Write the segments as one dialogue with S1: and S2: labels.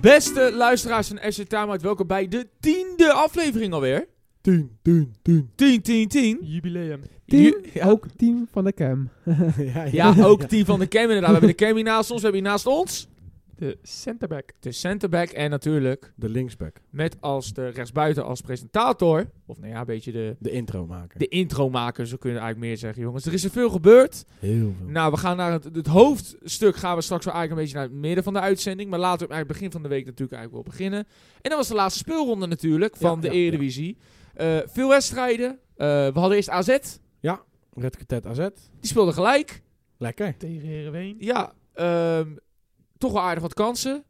S1: Beste luisteraars van FC Timeout, welkom bij de tiende aflevering alweer.
S2: 10, 10, 10.
S1: 10, 10, 10.
S3: Jubileum.
S2: Team,
S1: Ja.
S2: Ook team van de cam. ja,
S1: Ja, ook team van de Cam inderdaad. We hebben de Cam hier naast ons, we hebben hier naast ons
S3: De centerback.
S1: de centerback en natuurlijk
S2: De linksback.
S1: met als de rechtsbuiten als presentator, of nou ja, een beetje de,
S2: De intro maken.
S1: de intromaker, zo kunnen we eigenlijk meer zeggen jongens. Er is er veel gebeurd.
S2: Heel veel.
S1: Nou, we gaan naar het, het hoofdstuk gaan we straks wel eigenlijk een beetje naar het midden van de uitzending. Maar laten we eigenlijk begin van de week natuurlijk eigenlijk wel beginnen. En dat was de laatste speelronde natuurlijk van
S2: Ja,
S1: de
S2: ja, ja.
S1: Eredivisie. Eh, veel wedstrijden. Eh, we hadden eerst AZ.
S2: Red Quartet AZ.
S1: Die speelde gelijk.
S2: Lekker.
S3: Tegen Heerenveen.
S1: Ja, ehm, toch wel aardig wat kansen.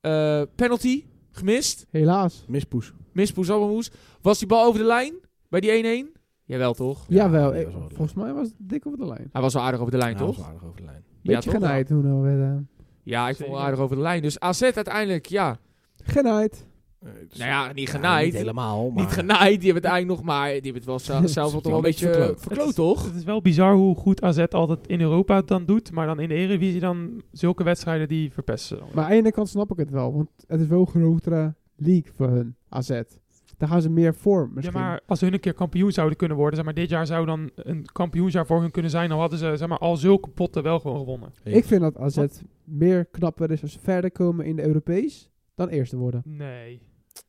S1: Eh, penalty, gemist.
S4: Helaas.
S2: Mispoes.
S1: Mispoes, Abelmoes. Was die bal over de lijn bij die 1-1? Jawel toch?
S2: Ja,
S4: Jawel,
S2: die
S4: eh,
S2: was wel de
S4: volgens mij was het dik op de lijn.
S1: Hij was wel aardig over de lijn,
S2: Nou,
S1: toch?
S2: was aardig over de lijn.
S4: Beetje
S1: toch?
S4: genaaid nou, eh, toen al werd aan.
S1: Ja, ik vond
S3: Zeker.
S1: wel aardig over de lijn. Dus AZ uiteindelijk, ja.
S4: Genaaid.
S2: Eh, dus-
S1: Nou ja, niet genaaid.
S2: niet helemaal, maar...
S1: Niet genaaid, die hebben het eigenlijk nog maar... Die hebben het wel zelf, zelf toch wel een beetje eh, verkloot, toch?
S3: Het is wel bizar hoe goed AZ altijd in Europa het dan doet. Maar dan in de Eredivisie dan zulke wedstrijden die verpesten. Dan.
S4: Maar aan de ene kant snap ik het wel, want het is wel een grotere league voor hun, AZ. Daar gaan ze meer voor
S3: ja,
S4: misschien.
S3: maar als hun een keer kampioen zouden kunnen worden. Zeg maar, dit jaar zou dan een kampioensjaar voor hun kunnen zijn. Dan hadden ze zeg maar, al zulke potten wel gewoon gewonnen.
S4: Ik vind dat AZ meer knapper is als ze verder komen in de Europees dan eerste worden.
S3: Nee.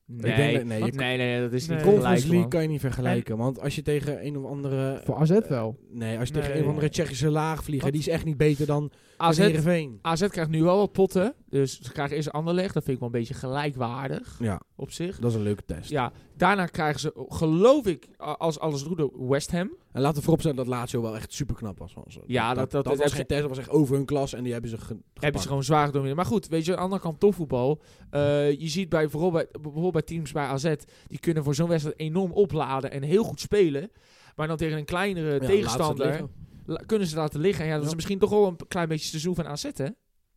S1: Nee,
S2: denk dat- nee, je-
S1: nee, nee, dat is niet
S3: Nee.
S1: gelijk,
S2: Conference League
S1: man.
S2: kan je niet vergelijken, want als je tegen een of andere...
S4: Voor AZ wel.
S2: Nee, als je tegen
S3: Nee.
S2: een of andere Tsjechische laagvlieger,
S3: Wat?
S2: die is echt niet beter dan
S1: AZ,
S2: Heerenveen.
S1: AZ krijgt nu wel wat potten. Dus ze krijgen eerst Anderlecht. Dat vind ik wel een beetje gelijkwaardig
S2: Ja,
S1: op zich.
S2: dat is een leuke test.
S1: Ja, daarna krijgen ze, geloof ik, a- als alles goed doet, West Ham.
S2: En laten we vooropstellen dat Lazio wel echt super knap was. van ze.
S1: Ja, dat- dat- dat
S2: was
S1: heb
S2: geen test, dat was echt over hun klas en die hebben ze ge
S1: Hebben
S2: gepakt.
S1: ze gewoon zwaar gedomineerd. Maar goed, weet je, aan de andere kant topvoetbal. Eh, je ziet bij, vooral bij, bijvoorbeeld bij teams bij AZ, die kunnen voor zo'n wedstrijd enorm opladen en heel goed spelen. Maar dan tegen een kleinere
S2: Ja, laat ze het
S1: tegenstander
S2: liggen.
S1: la- kunnen ze laten liggen. En ja, dat is
S2: Ja.
S1: misschien toch wel een p- klein beetje seizoen van AZ, hè?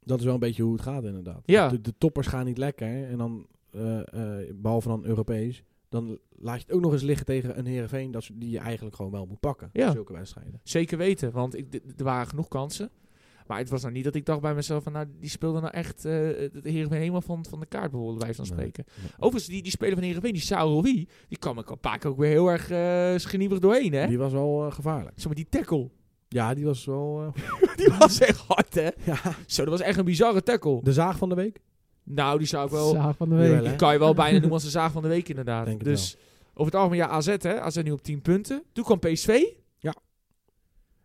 S2: Dat is wel een beetje hoe het gaat inderdaad.
S1: Ja.
S2: De, de toppers gaan niet lekker hè. en dan, eh, eh, behalve dan Europees, dan laat je het ook nog eens liggen tegen een Heerenveen dat, ze- die je eigenlijk gewoon wel moet pakken.
S1: Ja.
S2: Zulke wedstrijden.
S1: Zeker weten, want ik, d- d- er waren genoeg kansen. Maar het was nou niet dat ik dacht bij mezelf, van, nou, die speelde nou echt eh de Heerenveen helemaal van, van de kaart bijvoorbeeld, bij wijze van
S2: Nee.
S1: spreken. Overigens, die, die speler van Heerenveen, die Saurowi, die kwam ik een paar keer ook weer heel erg eh schenierig doorheen, hè?
S2: Die was wel eh, gevaarlijk.
S1: Zo met die tackle.
S2: Ja, die was wel... eh,
S1: Die was echt hard, hè?
S2: ja.
S1: Zo, dat was echt een bizarre tackle.
S2: De zaag van de week?
S1: Nou, die zou ik wel...
S4: Zaag van de
S2: Jawel,
S4: week.
S2: hè?
S1: Die kan je wel bijna noemen als de zaag van de week, inderdaad.
S2: Denk het
S1: dus over het algemeen, ja, AZ, hè? AZ nu op 10 punten. Toen kwam PSV.
S2: Ja.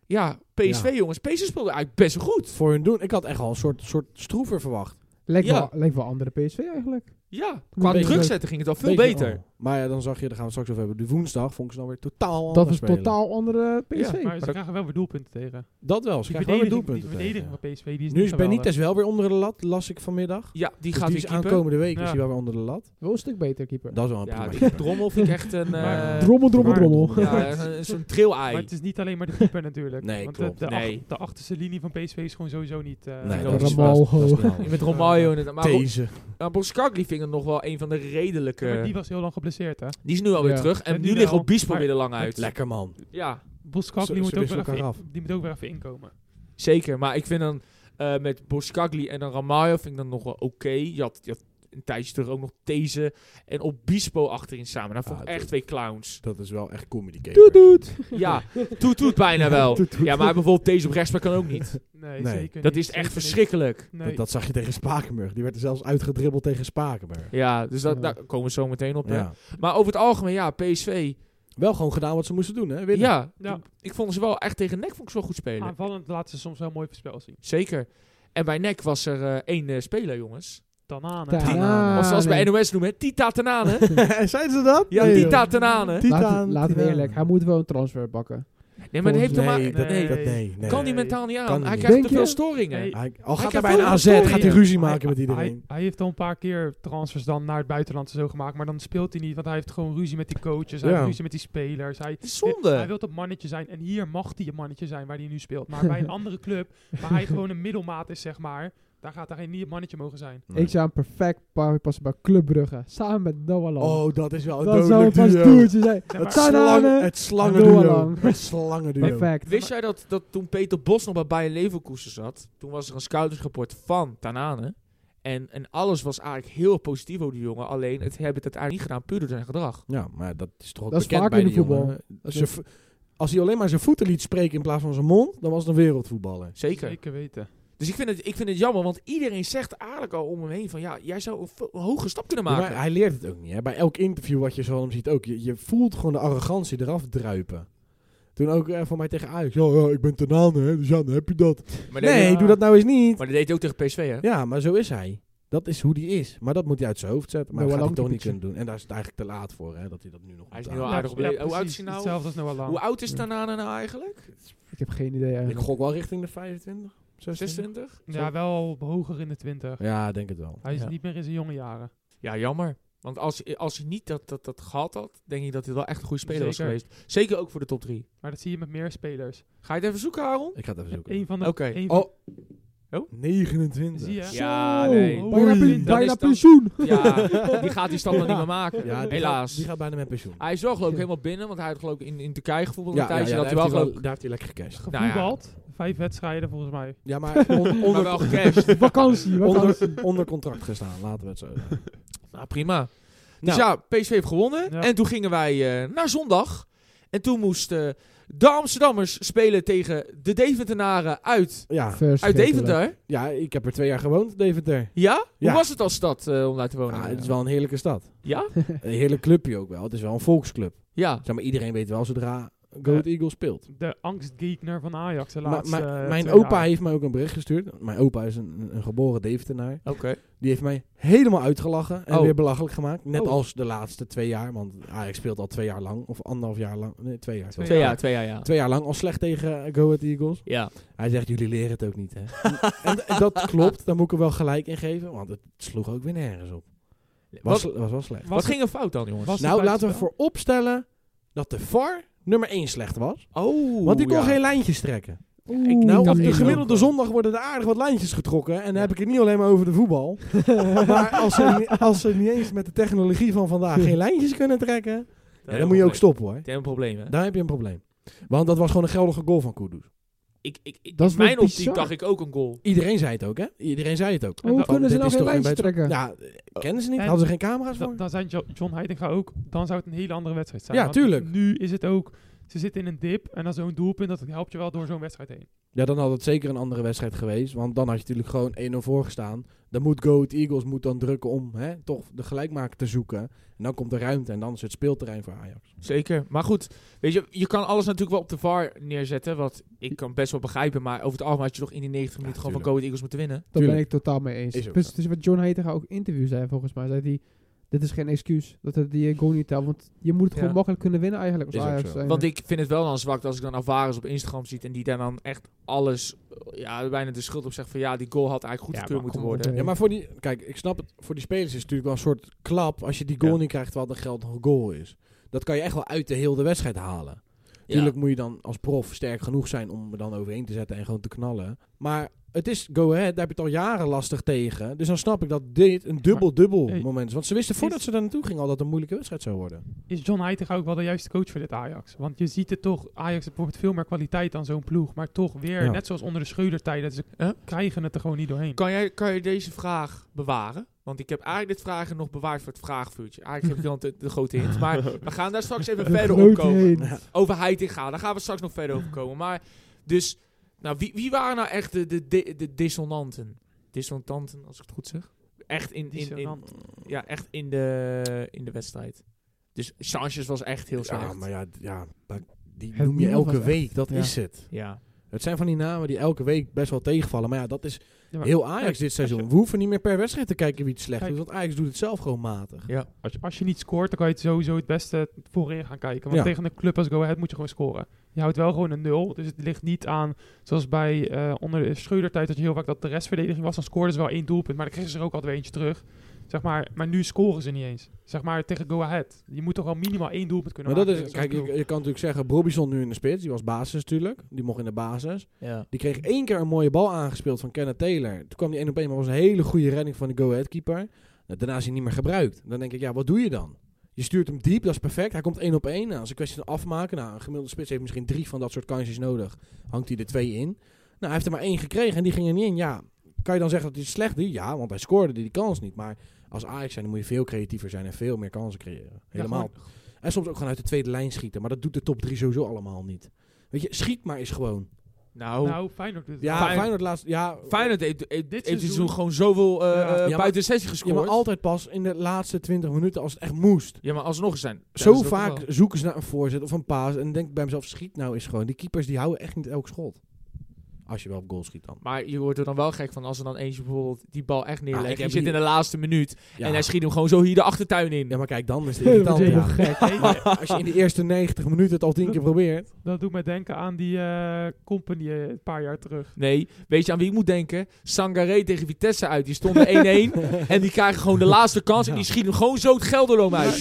S1: Ja, PSV,
S2: Ja.
S1: jongens. PSV speelde eigenlijk best wel goed.
S2: Voor hun doen. Ik had echt al een soort, soort stroever verwacht.
S4: Lijkt,
S1: Ja.
S4: wel, lijkt wel andere PSV eigenlijk.
S1: Ja, qua
S4: Beetje
S1: druk
S4: leuk.
S1: zetten ging het al veel
S2: Beetje-
S1: beter.
S2: oh. Maar ja, dan zag je, daar gaan we het straks over hebben. De woensdag vond ik ze dan weer totaal
S4: Dat
S2: anders
S4: is
S2: spelen.
S4: totaal andere PSV.
S3: Maar ze
S4: Maar-
S3: krijgen wel weer doelpunten tegen.
S2: Dat wel. Ze krijgen wel
S3: Die
S2: weer
S3: verdediging, die
S2: doelpunten tegen.
S3: verdediging van PSV die is
S2: Nu
S3: niet
S2: is
S3: geweldig.
S2: Benitez wel weer onder de lat, las ik vanmiddag.
S1: Ja, die
S2: Die
S1: gaat
S2: gaat Dus die
S1: weer
S2: is
S1: keeper.
S2: aankomende week is
S3: Ja.
S2: hij wel weer onder de lat.
S4: Wel een stuk beter keeper.
S2: Dat is wel een
S1: Ja,
S2: prima
S1: die
S2: keeper.
S1: drommel vind ik echt een... eh,
S3: Maar-
S4: drommel, drommel,
S3: maar-
S4: drommel.
S1: Ja, een- een- zo'n trail-ei.
S3: Maar het is niet alleen maar de keeper natuurlijk.
S2: Nee,
S3: want
S2: klopt.
S3: De, de,
S1: Nee.
S3: ach- de achterste linie van PSV is gewoon sowieso niet... eh,
S2: Nee,
S1: dat
S2: dat is-
S4: Ramalho.
S2: dat is- dat is niet handig.
S1: Met Romario inderdaad. Maar Ro-
S2: Deze.
S1: maar Boskakli vind ik nog wel een van de redelijke...
S3: Maar die was heel lang geblesseerd, hè?
S1: Die is nu alweer
S4: Ja.
S1: terug. En
S3: En
S1: nu
S3: nu
S1: ligt
S3: wel.
S1: Obispo
S3: Maar-
S1: weer er lang uit.
S2: Lekker man.
S1: Ja,
S3: Boskak,
S2: Ze-
S3: die, moet
S2: ze
S3: ook weer
S2: wisselen
S3: even
S2: elkaar
S3: in- die moet ook weer even inkomen.
S1: zeker. Maar ik vind dan eh, met Boskakli en dan Ramalho vind ik dan nog wel oké. Je, had, je had een tijdje terug ook nog These en Obispo achterin samen. Dat vond ik
S2: Ah,
S1: echt
S2: dat-
S1: twee clowns.
S2: Dat is wel echt comedy
S4: Doet,
S2: keeper.
S4: doet.
S1: Ja, toet toet bijna wel.
S4: Toet, toet.
S1: Ja, maar bijvoorbeeld These op rechtsback kan ook niet.
S3: Nee,
S2: Nee.
S3: zeker
S1: Dat
S3: niet,
S1: is echt
S3: zeker niet.
S1: verschrikkelijk.
S3: Nee.
S2: Dat, dat zag je tegen Spakenburg. Die werd er zelfs uitgedribbeld tegen Spakenburg.
S1: Ja, dus dat,
S4: Ja.
S1: daar komen we zo meteen op. hè.
S2: Ja.
S1: Maar over het algemeen, ja, PSV.
S2: Wel gewoon gedaan wat ze moesten doen, hè? Winnen.
S1: Ja,
S3: Ja. Ah.
S1: ik vond ze wel echt tegen Nek vond ik ze wel goed spelen.
S3: Aanvallend laten ze soms wel mooi verspel zien.
S1: Zeker. En bij Nek was er eh, één eh, speler, jongens.
S3: Dan aan. hè.
S4: Tanane.
S2: Tanane.
S1: of zoals bij
S4: Ah, nee. Oh,
S1: NOS noemen, hè, Tita Tenane.
S2: Zeiden ze dat?
S1: Ja,
S4: Nee, joh.
S1: Tita Tenane.
S2: Titaan,
S4: Laten we- Laten we
S2: Titaan.
S4: eerlijk, hij moet wel een transfer bakken.
S1: Nee, maar dat heeft toch maar...
S2: Nee, dat,
S1: nee.
S2: dat- nee, nee.
S1: Kan die
S3: Nee.
S1: mentaal niet aan.
S2: Kan niet.
S1: Hij krijgt
S4: Denk
S1: te veel
S4: je?
S1: storingen.
S3: Nee.
S2: Hij, al
S1: Hij
S2: gaat
S1: kan
S2: hij bij een
S1: veel
S2: AZ,
S1: storingen.
S2: gaat hij ruzie maken met
S3: Hij,
S2: iedereen.
S3: hij heeft al een paar keer transfers dan naar het buitenland zo gemaakt, maar dan speelt hij niet, want hij heeft gewoon ruzie met die coaches, hij
S2: Ja.
S3: heeft ruzie met die spelers. Hij, hij
S1: Zonde.
S3: wil dat mannetje zijn en hier mag hij een mannetje zijn waar hij nu speelt. Maar bij een andere club, waar hij gewoon een middelmaat is, zeg maar, daar gaat hij geen- niet het mannetje mogen zijn.
S2: Nee.
S4: Ik zou hem perfect pa- passen bij Club Brugge. Samen met Noah Lang.
S2: Oh, dat is wel een
S4: dat zou
S2: dodelijk
S4: een pas
S2: duo.
S4: toertje zijn.
S2: Het,
S3: Zeg maar,
S4: Tanane.
S2: slang, het slangen duo.
S4: Doorlang.
S2: Het slangen duo.
S4: Perfect.
S1: Wist jij dat, dat toen Peter Bos nog bij Bayern Leverkusen zat, toen was er een scoutingsrapport van Tanane. En, en alles was eigenlijk heel positief over die jongen. Alleen het hebben het uiteindelijk niet gedaan puur door zijn gedrag.
S2: Ja, maar dat is toch ook
S4: Dat is
S2: bekend
S4: vaak
S2: bij
S4: in
S2: die
S4: de voetbal.
S2: jongen.
S4: Dat
S2: Zijn
S4: is-
S2: vo- Als hij alleen maar zijn voeten liet spreken in plaats van zijn mond, dan was het een wereldvoetballer.
S1: Zeker.
S3: weten.
S1: Dus ik vind, het, ik vind het jammer, want iedereen zegt eigenlijk al om hem heen van... Ja, jij zou een, vo- een hoge stap kunnen
S2: Ja,
S1: maken.
S2: Maar hij leert het ook niet. Hè? Bij elk interview wat je zo van hem ziet ook. Je, je voelt gewoon de arrogantie eraf druipen. Toen ook eh, van mij tegen Ajax. Ja, ja, ik ben ten aan, hè, dus ja, dan heb je dat.
S1: Maar dat
S2: Nee,
S1: deed-
S2: doe dat nou eens niet.
S1: Maar dat deed hij ook tegen PSV, hè?
S2: Ja, maar zo is hij. Dat is hoe die is. Maar dat moet hij uit zijn hoofd zetten. Maar
S4: Noah
S2: dat gaat hij
S4: Lang
S2: toch niet kunnen
S4: typetje.
S2: doen. En daar is het eigenlijk te laat voor, hè, dat hij dat nu nog
S1: Hij is
S2: moet
S1: nu al
S2: aan-
S1: Wel aardig op- hoe oud is
S3: precies.
S1: hij nou?
S3: Hetzelfde als Noah Lang.
S1: Hoe oud is Tanane nou eigenlijk?
S4: Ik heb geen idee
S2: Ik
S4: eigenlijk.
S2: gok wel richting de 25, 26.
S1: 26?
S3: Ja, wel hoger in de 20.
S2: Ja, denk het wel.
S3: Hij is
S1: Ja.
S3: niet meer in zijn jonge jaren.
S1: Ja, jammer. Want als, als hij niet dat, dat, dat gehad had, denk ik dat hij wel echt een goede speler
S3: Zeker.
S1: was geweest. Zeker ook voor de top 3.
S3: Maar dat zie je met meer spelers.
S1: Ga je het even zoeken, Aaron?
S2: Ik ga het even zoeken.
S3: Eén van de...
S1: Oké.
S3: één van-
S2: Oh.
S1: Oh.
S2: 29.
S3: Zie je?
S1: Ja,
S4: Zo,
S1: nee.
S4: Bijna,
S2: Oei.
S4: pen-
S2: Dan is
S4: bijna
S1: dan-
S4: pensioen.
S1: Ja, die gaat die stap dan niet meer maken.
S2: Ja, die
S1: Helaas.
S2: Gaat, die gaat bijna met pensioen.
S1: Hij is wel geloof ik helemaal binnen, want hij had geloof ik in, in Turkije gevoetbald een
S2: daar
S1: tijdje. dat
S2: heeft
S1: hij wel geloof
S2: daar heeft hij lekker gecashed.
S1: Nou ja.
S3: Gevoetbald. Vijf wedstrijden volgens mij.
S2: Ja, maar on-
S1: maar
S2: onder,
S1: wel gecashed.
S4: Vakantie, vakantie.
S2: onder, onder contract gestaan, laten we het zo zeggen.
S1: nou, prima. Dus
S2: Nou.
S1: ja, PSV heeft gewonnen.
S3: Ja.
S1: En toen gingen wij eh, naar zondag. En toen moesten de Amsterdammers spelen tegen de Deventenaren uit,
S2: Ja,
S1: uit Deventer.
S2: ja, ik heb er twee jaar gewoond, Deventer.
S1: Ja?
S2: Ja.
S1: Hoe was het als stad eh, om daar te wonen?
S2: Ja, Ah, het is wel een heerlijke stad.
S1: Ja?
S2: Een heerlijk clubje ook wel. Het is wel een volksclub.
S1: Ja.
S2: Zeg maar, iedereen weet wel zodra Goat Eagles speelt.
S3: De angstgeekner van Ajax de
S2: Maar,
S3: laatste eh,
S2: mijn
S3: twee
S2: opa
S3: jaar.
S2: heeft mij ook een bericht gestuurd. Mijn opa is een, een geboren Deventenaar.
S1: Oké.
S2: Die heeft mij helemaal uitgelachen en
S1: Oh.
S2: weer belachelijk gemaakt. Net
S1: Oh.
S2: als de laatste twee jaar. Want Ajax speelt al twee jaar lang. Of anderhalf jaar lang. Nee, twee jaar.
S3: Twee
S1: Twee
S3: Ja.
S1: jaar, twee jaar, ja.
S2: Twee jaar lang al slecht tegen eh, Go Ahead Eagles.
S1: Ja.
S2: Hij zegt, jullie leren het ook niet, hè? en, en dat klopt, daar moet ik hem wel gelijk in geven. Want het sloeg ook weer nergens op. Was,
S1: Wat,
S2: was wel slecht.
S1: wat ging er fout dan, jongens?
S3: was het
S2: nou, laten we
S3: buitenspel?
S2: vooropstellen dat de VAR nummer 1 slecht was.
S1: Oh,
S2: Want die kon
S1: ja.
S2: geen lijntjes trekken.
S4: Oeh,
S1: Ik
S2: Nou,
S1: dacht
S2: op de
S1: één
S2: gemiddelde
S1: ook.
S2: zondag worden er aardig wat lijntjes getrokken. En dan heb ik het niet alleen maar over de voetbal. maar als ze, niet- als ze niet eens met de technologie van vandaag geen lijntjes kunnen trekken... ja, dan moet je ook stoppen, hoor.
S1: Dat is een probleem, hè?
S2: Daar heb je een probleem. Want dat was gewoon een geldige goal van Kudus.
S1: Ik, ik, ik,
S4: Dat is
S1: in mijn
S4: wel
S1: optiek
S4: bizar.
S1: dacht ik ook een goal.
S2: Iedereen zei het ook, hè? Iedereen zei het ook.
S4: Hoe
S2: Van,
S4: kunnen ze
S2: dit
S4: nou
S2: is
S4: geen
S2: toch geen
S4: lijntjes trekken?
S2: Ja, eh, kennen ze niet?
S3: En-
S2: Hadden ze geen camera's
S3: Da-
S2: voor?
S3: dan zijn Jo- John Heitinga ook, dan zou het een hele andere wedstrijd zijn.
S2: Ja,
S3: Want
S2: tuurlijk.
S3: Nu is het ook, ze zitten in een dip en dan zo'n doelpunt, dat helpt je wel door zo'n wedstrijd heen.
S2: Ja, dan had het zeker een andere wedstrijd geweest. Want dan had je natuurlijk gewoon 1-0 voor gestaan. Dan moet Go Ahead Eagles moet dan drukken om hè, toch de gelijkmaker te zoeken. En dan komt de ruimte en dan is het speelterrein voor Ajax.
S1: Zeker. Maar goed, weet je, je kan alles natuurlijk wel op de VAR neerzetten. Wat ik kan best wel begrijpen. Maar over het algemeen had je toch in die 90 minuten gewoon van
S2: tuurlijk.
S1: Go Ahead Eagles moeten winnen.
S4: Daar ben
S2: Tuurlijk.
S4: ik totaal mee eens.
S2: Is ook
S4: Dus
S2: zo.
S4: het is wat John Heitinga ook in interview zei volgens mij. Zei hij, dit is geen excuus dat het die eh, goal niet telt. Want je moet het gewoon
S1: Ja.
S4: makkelijk kunnen winnen eigenlijk
S2: Is
S4: als
S2: ook
S4: Ajax.
S2: zo.
S4: zijnde.
S1: Want ik vind het wel dan zwak als ik dan Alvarez op Instagram ziet. En die daar dan echt alles, eh, ja, bijna de schuld op zegt van ja, die goal had eigenlijk
S4: Ja,
S1: goedgekeurd moeten
S4: maar kom op,
S1: worden.
S4: hè.
S2: Ja, maar voor die, kijk, ik snap het. Voor die spelers is het natuurlijk wel een soort klap als je die goal
S1: Ja.
S2: niet krijgt terwijl de geld nog een goal is. Dat kan je echt wel uit de hele wedstrijd halen.
S1: Ja.
S2: Natuurlijk moet je dan als prof sterk genoeg zijn om er dan overheen te zetten en gewoon te knallen. Maar het is go ahead, daar heb je het al jaren lastig tegen. Dus dan snap ik dat dit een dubbel-dubbel
S3: hey,
S2: moment is. Want ze wisten voordat ze daar naartoe gingen al dat het een moeilijke wedstrijd zou worden.
S3: Is John Heitinga ook wel de juiste coach voor dit Ajax? Want je ziet het toch, Ajax heeft bijvoorbeeld veel meer kwaliteit dan zo'n ploeg. Maar toch weer,
S2: Ja.
S3: net zoals onder de Schreuder-tijden, ze
S1: Huh?
S3: krijgen het er gewoon niet doorheen.
S1: Kan jij, kan je deze vraag bewaren? Want ik heb eigenlijk dit vragen nog bewaard voor het vraagvuurtje. Eigenlijk heb ik dan de, de grote hint. Maar we gaan daar straks even
S4: Een
S1: verder op
S4: groot
S1: komen.
S4: heen.
S1: over Heiting gaan. Daar gaan we straks nog verder over komen. Maar dus, nou, wie, wie waren nou echt de, de, de, de dissonanten? Dissonanten, als ik het goed zeg. Echt in, in, in,
S3: Dissonant.
S1: ja, echt in, de, in de wedstrijd. Dus Sanchez was echt heel slecht.
S2: Ja, maar ja, d- ja maar die
S4: Het
S2: noem je
S4: niemand
S2: elke
S4: was
S2: week, dat
S4: Ja.
S2: is het.
S1: Ja.
S2: Het zijn van die namen die elke week best wel tegenvallen. Maar ja, dat is
S3: Ja, maar
S2: heel Ajax dit seizoen. We hoeven niet meer per wedstrijd te kijken wie het slecht
S3: Kijk.
S2: doet. Want Ajax doet het zelf gewoon matig.
S3: Als je, als je niet scoort, dan kan je het sowieso het beste voorin gaan kijken. Want
S2: Ja.
S3: tegen een club als Go Ahead moet je gewoon scoren. Je houdt wel gewoon een nul. Dus het ligt niet aan, zoals bij eh, onder de Schreudertijd, dat je heel vaak dat de restverdediging was. Dan scoorden ze wel één doelpunt, maar dan kregen ze er ook altijd weer eentje terug. Zeg maar, maar nu scoren ze niet eens. Zeg maar tegen Go Ahead. Je moet toch wel minimaal één doelpunt kunnen
S2: Maar dat
S3: maken.
S2: is,
S3: tegen
S2: kijk, je,
S3: zo'n
S2: je kan natuurlijk zeggen, Robinson nu in de spits. Die was basis natuurlijk. Die mocht in de basis.
S1: ja.
S2: Die kreeg één keer een mooie bal aangespeeld van Kenneth Taylor. Toen kwam die één op één, maar was een hele goede redding van de go-ahead keeper. Nou, Daarna is hij niet meer gebruikt. Dan denk ik, ja, wat doe je dan? Je stuurt hem diep, dat is perfect. Hij komt één op één. Nou, als een kwestie van afmaken. Nou, een gemiddelde spits heeft misschien drie van dat soort kansjes nodig. Hangt hij er twee in. Nou, hij heeft er maar één gekregen en die ging er niet in. Ja, Kan je dan zeggen dat hij het slecht deed? Ja, want hij scoorde die kans niet. Maar als Ajax zijn, dan moet je veel creatiever zijn en veel meer kansen creëren. Helemaal. en soms ook gewoon uit de tweede lijn schieten. Maar dat doet de top 3 sowieso allemaal niet. Weet je, schiet maar eens gewoon.
S1: Nou,
S3: Nou, Feyenoord doet het
S2: oh. Ja,
S3: wel.
S1: Feyenoord-
S2: Feyenoord laatst... Ja,
S1: Feyenoord heeft, heeft, heeft dit
S3: seizoen-
S1: seizoen gewoon zoveel eh
S3: Ja.
S1: eh,
S2: Ja, maar-
S1: buiten de sessie
S2: ja,
S1: gescoord.
S2: maar altijd pas in de laatste 20 minuten als het echt moest.
S1: Ja, maar alsnog zijn. dat is
S2: Zo
S1: het ook
S2: vaak
S1: wel.
S2: zoeken ze naar een voorzet of een paas. En denk ik bij mezelf, schiet nou eens gewoon. Die keepers die houden echt niet elk schot. Als je wel op goal schiet dan.
S1: Maar je wordt er dan wel gek van als er dan eentje bijvoorbeeld die bal echt neerlegt.
S2: Ah, ik
S1: die
S2: heb
S1: zit
S2: hier-
S1: in de laatste minuut
S2: Ja.
S1: en hij schiet hem gewoon zo hier de achtertuin in.
S2: Ja, maar kijk, dan is het
S4: Dat
S2: irritant.
S4: wordt
S2: Ja.
S4: helemaal gek.
S2: Als je in de eerste 90 minuten het al tien keer probeert.
S3: Dat doet mij denken aan die eh, company eh, een paar jaar terug.
S1: Nee, weet je aan wie ik moet denken? Sangaré tegen Vitesse uit. Die stonden 1-1 en die krijgen gewoon de laatste kans en die schieten hem gewoon zo het Gelderloom uit.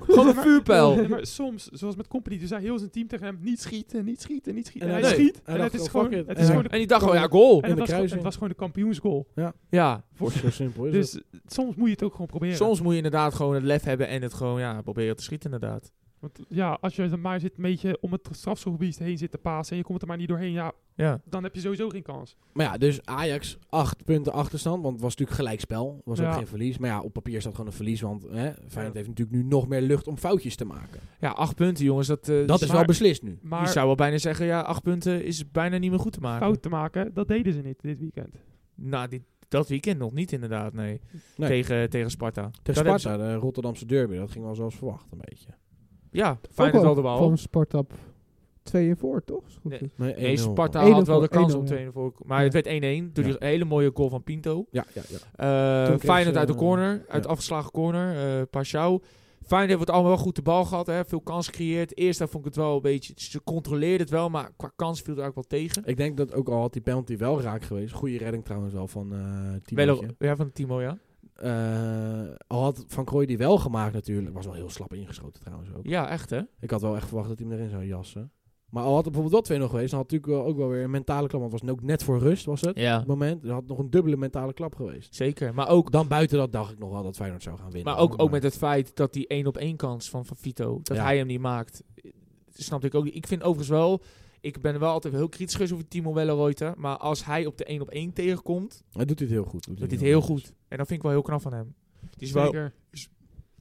S1: Gewoon een vuurpijl.
S3: Nee, maar soms, zoals met company, dus hij heel zijn team tegen hem niet schieten, niet schieten, niet schieten.
S2: En
S3: En,
S1: hij-
S3: hij schiet.
S2: hij
S3: En
S2: dacht
S3: het is
S2: gewoon,
S3: gewoon,
S2: fuck it.
S3: het
S2: En
S3: is gewoon de,
S1: En die dacht gewoon, ja, goal.
S3: en
S2: in de
S3: het was, gewoon-
S2: kruising.
S3: het was gewoon de kampioensgoal.
S1: Ja,
S2: Zo simpel is het.
S3: Dus soms moet je het ook gewoon proberen.
S1: soms moet je inderdaad gewoon het lef hebben en het gewoon ja, proberen te schieten inderdaad.
S3: Want ja, als je dan maar zit een beetje om het strafschopgebied heen zit te pasen en je komt er maar niet doorheen, ja,
S1: Ja.
S3: dan heb je sowieso geen kans.
S2: Maar ja, dus Ajax 8 punten achterstand. Want het was natuurlijk gelijkspel. Was ook
S3: Ja.
S2: geen verlies. Maar ja, op papier staat gewoon een verlies. Want hè, Feyenoord
S1: Ja.
S2: heeft natuurlijk nu nog meer lucht om foutjes te maken.
S1: ja, acht punten jongens. Dat, eh,
S2: Dat is wel
S3: maar-
S2: beslist nu.
S1: Je
S3: Maar
S1: zou wel bijna zeggen, ja, acht punten is bijna niet meer goed te maken.
S3: fout te maken, dat deden ze niet dit weekend.
S1: Nou, die, dat weekend nog niet inderdaad, nee.
S2: Nee.
S1: Tegen, tegen Sparta.
S2: Tegen
S1: Dat
S2: Sparta, de Rotterdamse derby. Dat ging wel zoals verwacht een beetje.
S1: Ja,
S4: Ook
S1: Feyenoord had de bal.
S4: Van Sparta 2 en voor, toch? Als het goed
S1: Nee.
S4: is.
S2: Nee,
S1: Nee,
S2: 1-0.
S1: Sparta
S4: Eén
S1: had wel de
S4: voor-
S1: kans
S4: één
S1: om
S4: nul,
S1: 2 voor. Maar
S4: Ja.
S1: het werd 1-1 door die hele mooie goal van Pinto.
S2: Ja, ja, ja.
S1: Eh,
S2: kreeg
S1: Feyenoord
S2: ze,
S1: uit de
S2: eh,
S1: corner, uit
S2: ja.
S1: afgeslagen corner, eh Pashao. Feyenoord heeft het allemaal wel goed de bal gehad, hè, veel kans gecreëerd. Eerst daar vond ik het wel een beetje, ze controleerde het wel, maar qua kans viel het eigenlijk wel tegen.
S2: Ik denk dat ook al had die penalty wel raak geweest. Goede redding trouwens wel van eh
S1: Wel,
S2: Timootje.
S1: ja, van Timo, ja.
S2: Eh, al had Van Krooi die wel gemaakt natuurlijk. Was wel heel slap ingeschoten trouwens ook.
S1: Ja, echt hè.
S2: Ik had wel echt verwacht dat hij hem erin zou jassen. Maar al had het bijvoorbeeld wel 2-0 geweest, dan had het natuurlijk wel, ook wel weer een mentale klap. Want het was ook net voor rust, was het?
S1: Ja.
S2: Op het moment. Er had nog een dubbele mentale klap geweest.
S1: Zeker, maar ook,
S2: Dan buiten dat dacht ik nog wel dat Feyenoord zou gaan winnen.
S1: maar ook, ook met het feit dat die 1 op 1 kans van, van Vito, dat
S2: Ja.
S1: hij hem niet maakt. eh, Snapte ik ook niet. Ik vind overigens wel, ik ben wel altijd heel kritisch geweest over Timo Welleroyte. Maar als hij op de 1 op 1 tegenkomt,
S2: Hij doet dit heel goed.
S1: doet hij het heel goed. En dat vind ik wel heel knap van hem. Die is wel,
S3: Zeker.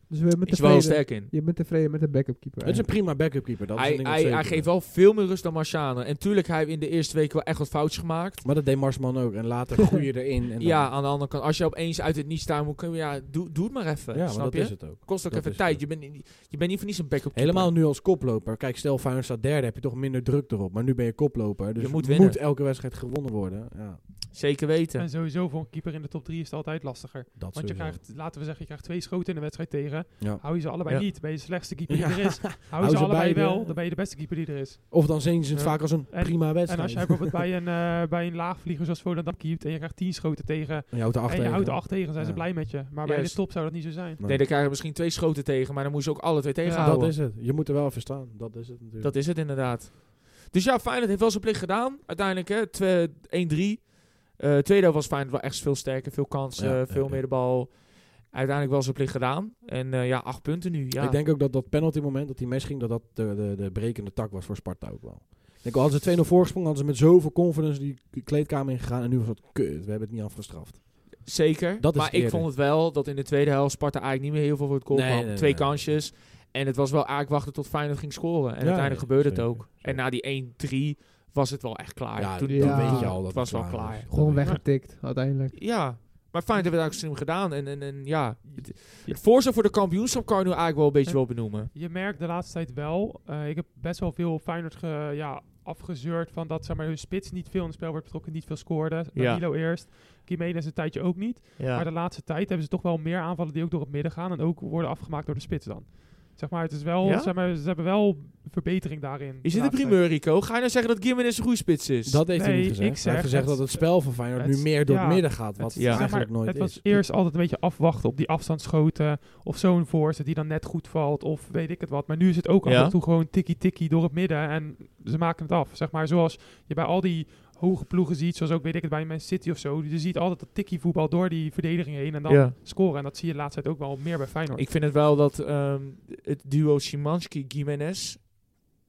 S4: Dus we hebben
S1: die is wel heel
S4: tevreden.
S1: sterk in.
S4: Je bent tevreden met de backup keeper.
S2: Het is een prima backup keeper. Dat is
S1: Hij,
S2: een ding dat
S1: hij,
S2: zeker
S1: hij
S2: is.
S1: geeft wel veel meer rust dan Marciano. En tuurlijk, hij heeft in de eerste week wel echt wat foutjes gemaakt.
S2: Maar dat deed Marsman ook. En later groei je erin. En dan-
S1: Ja, aan de andere kant, als je opeens uit het niets staan moet, kun je- ja, doe, doe het maar even.
S2: ja maar
S1: snap
S2: dat
S1: je?
S2: is het ook.
S1: Kost ook
S2: dat
S1: even
S2: is
S1: tijd.
S2: het.
S1: Je bent, niet- je bent niet voor niets een backup. keeper.
S2: Helemaal nu als koploper. Kijk, stel Feyenoord staat derde, heb je toch minder druk erop. Maar nu ben je koploper, dus
S1: Je
S2: je
S1: moet
S2: moet,
S1: winnen.
S2: elke wedstrijd gewonnen worden. Ja,
S1: Zeker weten.
S3: En sowieso voor een keeper in de top 3 is het altijd lastiger.
S2: dat
S3: Want je
S2: sowieso.
S3: krijgt, laten we zeggen, je krijgt twee schoten in de wedstrijd tegen.
S2: Ja.
S3: Hou je ze allebei
S1: Ja.
S3: niet, ben je de slechtste keeper die
S2: Ja.
S3: er is. Hou je ze
S2: ze
S3: allebei
S2: beide.
S3: wel, dan ben je de beste keeper die er is.
S2: Of dan zien ze het
S3: Ja.
S2: vaak als een
S3: En-
S2: prima
S3: En
S2: wedstrijd.
S3: als jij bijvoorbeeld bij een, eh, bij een laagvlieger zoals Volendam keept en je krijgt 10 schoten tegen
S2: En je houdt er acht
S3: en je houdt er
S2: tegen.
S3: 8 tegen, zijn ze
S2: Ja.
S3: blij met je. Maar bij
S1: Juist.
S3: de top zou dat niet zo zijn.
S1: Nee, dan krijg je misschien twee schoten tegen, maar dan moet je ze ook alle twee tegenhouden.
S2: Dat is het. Je moet er wel even staan. Dat is het natuurlijk.
S1: Dat is het inderdaad. Dus ja, Feyenoord heeft wel zijn plicht gedaan. Uiteindelijk hè, twe- 1-3. Eh tweede helft was Feyenoord wel echt veel sterker. Veel kansen,
S2: Ja, ja,
S1: veel
S2: ja.
S1: meer de bal. Uiteindelijk wel zijn plicht gedaan. En eh, ja, acht punten nu. Ja.
S2: Ik denk ook dat dat penalty moment dat die mes ging, dat dat de, de, de brekende tak was voor Sparta ook wel. Ik denk, al hadden ze 2-0 voorgesprongen, hadden ze met zoveel confidence die kleedkamer ingegaan. En nu was het kut, we hebben het niet afgestraft.
S1: Zeker.
S2: Dat is
S1: maar
S2: het
S1: ik
S2: eerder.
S1: vond het wel dat in de tweede helft Sparta eigenlijk niet meer heel veel voor het goal
S2: Nee,
S1: kwam.
S2: nee,
S1: Twee
S2: nee.
S1: kansjes. En het was wel eigenlijk wachten tot Feyenoord ging scoren. En
S2: Ja,
S1: uiteindelijk
S2: ja,
S1: gebeurde het
S2: zeker,
S1: ook.
S2: zeker.
S1: En na die 1-3 was het wel echt klaar.
S2: Ah, Ja,
S1: Toen-
S2: dat
S4: ja.
S2: weet je al. Dat
S1: Het was wel
S2: is.
S1: klaar.
S2: Dat
S4: Gewoon
S2: weet je.
S4: weggetikt, uiteindelijk.
S1: Ja, maar Feyenoord heeft het eigenlijk slim gedaan. En, en, en ja, het, het voorstel voor de kampioenschap kan je nu eigenlijk wel een beetje
S3: Ja.
S1: wel benoemen.
S3: Je merkt de laatste tijd wel, eh, ik heb best wel veel op Feyenoord ge, ja, afgezeurd van dat zeg maar, hun spits niet veel in het spel wordt betrokken, niet veel scoorde.
S1: Ja.
S3: Danilo eerst, Jiménez een tijdje ook niet. Maar de laatste tijd hebben ze toch wel meer aanvallen die ook door het midden gaan en ook worden afgemaakt door de spits dan. Zeg maar, het is wel,
S1: Ja?
S3: zeg maar, ze hebben wel verbetering daarin.
S1: Je
S3: de
S1: zit in
S3: laatste tijd.
S1: primeur, Rico. Ga je nou zeggen dat Gimenez een goede spits is?
S2: Dat heeft hij
S3: Nee,
S2: niet gezegd.
S3: ik
S2: hij
S3: zeg
S2: heeft gezegd
S3: het-
S2: dat het spel van Feyenoord nu
S3: het-
S2: meer door
S3: ja,
S2: het midden gaat. Wat
S3: Het,
S2: het,
S1: ja.
S3: zeg maar,
S2: eigenlijk nooit
S3: het
S2: is.
S3: was eerst altijd een beetje afwachten op die afstandsschoten of zo'n voorzet die dan net goed valt of weet ik het wat. Maar nu is het ook
S1: Ja.
S3: af en toe gewoon tikkie-tikkie door het midden en ze maken het af. Zeg maar zoals je bij al die hoge ploegen ziet, zoals ook weet ik het bij Man City of zo. Je ziet altijd dat tikkie voetbal door die verdediging heen en dan
S1: Ja.
S3: scoren. En dat zie je de laatste tijd ook wel meer bij Feyenoord.
S1: Ik vind het wel dat ehm, het duo Szymanski-Gimenez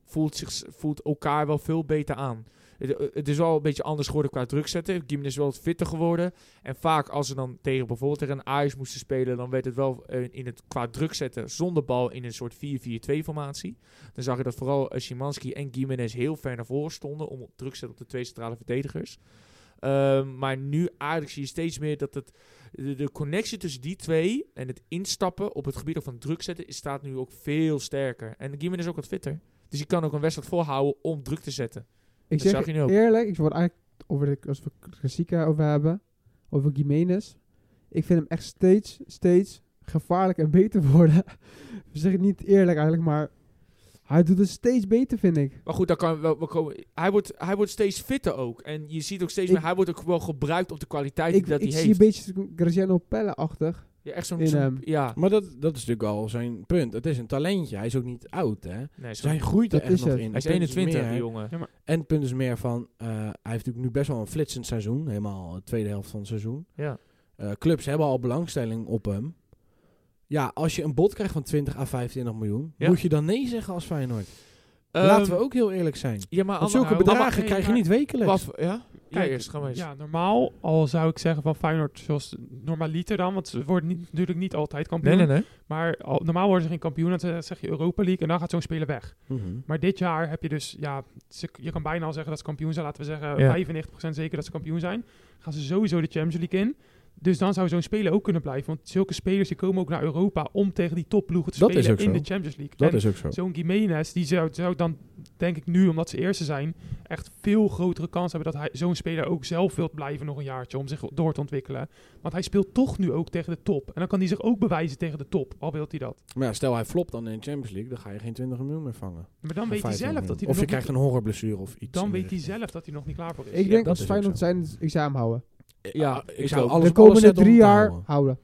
S1: voelt, zich, voelt elkaar wel veel beter aan. Het, eh, het is wel een beetje anders geworden qua druk zetten. Gimnes is wel wat fitter geworden. En vaak als ze dan tegen bijvoorbeeld tegen een Ajax moesten spelen, dan werd het wel eh, in het, qua druk zetten zonder bal in een soort 4-4-2 formatie. Dan zag je dat vooral eh, Szymanski en Gimenez heel ver naar voren stonden om op druk te zetten op de twee centrale verdedigers. Ehm, maar nu eigenlijk zie je steeds meer dat het, de, de connectie tussen die twee en het instappen op het gebied van druk zetten is, staat nu ook veel sterker. En Gimenez is ook wat fitter. Dus je kan ook een wedstrijd volhouden om druk te zetten.
S4: Ik
S1: Dat
S4: zeg
S1: zag je nu ook.
S4: eerlijk, ik word eigenlijk over de, als we Klassica over hebben, over Gimenez. Ik vind hem echt steeds, steeds gevaarlijk en beter worden. we zeggen het niet eerlijk eigenlijk, maar hij doet het steeds beter, vind ik.
S1: Maar goed, dan kan wel, wel komen. Hij, wordt, hij wordt steeds fitter ook. En je ziet ook steeds
S4: Ik-
S1: meer, hij wordt ook wel gebruikt op de kwaliteit
S4: Ik,
S1: dat
S4: ik
S1: hij
S4: zie een
S1: heeft.
S4: beetje Graziano Pelle-achtig.
S1: Ja, echt zo'n...
S4: in ehm,
S1: zo'n-
S4: hem.
S1: ja.
S2: Maar dat, dat is natuurlijk al zijn punt. Het is een talentje. Hij is ook niet oud, hè.
S1: Nee, zo'n-
S2: Zijn groeit er
S4: Dat
S2: echt
S4: is
S2: nog
S4: het.
S2: in.
S1: hij is
S2: Het punt
S1: 21,
S2: meer-
S1: die jongen.
S2: En het punt is meer van, eh, hij heeft natuurlijk nu best wel een flitsend seizoen. Helemaal de tweede helft van het seizoen.
S1: Ja.
S2: Eh, clubs hebben al belangstelling op hem. Ja, als je een bod krijgt van 20 à 25 miljoen,
S1: Ja.
S2: moet je dan nee zeggen als Feyenoord. Laten we
S1: Ehm,
S2: ook heel eerlijk zijn.
S1: Ja, maar...
S2: Want
S1: allemaal-
S2: zulke
S3: allemaal-
S2: bedragen
S3: nee,
S2: krijg je
S3: maar-
S2: niet wekelijks.
S1: Wat, ja? Kijk,
S3: Kijk,
S1: eerst gaan we eens.
S3: Ja, normaal al zou ik zeggen van Feyenoord zoals normaliter dan, want ze worden niet, natuurlijk niet altijd kampioen.
S1: Nee, nee, nee.
S3: Maar al- normaal worden ze geen kampioen, dan zeg- zeg je Europa League en dan gaat zo'n speler weg.
S2: Mhm.
S3: Maar dit jaar heb je dus, ja, ze- je kan bijna al zeggen dat ze kampioen zijn. Laten we zeggen
S1: Ja.
S3: 95% zeker dat ze kampioen zijn. Gaan ze sowieso de Champions League in. Dus dan zou zo'n speler ook kunnen blijven. Want zulke spelers die komen ook naar Europa om tegen die topploegen te
S2: Dat is
S3: spelen
S2: ook
S3: in
S2: zo.
S3: de Champions League.
S2: Dat
S3: En
S2: is ook zo.
S3: Zo'n Gimenez, die zou, zou dan, denk ik nu, omdat ze eerste zijn, echt veel grotere kans hebben dat hij zo'n speler ook zelf wil blijven nog een jaartje om zich door te ontwikkelen. Want hij speelt toch nu ook tegen de top. En dan kan hij zich ook bewijzen tegen de top, al wil hij dat.
S2: Maar ja, stel hij flopt dan in de Champions League, dan ga je geen 20 miljoen meer vangen.
S3: Maar dan
S2: Of
S3: weet hij
S2: 25
S3: zelf
S2: miljoen.
S3: dat hij
S2: Of
S3: er
S2: je
S3: nog
S2: krijgt
S3: niet,
S2: een hongerblessure of iets.
S3: dan
S2: in die
S3: weet hij
S2: richting.
S3: zelf dat hij nog niet klaar voor is.
S4: Ik
S2: Ja,
S4: denk
S2: dat
S4: dat
S2: is
S4: als Feyenoord
S2: ook zo.
S4: zijn examen houden.
S1: Ja,
S2: ik
S1: ik
S2: zou
S1: ook.
S2: alles
S4: de
S2: op alles
S4: komende
S2: zetten om
S4: drie
S2: te
S4: jaar
S2: houden.
S4: houden.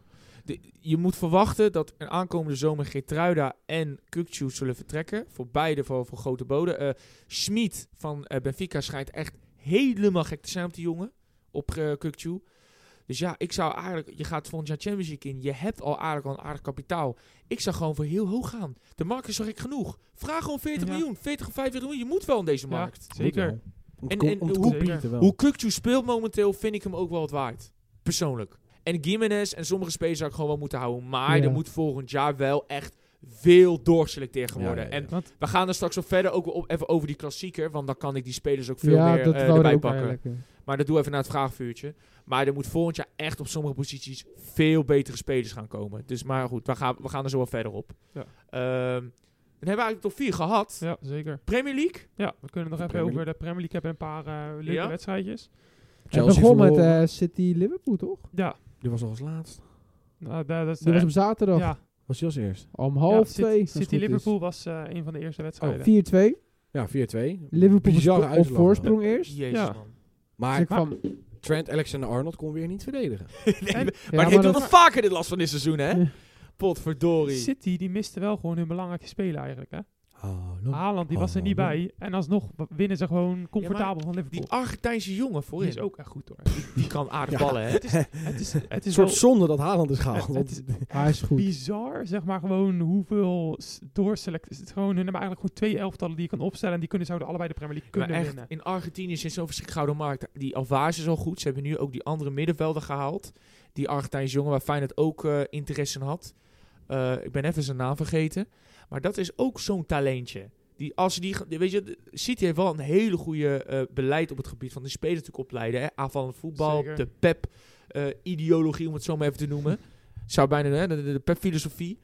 S1: De- je moet verwachten dat een aankomende zomer Gertruida en Kukcu zullen vertrekken. Voor beide voor, voor grote boden. Eh Schmid van eh, Benfica schijnt echt helemaal gek te zijn op die jongen. Op eh Kukcu. Dus ja, ik zou eigenlijk... Je gaat volgend jaar Champions League in. Je hebt al aardig, al een aardig kapitaal. Ik zou gewoon voor heel hoog gaan. De markt is zo gek genoeg. Vraag gewoon 40
S3: Ja.
S1: miljoen. 40 of 50 miljoen. Je moet wel in deze
S3: Ja,
S1: markt.
S3: zeker.
S2: Om te,
S1: En-
S2: com-
S1: en
S2: om te
S1: hoe-
S2: competen wel.
S1: Hoe Kukcu speelt momenteel, vind ik hem ook wel wat waard. Persoonlijk. En Gimenez en sommige spelers zou ik gewoon wel moeten houden. Maar
S4: Ja.
S1: er moet volgend jaar wel echt veel doorselecteerd gaan
S2: Ja,
S1: worden.
S2: ja, ja.
S1: En we gaan er straks nog verder ook wel op, even over die klassieker. Want dan kan ik die spelers ook veel
S4: Ja,
S1: meer
S4: dat
S1: eh,
S4: wou ik
S1: erbij
S4: ook
S1: pakken.
S4: eigenlijk. ja.
S1: Maar dat doe even na het vraagvuurtje. Maar er moet volgend jaar echt op sommige posities veel betere spelers gaan komen. Dus maar goed, we gaan, we gaan er zo wel verder op.
S3: Ja.
S1: Ehm, dan hebben we eigenlijk top 4 gehad.
S3: Ja, zeker.
S1: Premier League?
S3: Ja, we kunnen nog
S2: De
S3: even
S2: Premier
S3: over de Premier League hebben en een paar eh, leuke
S1: Ja.
S3: wedstrijdjes.
S4: Het
S2: Chelsea
S4: begon met
S2: verloren.
S4: eh, City-Liverpool, toch?
S3: Ja,
S2: Die was al als laatst.
S3: nou, da- dat is...
S4: Die
S3: eh,
S4: was op zaterdag
S3: ja,
S2: Was hij als eerst?
S4: om
S3: Ja,
S4: half
S3: City-
S4: twee. als het goed dus. is. Oh,
S3: City-Liverpool was eh, een van de eerste wedstrijden.
S4: 4-2.
S2: Ja, 4-2.
S4: Liverpool was
S2: Bizarre
S4: op- op
S2: uitslag,
S4: voorsprong eerst.
S1: Jezus
S3: Ja.
S1: man.
S4: Dus
S2: Maar
S4: ik van,
S2: Trent Alexander-Arnold kon weer niet verdedigen.
S1: Nee,
S3: En-
S1: maar hij
S4: maar
S1: doet
S4: dat-
S1: nog vaker dit last van dit seizoen, hè?
S4: Ja.
S1: Potverdorie.
S3: City, die miste wel gewoon hun belangrijke spelen eigenlijk, hè?
S4: Oh,
S2: Hallo.
S3: Haaland die was er niet bij. En alsnog w- winnen ze gewoon comfortabel van Liverpool.
S1: Die Argentijnse jongen
S3: Die
S1: voorin.
S3: is ook echt goed hoor.
S1: Die kan aardig
S2: Ja.
S1: ballen, hè?
S3: het is, het is, het
S2: Een
S3: is
S2: soort
S3: wel
S2: zonde dat Haaland is gehaald.
S3: Het
S2: want
S3: is-
S4: hij Ah, is goed.
S3: bizar, zeg maar, gewoon hoeveel s- doorselect... Het is gewoon, hun hebben eigenlijk gewoon twee elftallen die je kan opstellen. En die kunnen, zouden allebei de Premier League
S1: Maar
S3: kunnen
S1: echt,
S3: winnen.
S1: in Argentinië zit zo'n verschrikkelijk gouden markt. Die Alvarez is al goed. Ze hebben nu ook die andere middenvelder gehaald. Die Argentijnse jongen waar Feyenoord ook eh, interesse in had. Eh, ik ben even zijn naam vergeten. Maar dat is ook zo'n talentje. Die, als die, ge- weet je, de- City heeft wel een hele goede eh, beleid op het gebied van de spelers natuurlijk opleiden. Hè? Aanvallend voetbal,
S3: Zeker.
S1: de PEP-ideologie, om het zo maar even te noemen. Zou bijna hè, de, de, de PEP-filosofie.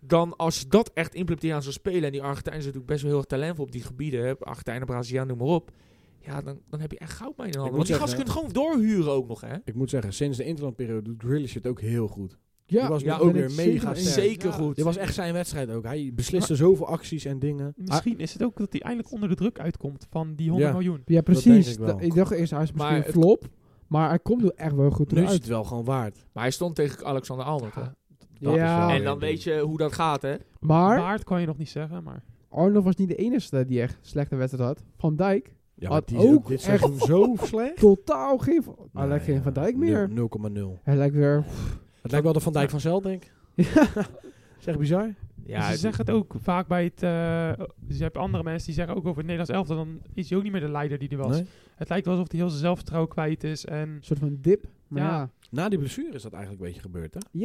S1: Dan als ze dat echt implementeren aan zo'n spelen. En die Argentijnen zijn natuurlijk best wel heel erg talentvol op die gebieden. Hè? Argentijnen, Braziliaan, noem maar op. Ja, dan, dan heb je echt goud bij in de handen.
S2: moet
S1: Want die gasten
S2: zeggen,
S1: kunnen gewoon doorhuren ook nog, hè?
S2: Ik moet zeggen, sinds de interlandperiode doet Grealish het ook heel goed.
S4: Ja,
S2: die was nu
S1: ja,
S2: ook
S4: ben
S2: weer
S4: ik
S2: mega
S4: zeker-
S2: sterk.
S1: Zeker
S3: Ja.
S1: goed.
S2: Dit was echt zijn wedstrijd ook. Hij besliste zoveel acties en dingen.
S3: Misschien is het ook dat hij eindelijk onder de druk uitkomt van die 100
S2: Ja.
S3: miljoen.
S4: Ja,
S2: denk
S4: precies.
S2: ik
S4: Da-
S2: wel.
S4: Ik, dacht eerst, hij is misschien
S1: Maar
S4: een
S1: het-
S4: flop. Maar hij komt er echt wel goed
S2: Nu is
S4: uit.
S2: het wel gewoon waard.
S1: Maar hij stond tegen Alexander Arnold, hè?
S2: Dat is wel
S4: Ja.
S1: En dan weet je hoe dat gaat, hè?
S4: Maar
S3: Waard kan je nog niet zeggen, maar...
S4: Arnold was niet de enige die echt slechte wedstrijd had. Van Dijk,
S2: Ja, maar
S4: Had
S2: die is ook
S4: ook
S2: dit
S4: echt-
S2: seizoen zo slecht.
S4: totaal geen... Hij
S2: Nee,
S4: lijkt geen
S2: ja,
S4: Van Dijk
S2: nul-
S4: meer.
S2: 0,0.
S4: Hij lijkt weer...
S2: Het lijkt wel de Van Dijk van Zel, denk ik.
S4: Ja.
S2: Zeg bizar.
S3: Ja, ze zeggen het ook vaak bij het... eh je hebt andere mensen die zeggen ook over het Nederlands elftal... dan is hij ook niet meer de leider die hij was.
S2: Nee?
S3: Het lijkt wel alsof hij heel zijn zelfvertrouwen kwijt is. En
S4: Een soort van dip. Maar
S3: Ja.
S4: ja. Ja.
S2: Na die blessure is dat eigenlijk een beetje gebeurd, hè? Hij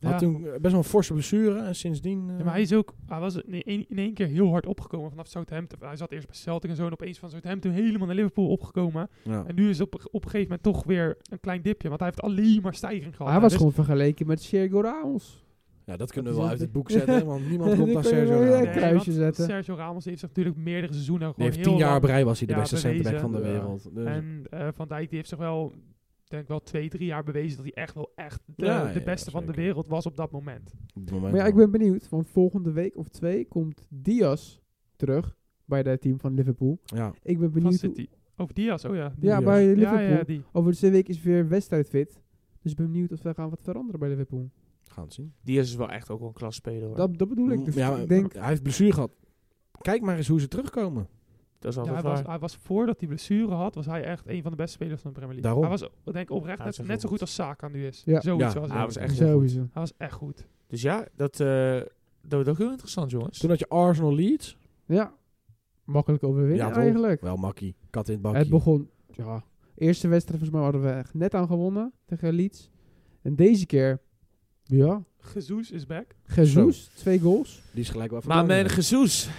S3: ja,
S2: Had toen eh, best wel een forse blessure en sindsdien... eh,
S3: Ja, maar hij is ook... Hij was in één, in één keer heel hard opgekomen vanaf Southampton. Hij zat eerst bij Celtic en zo... en opeens van Southampton helemaal naar Liverpool opgekomen.
S2: ja.
S3: En nu is het op, op een gegeven moment toch weer een klein dipje. Want hij heeft alleen maar stijging gehad.
S4: hij was
S3: Dus-
S4: gewoon vergeleken met Sergio Ramos.
S2: Ja, dat kunnen we
S4: is
S2: wel uit
S4: dat-
S2: het boek zetten, want niemand
S4: Die
S2: komt aan
S4: kun je
S2: Sergio
S4: wel- ja,
S2: Ramos.
S4: een
S3: Nee,
S2: Nee,
S4: kruisje
S3: want
S4: zetten.
S3: Sergio Ramos heeft zich natuurlijk meerdere seizoenen gewoon
S2: heeft
S3: heel
S2: tien jaar op
S3: lang-
S2: rij was hij de
S3: Ja,
S2: beste centerback
S3: bewezen.
S2: van de
S4: Ja.
S2: wereld. Dus-
S3: En eh, Van Dijk die heeft zich wel, denk ik wel twee, drie jaar bewezen dat hij echt wel echt de,
S2: Ja,
S3: de
S2: ja,
S3: beste van de
S2: zeker.
S3: wereld was op dat moment.
S2: op het moment
S4: Maar ja, ik
S2: wel.
S4: ben benieuwd. Want volgende week of twee komt Diaz terug bij het team van Liverpool.
S2: Ja.
S4: Ik ben
S3: Van
S4: benieuwd. hoe-
S3: City. Over Diaz, oh ja. die-
S4: Ja,
S2: Diaz.
S4: bij
S3: ja,
S4: Liverpool.
S3: ja, die.
S4: Over de twee weken is weer wedstrijdfit. Dus ik ben benieuwd of ze gaan wat veranderen bij Liverpool.
S2: Gaan het zien.
S1: Die is wel echt ook wel een klas speler hoor. Dat,
S4: Dat, dat bedoel ik. Dus
S2: Ja, maar
S4: ik denk,
S2: Hij heeft blessure gehad. Kijk maar eens hoe ze terugkomen.
S1: is
S3: Ja, hij,
S1: altijd
S3: was,
S1: waar.
S3: hij was voordat hij blessure had, was hij echt een van de beste spelers van de Premier League.
S2: Daarom.
S3: Hij was, ik denk oprecht,
S1: Hij
S3: net,
S1: is echt
S3: net zo
S1: goed.
S3: goed als Saka nu is.
S4: Ja.
S3: Zoiets
S2: Ja,
S3: was
S1: hij was echt heel goed.
S4: sowieso.
S3: Hij was echt goed.
S1: Dus ja, dat, eh dat wordt ook heel interessant jongens.
S2: Toen had je Arsenal Leeds.
S4: Ja, makkelijk overwinnen
S2: Ja, toch?
S4: eigenlijk.
S2: Wel makkie. Kat in het bakkie.
S4: Het begon, ja, eerste wedstrijd volgens mij hadden we echt net aan gewonnen tegen Leeds. En deze keer, ja,
S3: Jesus is back.
S4: Jesus, twee goals.
S2: Die is gelijk wel
S1: Maar
S2: verdwenen.
S1: mijn Jesus,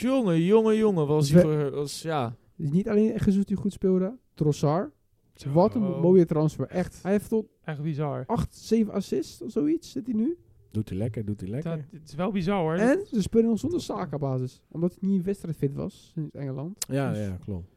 S1: jongen, jongen, jongen, was
S4: We-
S1: hij voor, was, ja.
S4: Dus niet alleen Jesus die goed speelde, Trossard. Wat een
S3: Zo.
S4: mooie transfer, echt. Hij heeft tot
S3: Echt bizar.
S4: 8, 7 assists of zoiets zit hij nu.
S2: Doet hij lekker, doet hij lekker.
S3: Dat, het is wel bizar hoor.
S4: En ze spelen nog zonder Saka-basis, omdat hij niet wedstrijdfit was in Engeland.
S2: ja,
S4: Dus-
S2: ja, klopt.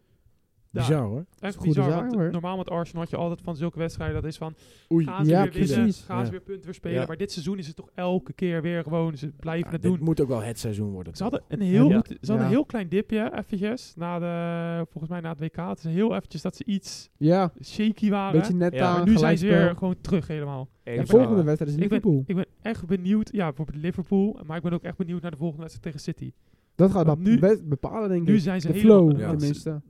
S3: Ja.
S2: Bizar hoor.
S3: Echt
S4: Goede
S3: bizar,
S4: zaak,
S3: want
S4: hoor.
S3: normaal met Arsenal had je altijd van zulke wedstrijden, dat is van
S2: Oei.
S3: gaan ze
S4: Ja,
S3: weer winnen,
S4: precies.
S3: gaan ze
S2: Ja.
S3: weer punten weer spelen.
S1: Ja.
S3: Maar dit seizoen is het toch elke keer weer gewoon, ze blijven
S2: Ja,
S3: het
S2: dit
S3: doen.
S2: moet ook wel het seizoen worden.
S3: Ze hadden een heel,
S1: Ja.
S3: goed- ze hadden een
S4: Ja.
S3: heel klein dipje, eventjes, na de, volgens mij na het WK. Het is heel eventjes dat ze iets
S4: Ja,
S3: shaky
S4: een
S3: waren.
S4: beetje net
S1: Ja,
S4: aan
S1: maar
S3: Ah, maar nu zijn ze
S4: gelijkspel.
S3: weer gewoon terug helemaal.
S4: En
S1: Even
S4: volgende
S1: aan.
S4: wedstrijd is
S3: Ik ben,
S4: Liverpool.
S3: ik ben echt benieuwd, ja, bijvoorbeeld Liverpool. Maar ik ben ook echt benieuwd naar de volgende wedstrijd tegen City.
S4: Dat gaat
S3: Want nu-
S4: dat be- bepalen, denk ik.
S3: Nu zijn ze
S4: de
S3: helemaal...
S4: flow,
S2: Ja.
S4: tenminste.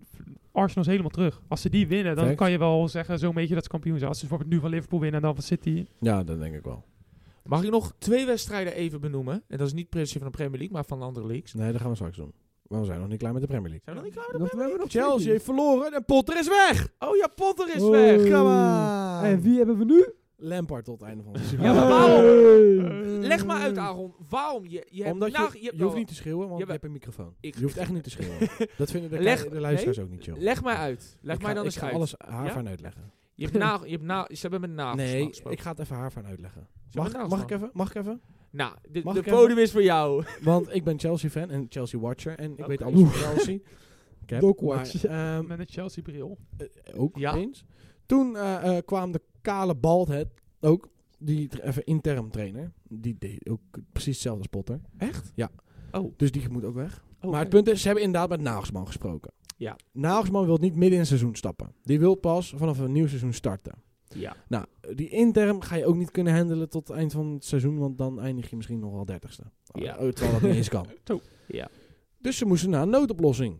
S3: Arsenal is helemaal terug. Als ze die winnen, dan
S2: Correct.
S3: kan je wel zeggen zo'n beetje dat ze kampioen zijn. Als ze bijvoorbeeld nu van Liverpool winnen en dan van City.
S2: Ja, dat denk ik wel.
S1: Mag ik nog twee wedstrijden even benoemen? En dat is niet per se van de Premier League, maar van de andere leagues.
S2: Nee, dat gaan we straks doen. Maar we zijn nog niet klaar met de Premier League.
S1: Zijn we nog niet klaar met de
S4: Nog, we hebben nog
S2: Chelsea
S4: twee.
S2: heeft verloren en Potter is weg.
S1: Oh ja, Potter is
S4: Oh.
S1: weg!
S2: Come
S4: Hey,
S2: on.
S4: En wie hebben we nu?
S2: Lampard tot het einde van het seizoen.
S1: Ja, maar waarom?
S4: Hey.
S1: Leg maar uit, Aaron. Waarom? Je, Eh. je hebt
S2: Omdat je, nou-
S1: nag-
S2: je,
S1: je hebt
S2: hoeft
S1: wel-
S2: niet te schreeuwen, want je
S1: Jawel.
S2: hebt een microfoon.
S1: Ik-
S2: je hoeft echt niet te schreeuwen. dat vinden de,
S1: Leg-
S2: kei- de luisteraars ook niet chill.
S1: Leg mij uit. Leg
S2: Ik
S1: mij
S2: ga-
S1: dan
S2: ik
S1: eens
S2: ga
S1: uit.
S2: alles haarfijn uitleggen.
S1: Je hebt na, je hebt na, ze hebben met nagels
S2: Nee,
S1: gesproken. nou
S2: ik ga het even haarfijn uitleggen.
S1: Ze
S2: Mag,
S1: hebben met
S2: mag ik
S1: nagels
S2: even? Mag ik even?
S1: Nou, de,
S2: Mag
S1: de
S2: ik
S1: podium is voor jou.
S2: Want ik ben Chelsea-fan en Chelsea-watcher. En ik weet
S1: Oké.
S2: alles van Chelsea. Ik heb-
S4: Dokwatch.
S2: maar, ehm,
S3: Met een Chelsea-bril.
S2: eh, ook
S1: Ja.
S2: eens. Toen eh, eh, kwam de kale baldhead ook. Die tra- even interim trainer. Die deed ook precies hetzelfde als Potter.
S1: Echt?
S2: Oh. Dus die moet ook weg.
S1: Oh,
S2: Maar het punt is, ze hebben inderdaad met Nagelsman gesproken.
S1: Ja.
S2: Nagelsman wil niet midden in het seizoen stappen. Die wil pas vanaf een nieuw seizoen starten.
S1: Ja.
S2: Nou, die interim ga je ook niet kunnen handelen tot het eind van het seizoen, want dan eindig je misschien nog wel dertigste.
S1: Ja.
S2: Ja. Terwijl dat niet eens kan.
S3: Zo.
S1: Ja.
S2: Dus ze moesten naar een noodoplossing.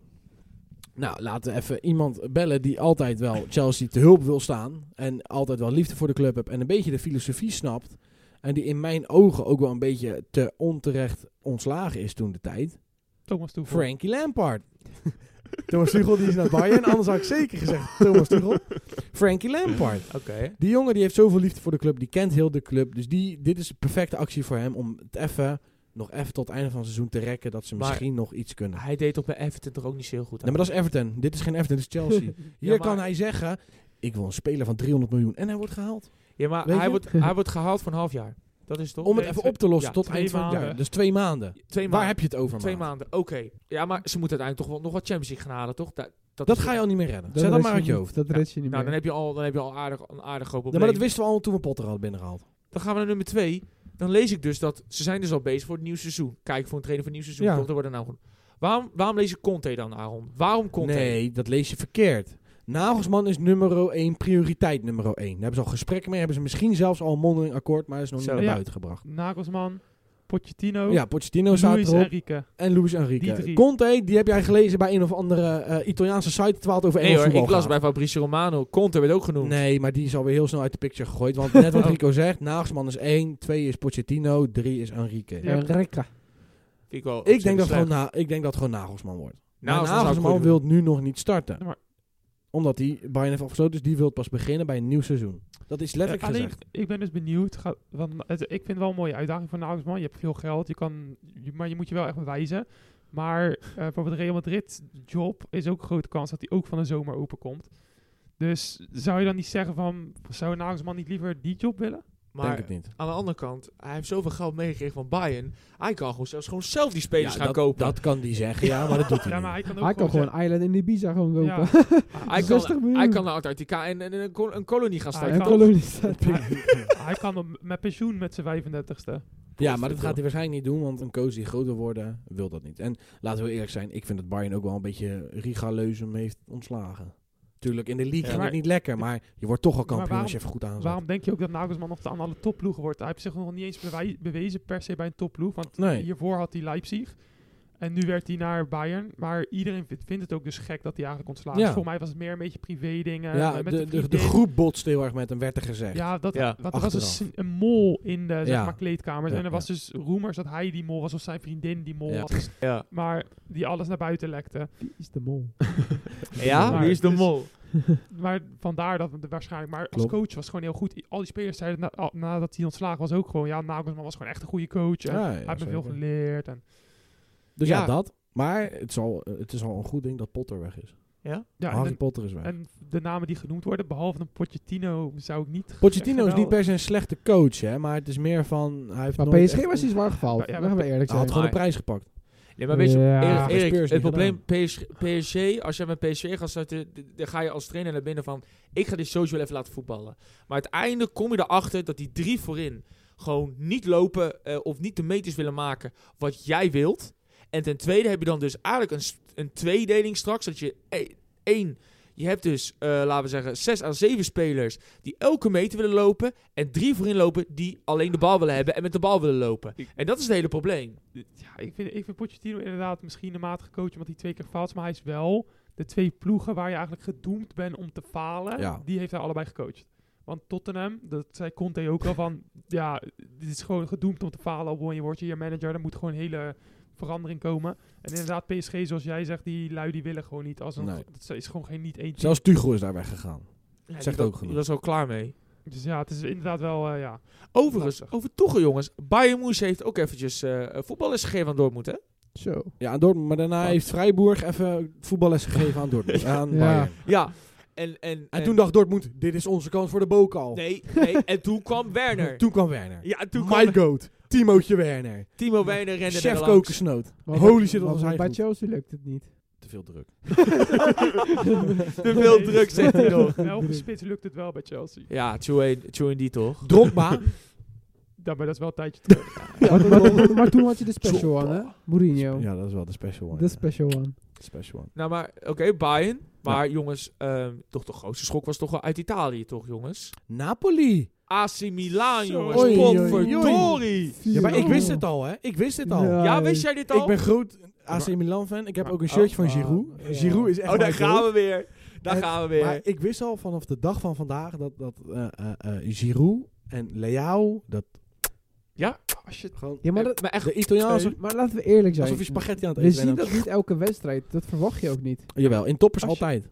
S2: Nou, laten we even iemand bellen die altijd wel Chelsea te hulp wil staan. En altijd wel liefde voor de club hebt en een beetje de filosofie snapt. En die in mijn ogen ook wel een beetje te onterecht ontslagen is toen de tijd.
S3: Thomas Tuchel.
S2: Frankie Lampard. Thomas Tuchel die is naar Bayern. Anders had ik zeker gezegd Thomas Tuchel. Frankie Lampard.
S1: Oké.
S2: Die jongen die heeft zoveel liefde voor de club. Die kent heel de club. Dus die, dit is een perfecte actie voor hem om het even, nog even tot het einde van het seizoen te rekken. Dat ze
S1: Maar-
S2: misschien nog iets kunnen.
S1: Hij deed toch bij Everton toch ook niet zo heel goed aan?
S2: Nee, maar dat is Everton. Dit is geen Everton, dit is Chelsea. Hier
S1: Ja, maar-
S2: kan hij zeggen, ik wil een speler van 300 miljoen. En hij wordt gehaald.
S1: Ja, maar
S2: Weet je?
S1: hij wordt, hij wordt gehaald voor een half jaar. Dat is toch?
S2: Om het
S3: Nee,
S2: even
S3: twee-
S2: op te lossen
S1: ja,
S2: tot
S3: twee
S2: eind van het jaar.
S3: maanden.
S2: Dus twee maanden.
S1: twee maanden.
S2: Waar heb je het over,
S1: twee
S2: maat?
S1: maanden. Oké. Ja, maar ze moeten uiteindelijk toch wel nog wat Champions League gaan halen, toch? Da- dat,
S2: Dat
S1: is-
S2: ga je al niet meer redden.
S4: Dat
S2: Zet dat
S4: red
S2: maar uit je
S4: niet-
S2: hoofd.
S4: Dat red je niet
S1: Nou, dan
S4: meer.
S1: heb je al, dan heb je al aardig, een aardig groot
S2: Ja,
S1: probleem.
S2: maar dat wisten we al toen we Potter hadden binnengehaald.
S1: Dan gaan we naar nummer twee. Dan lees ik dus dat ze zijn dus al bezig voor het nieuw seizoen. Kijk voor een trainer voor het nieuw seizoen.
S2: Ja.
S1: Toch, dat wordt nou goed. Waarom, waarom lees ik Conte dan, Aaron? Waarom Conte?
S2: Nee, dat lees je verkeerd. Nagelsman is nummer 1, prioriteit nummer 1. Daar hebben ze al gesprekken mee, hebben ze misschien zelfs al een mondeling akkoord, maar dat is nog
S1: Zo. Oh.
S2: niet naar
S3: Ja.
S2: buiten gebracht.
S3: Nagelsman. Pochettino,
S2: Ja, Pochettino staat
S3: Luis en
S2: erop.
S3: Rieke.
S2: En Luis
S3: Die
S2: Enrique.
S3: drie.
S2: Conte, die heb jij gelezen bij een of andere eh, Italiaanse site, terwijl het over
S1: Nee
S2: Engels
S1: hoor, ik
S2: voetbal
S1: las
S2: gaat.
S1: bij Fabrice Romano. Conte werd ook genoemd.
S2: Nee, maar die is alweer heel snel uit de picture gegooid. Want net wat
S1: Oh.
S2: Rico zegt, Nagelsman is 1, 2 is Pochettino, 3 is Enrique.
S3: Ja.
S1: Vind ik wel
S2: Ik, denk dat
S1: slecht.
S2: gewoon na, ik denk dat gewoon Nagelsman wordt.
S1: Nou,
S2: maar
S1: dat zou ik
S2: Nagelsman
S1: goed
S2: wil nu nog niet starten.
S3: Ja, maar-
S2: Omdat hij Bayern heeft afgesloten, dus die wil pas beginnen bij een nieuw seizoen. Dat is letterlijk
S3: Eh, alleen,
S2: gezegd.
S3: ik ben dus benieuwd. Gaat, want het, ik vind het wel een mooie uitdaging voor Nagelsman. Je hebt veel geld, je kan, je- maar je moet je wel echt bewijzen. Maar eh, bijvoorbeeld Real Madrid job is ook een grote kans dat hij ook van de zomer openkomt. Dus zou je dan niet zeggen van, zou Nagelsman niet liever die job willen?
S1: doen. Maar
S2: denk het niet.
S1: aan de andere kant, hij heeft zoveel geld meegekregen van Bayern. Hij kan gewoon zelfs gewoon zelf die spelers
S2: Ja,
S1: gaan
S2: dat,
S1: kopen.
S2: Dat kan die zeggen, ja, maar dat doet hij
S3: Ja,
S2: niet.
S3: maar hij kan ook
S4: Hij kan gewoon Island in Ibiza gewoon kopen.
S3: Ja.
S1: hij,
S4: 60
S1: kan,
S4: miljoen.
S1: hij kan naar Antarctica en, en een, kol- een kolonie
S2: Ah,
S1: gaan
S3: Hij
S1: starten.
S4: en
S3: kan-
S4: kolonie staat.
S3: zeggen- hij kan op- met pensioen met zijn 35ste.
S2: Ja, maar dat gaat hij waarschijnlijk niet doen, want een coach die groter worden wil dat niet. En laten we eerlijk zijn, ik vind dat Bayern ook wel een beetje Riga Leuzem heeft ontslagen. Tuurlijk, in de league
S1: Ja,
S2: ging
S3: maar-
S2: het niet lekker, maar je wordt toch al
S3: Maar
S2: kampioen
S3: waarom-
S2: als je even goed aanzet.
S3: Waarom denk je ook dat Nagelsman nog aan alle topploegen wordt? Hij heeft zich nog niet eens bewij- bewezen per se bij een topploeg. Want
S2: Nee.
S3: hiervoor had hij Leipzig. En nu werd hij naar Bayern. Maar iedereen vindt, vindt het ook dus gek dat hij eigenlijk ontslagen
S2: Ja.
S3: is. Volgens mij was het meer een beetje privé dingen.
S2: ja,
S3: eh,
S2: de,
S3: met
S2: de, de,
S3: vriendin.
S2: groep botste heel erg met hem, werd er gezegd.
S3: Ja, dat,
S1: Ja,
S3: want er was een,
S2: achteraf.
S3: sn- een mol in de zeg
S2: Ja.
S3: maar, kleedkamers.
S2: Ja,
S3: en er was dus rumors dat hij die mol was. Of zijn vriendin die mol
S2: Ja.
S3: was.
S1: Ja.
S3: Maar die alles naar buiten lekte.
S4: Wie is de mol?
S1: ja,
S2: Ah,
S3: Maar
S1: wie is de
S3: dus-
S1: mol?
S3: Maar vandaar dat het waarschijnlijk. Maar
S2: Klopt.
S3: als coach was het gewoon heel goed. I- Al die spelers zeiden na- al- nadat hij ontslagen was ook gewoon. Ja, Nagelsman was gewoon echt een goede coach. En
S2: Ja, ja,
S3: hij heeft me
S2: zeker.
S3: veel geleerd. En,
S2: Dus ja,
S1: Ja.
S2: dat. Maar het, zal, het is al een goed ding dat Potter weg is.
S3: ja, en,
S2: Harry
S3: de,
S2: Potter is weg.
S3: en de namen die genoemd worden, behalve een Pochettino, zou ik niet.
S2: Pochettino is
S3: echt
S2: niet per se een slechte coach, hè, maar het is meer van... Hij heeft
S4: Maar
S2: nooit
S4: PSG
S2: echt-
S4: was iets waar gefaald.
S3: Ja, ja,
S4: Laten we eerlijk
S2: Hij
S4: zijn.
S2: had gewoon de
S1: Maar-
S2: prijs gepakt.
S1: Nee, maar weet je,
S4: Ja.
S1: Erik-
S4: Maar
S1: Erik,
S2: Spurs
S1: het
S2: niet
S1: probleem PSG, PSG, als jij met PSG gaat starten, d- dan ga je als trainer naar binnen van, ik ga dit sowieso even laten voetballen. Maar uiteindelijk kom je erachter dat die drie voorin gewoon niet lopen eh, of niet de meters willen maken wat jij wilt. En ten tweede heb je dan dus eigenlijk een, s- een tweedeling straks, dat je e- één... Je hebt dus, eh, laten we zeggen, zes à zeven spelers die elke meter willen lopen. En drie voorin lopen die alleen de bal willen hebben en met de bal willen lopen.
S3: Ik-
S1: En dat is het hele probleem.
S3: Ja, ik vind, ik vind Pochettino inderdaad misschien een matige coach, omdat hij twee keer faalt. Maar hij is wel de twee ploegen waar je eigenlijk gedoemd bent om te falen.
S2: Ja.
S3: Die heeft hij allebei gecoacht. Want Tottenham, dat zei Conte ook al van, ja, dit is gewoon gedoemd om te falen. Al word je wordt je hier manager, er moet gewoon een hele verandering komen. En inderdaad, PSG, zoals jij zegt, die lui die willen gewoon niet. Als een,
S2: Nee.
S3: Dat is gewoon geen niet één team.
S2: Zelfs Tuchel is daar weggegaan.
S1: Ja, die
S2: Zegt
S1: wa-
S2: ook genoeg.
S1: Die was al klaar mee.
S3: Dus ja, het is inderdaad wel, eh, ja.
S1: Overigens,
S3: Lastig.
S1: over Tuchel jongens. Bayern Moes heeft ook eventjes eh, voetballers gegeven aan Dortmund, hè?
S4: Zo.
S2: Ja, aan Dortmund. Maar daarna
S1: Wat?
S2: heeft Freiburg even voetballes gegeven aan Dortmund. aan
S4: Ja.
S2: Bayern.
S1: Ja. En, en,
S2: En toen dacht Dortmund, dit is onze kans voor de bokaal.
S1: Nee, nee, en toen kwam Werner.
S2: Toen kwam Werner.
S1: Ja, toen
S2: My
S1: kwam
S2: goat. Timootje Werner.
S1: Timo Werner rende
S2: Chef
S1: er langs.
S2: kokosnoot.
S4: Maar
S2: Holy
S4: bij-
S2: shit, wat
S4: maar
S2: was hij
S4: Bij
S2: goed.
S4: Chelsea lukt het niet.
S2: Te veel druk.
S1: Te veel druk, zegt hij nog.
S3: Elke spits lukt het wel bij Chelsea.
S1: Ja, Chuen die toch?
S2: Drogba.
S3: Ja, maar dat is wel een tijdje terug.
S4: Maar- maar- maar- Maar toen had je de special one, hè? Mourinho.
S2: ja, dat is wel de special one.
S4: De special one.
S2: ja. special one.
S1: Nou, maar oké, Bayern. Maar jongens, ehm, toch de grootste schok was toch wel uit Italië, toch jongens?
S2: Napoli.
S1: AC Milan,
S3: Zo.
S1: jongens.
S2: Oei, oei, oei.
S1: Potverdorie.
S2: Ja, maar ik wist het al, hè. Ik wist het al.
S4: Ja.
S1: Ja, wist jij dit al?
S2: Ik ben groot AC Milan fan. Ik heb
S1: Maar-
S2: ook een shirtje van
S4: oh,
S2: Giroud.
S4: oh.
S2: Giroud is echt
S1: oh, daar
S2: mijn goat.
S1: gaan we weer. Daar
S2: En-
S1: gaan we weer.
S2: Maar ik wist al vanaf de dag van vandaag dat, dat eh, eh, eh, Giroud en Leao, dat
S1: ja,
S3: Als je
S2: gewoon
S4: Ja, maar, dat,
S1: Eh, maar echt
S2: de Italiaanse...
S4: maar laten we eerlijk zijn.
S2: Alsof je spaghetti aan het
S4: we
S2: eten
S4: zien
S2: bent.
S4: dat niet elke wedstrijd. Dat verwacht je ook niet.
S2: Jawel, in toppers
S3: Als je-
S2: altijd.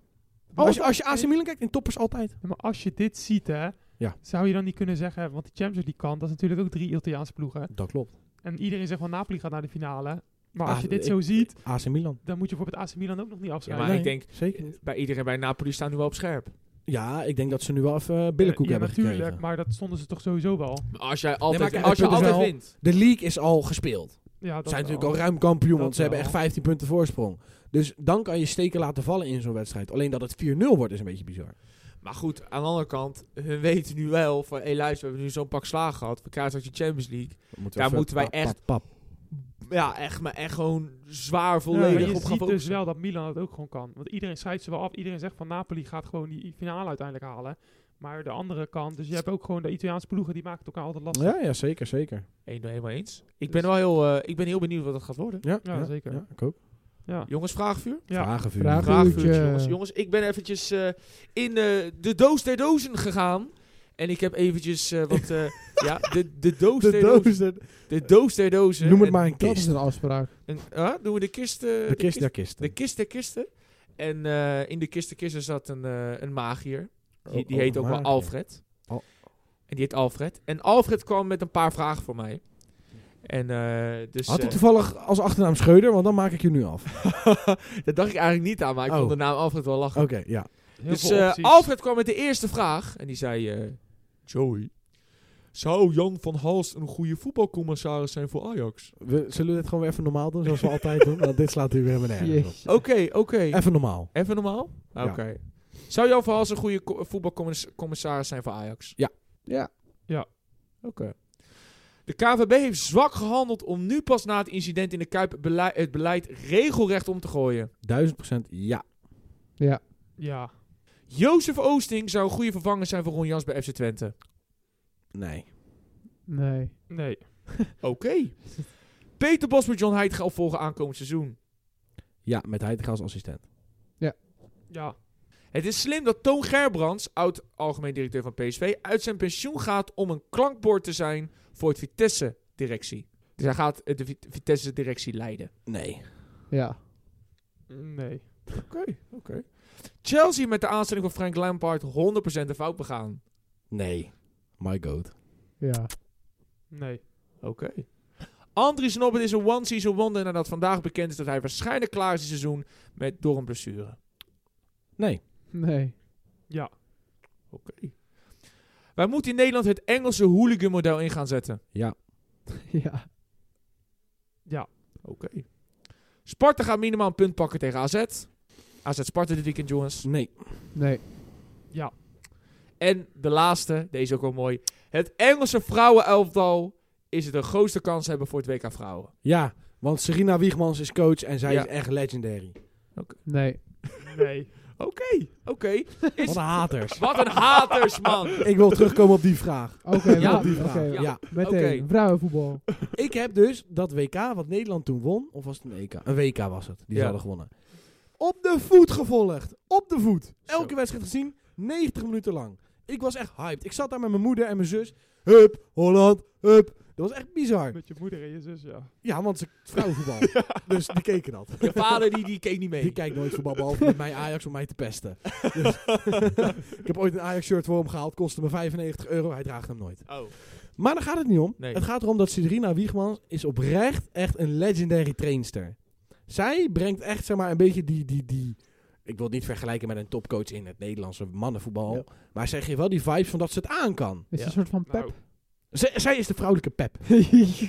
S3: Oh,
S2: als, je, als je AC Milan kijkt, in toppers altijd.
S3: Ja, maar als je dit ziet, hè,
S2: Ja.
S3: zou je dan niet kunnen zeggen, want die Champions League kant, dat is natuurlijk ook drie Italiaanse ploegen.
S2: Dat klopt.
S3: En iedereen zegt van Napoli gaat naar de finale. Maar als
S2: Ah,
S3: je dit
S2: ik-
S3: zo ziet,
S2: AC Milan.
S3: dan moet je bijvoorbeeld AC Milan ook nog niet
S1: ja,
S3: afschrijven.
S1: maar
S2: Nee.
S1: ik denk,
S2: Zeker niet.
S1: bij iedereen bij Napoli staan nu wel op scherp.
S2: Ja, ik denk dat ze nu wel even eh, billenkoek
S3: Ja,
S2: hebben
S3: natuurlijk,
S2: gekregen.
S3: maar dat stonden ze toch sowieso wel.
S1: Maar als jij altijd,
S2: maar kijk,
S1: als je
S2: het punt is
S1: altijd
S2: wel-
S1: wint.
S2: De league is al gespeeld.
S3: Ja, dat
S2: Ze zijn
S3: wel.
S2: natuurlijk al ruim kampioen,
S3: Dat
S2: want ze hebben
S3: wel.
S2: echt 15 punten voorsprong. Dus dan kan je steken laten vallen in zo'n wedstrijd. Alleen dat het 4-0 wordt is een beetje bizar.
S1: Maar goed, aan de andere kant, hun weten nu wel van... Hé hey, luister, we hebben nu zo'n pak slaag gehad. We krijgen straks de Champions League. Daar
S2: even
S1: moeten wij
S2: pap,
S1: echt-
S2: pap, pap.
S1: Ja, echt, maar echt gewoon zwaar
S3: Ja, maar
S1: volledig
S3: je
S1: op gaan
S3: ziet dus
S1: focussen.
S3: wel dat Milan het ook gewoon kan. Want iedereen schrijft ze wel af. Iedereen zegt van Napoli gaat gewoon die finale uiteindelijk halen. Maar de andere kant, dus je hebt ook gewoon de Italiaanse ploegen, die maken het elkaar altijd lastig.
S2: Ja, ja, zeker, zeker.
S1: Eén nou, helemaal eens. Ik
S3: Dus-
S1: ben wel heel, eh, ik ben heel benieuwd wat dat gaat worden.
S2: Ja,
S3: Ja, zeker.
S2: Ja, ik ook.
S3: Ja.
S1: Jongens, vraagvuur.
S3: Ja.
S2: Vragenvuur.
S4: Vragen-
S1: Vraagvuurtje,
S4: Vraagvuurtje.
S1: jongens. Jongens, ik ben eventjes eh, in eh, de doos der dozen gegaan. En ik heb eventjes eh, wat... eh, ja, de, de doos
S2: De
S1: der dozen.
S2: doos, de-
S1: De doos der dozen.
S2: noem het
S1: En-
S2: maar een
S4: Dat is
S2: kist.
S4: een afspraak.
S1: en- ah, doen we de kist... eh,
S2: De kist der
S1: De
S2: kisten.
S1: kist der kisten. En eh, in de kist der kisten zat een, eh, een magier. Die,
S2: Oh,
S1: die
S2: oh,
S1: heet ook wel
S2: magier.
S1: Alfred.
S2: Al-
S1: En die heet Alfred. En Alfred kwam met een paar vragen voor mij. En eh, dus...
S2: Had
S1: eh,
S2: ik toevallig als achternaam Scheuder, want dan maak ik je nu af.
S1: dat dacht ik eigenlijk niet aan, maar ik
S2: Oh.
S1: vond de naam Alfred wel lachen.
S2: Oké, ja.
S3: Heel
S1: dus
S3: veel
S1: eh,
S3: opties.
S1: Alfred kwam met de eerste vraag. En die zei... eh, Joey, zou Jan van Hals een goede voetbalcommissaris zijn voor Ajax?
S2: We, zullen we dit gewoon weer even normaal doen, zoals we altijd doen? Want dit slaat hier weer helemaal nergens op.
S4: Jezus.
S1: Oké, oké.
S2: Even normaal.
S1: Even normaal? Oké. Zou Jan van Hals een goede co- voetbalcommissaris zijn voor Ajax?
S4: Ja.
S1: Oké. De KVB heeft zwak gehandeld om nu pas na het incident in de Kuip belei- het beleid regelrecht om te gooien.
S2: Duizend procent ja.
S4: Ja.
S3: Ja.
S1: Jozef Oosting zou een goede vervanger zijn voor Ron Jans bij FC Twente.
S2: Nee.
S4: Nee.
S3: Nee.
S1: Oké. Peter Bos moet John Heid gaan opvolgen aankomend seizoen.
S2: Ja, met Heitinga als assistent.
S3: Ja.
S1: Het is slim dat Toon Gerbrands, oud algemeen directeur van PSV, uit zijn pensioen gaat om een klankbord te zijn voor het Vitesse-directie. Dus hij gaat eh, de Vi- Vitesse-directie leiden.
S2: Nee.
S4: Ja.
S3: Nee.
S1: Oké, oké. Chelsea met de aanstelling van Frank Lampard 100% de fout begaan.
S2: Nee. My god.
S4: Ja.
S3: Nee.
S1: Oké. Andries Nobbet is een one-season wonder nadat vandaag bekend is dat hij waarschijnlijk klaar is dit seizoen met door een blessure.
S2: Nee.
S4: Nee.
S3: Ja.
S1: Oké. Wij moeten in Nederland het Engelse hooligan-model in gaan zetten.
S2: Ja.
S4: Ja.
S1: Oké. Sparta gaat minimaal een punt pakken tegen AZ. AZ Sparta dit weekend, jongens.
S2: Nee.
S4: Nee.
S3: Ja.
S1: En de laatste, deze is ook wel mooi. Het Engelse vrouwenelftal is het de grootste kans hebben voor het WK vrouwen.
S2: Ja, want Serena Wiegmans is coach en zij
S1: Ja.
S2: is echt legendary.
S4: Nee.
S3: Nee.
S1: Oké, oké.
S2: Wat een haters.
S1: Wat een haters, man.
S2: Ik wil terugkomen op die vraag.
S4: Oké,
S1: Ja,
S4: maar-
S2: op die
S4: oké,
S2: vraag. Ja.
S4: Meteen.
S1: Oké.
S4: Vrouwenvoetbal.
S2: Ik heb dus dat WK wat Nederland toen won, of was het een WK? Een WK was het, die
S1: Ja.
S2: ze hadden gewonnen. Op de voet gevolgd. Op de voet. Elke
S1: Zo.
S2: wedstrijd gezien, 90 minuten lang. Ik was echt hyped. Ik zat daar met mijn moeder en mijn zus. Hup, Holland, hup. Dat was echt bizar.
S3: Met je moeder en je zus, ja.
S2: Ja, want ze vrouwenvoetbal. Dus die keken dat.
S1: Je vader die, die keek niet mee.
S2: Die kijkt nooit voetbal, behalve met mij Ajax om mij te pesten. Dus ik heb ooit een Ajax-shirt voor hem gehaald, kostte me 95 euro, hij draagt hem nooit.
S1: Oh.
S2: Maar daar gaat het niet om.
S1: Nee.
S2: Het gaat erom dat Sidrina Wiegman is oprecht echt een legendary trainster. Zij brengt echt zeg maar een beetje die, die, die... Ik wil het niet vergelijken met een topcoach in het Nederlandse mannenvoetbal.
S1: Ja.
S2: Maar zij geeft wel die vibes van dat ze het aan kan.
S4: Is
S1: Ja.
S4: een soort van
S3: Nou,
S4: pep.
S2: Z- zij is de vrouwelijke pep.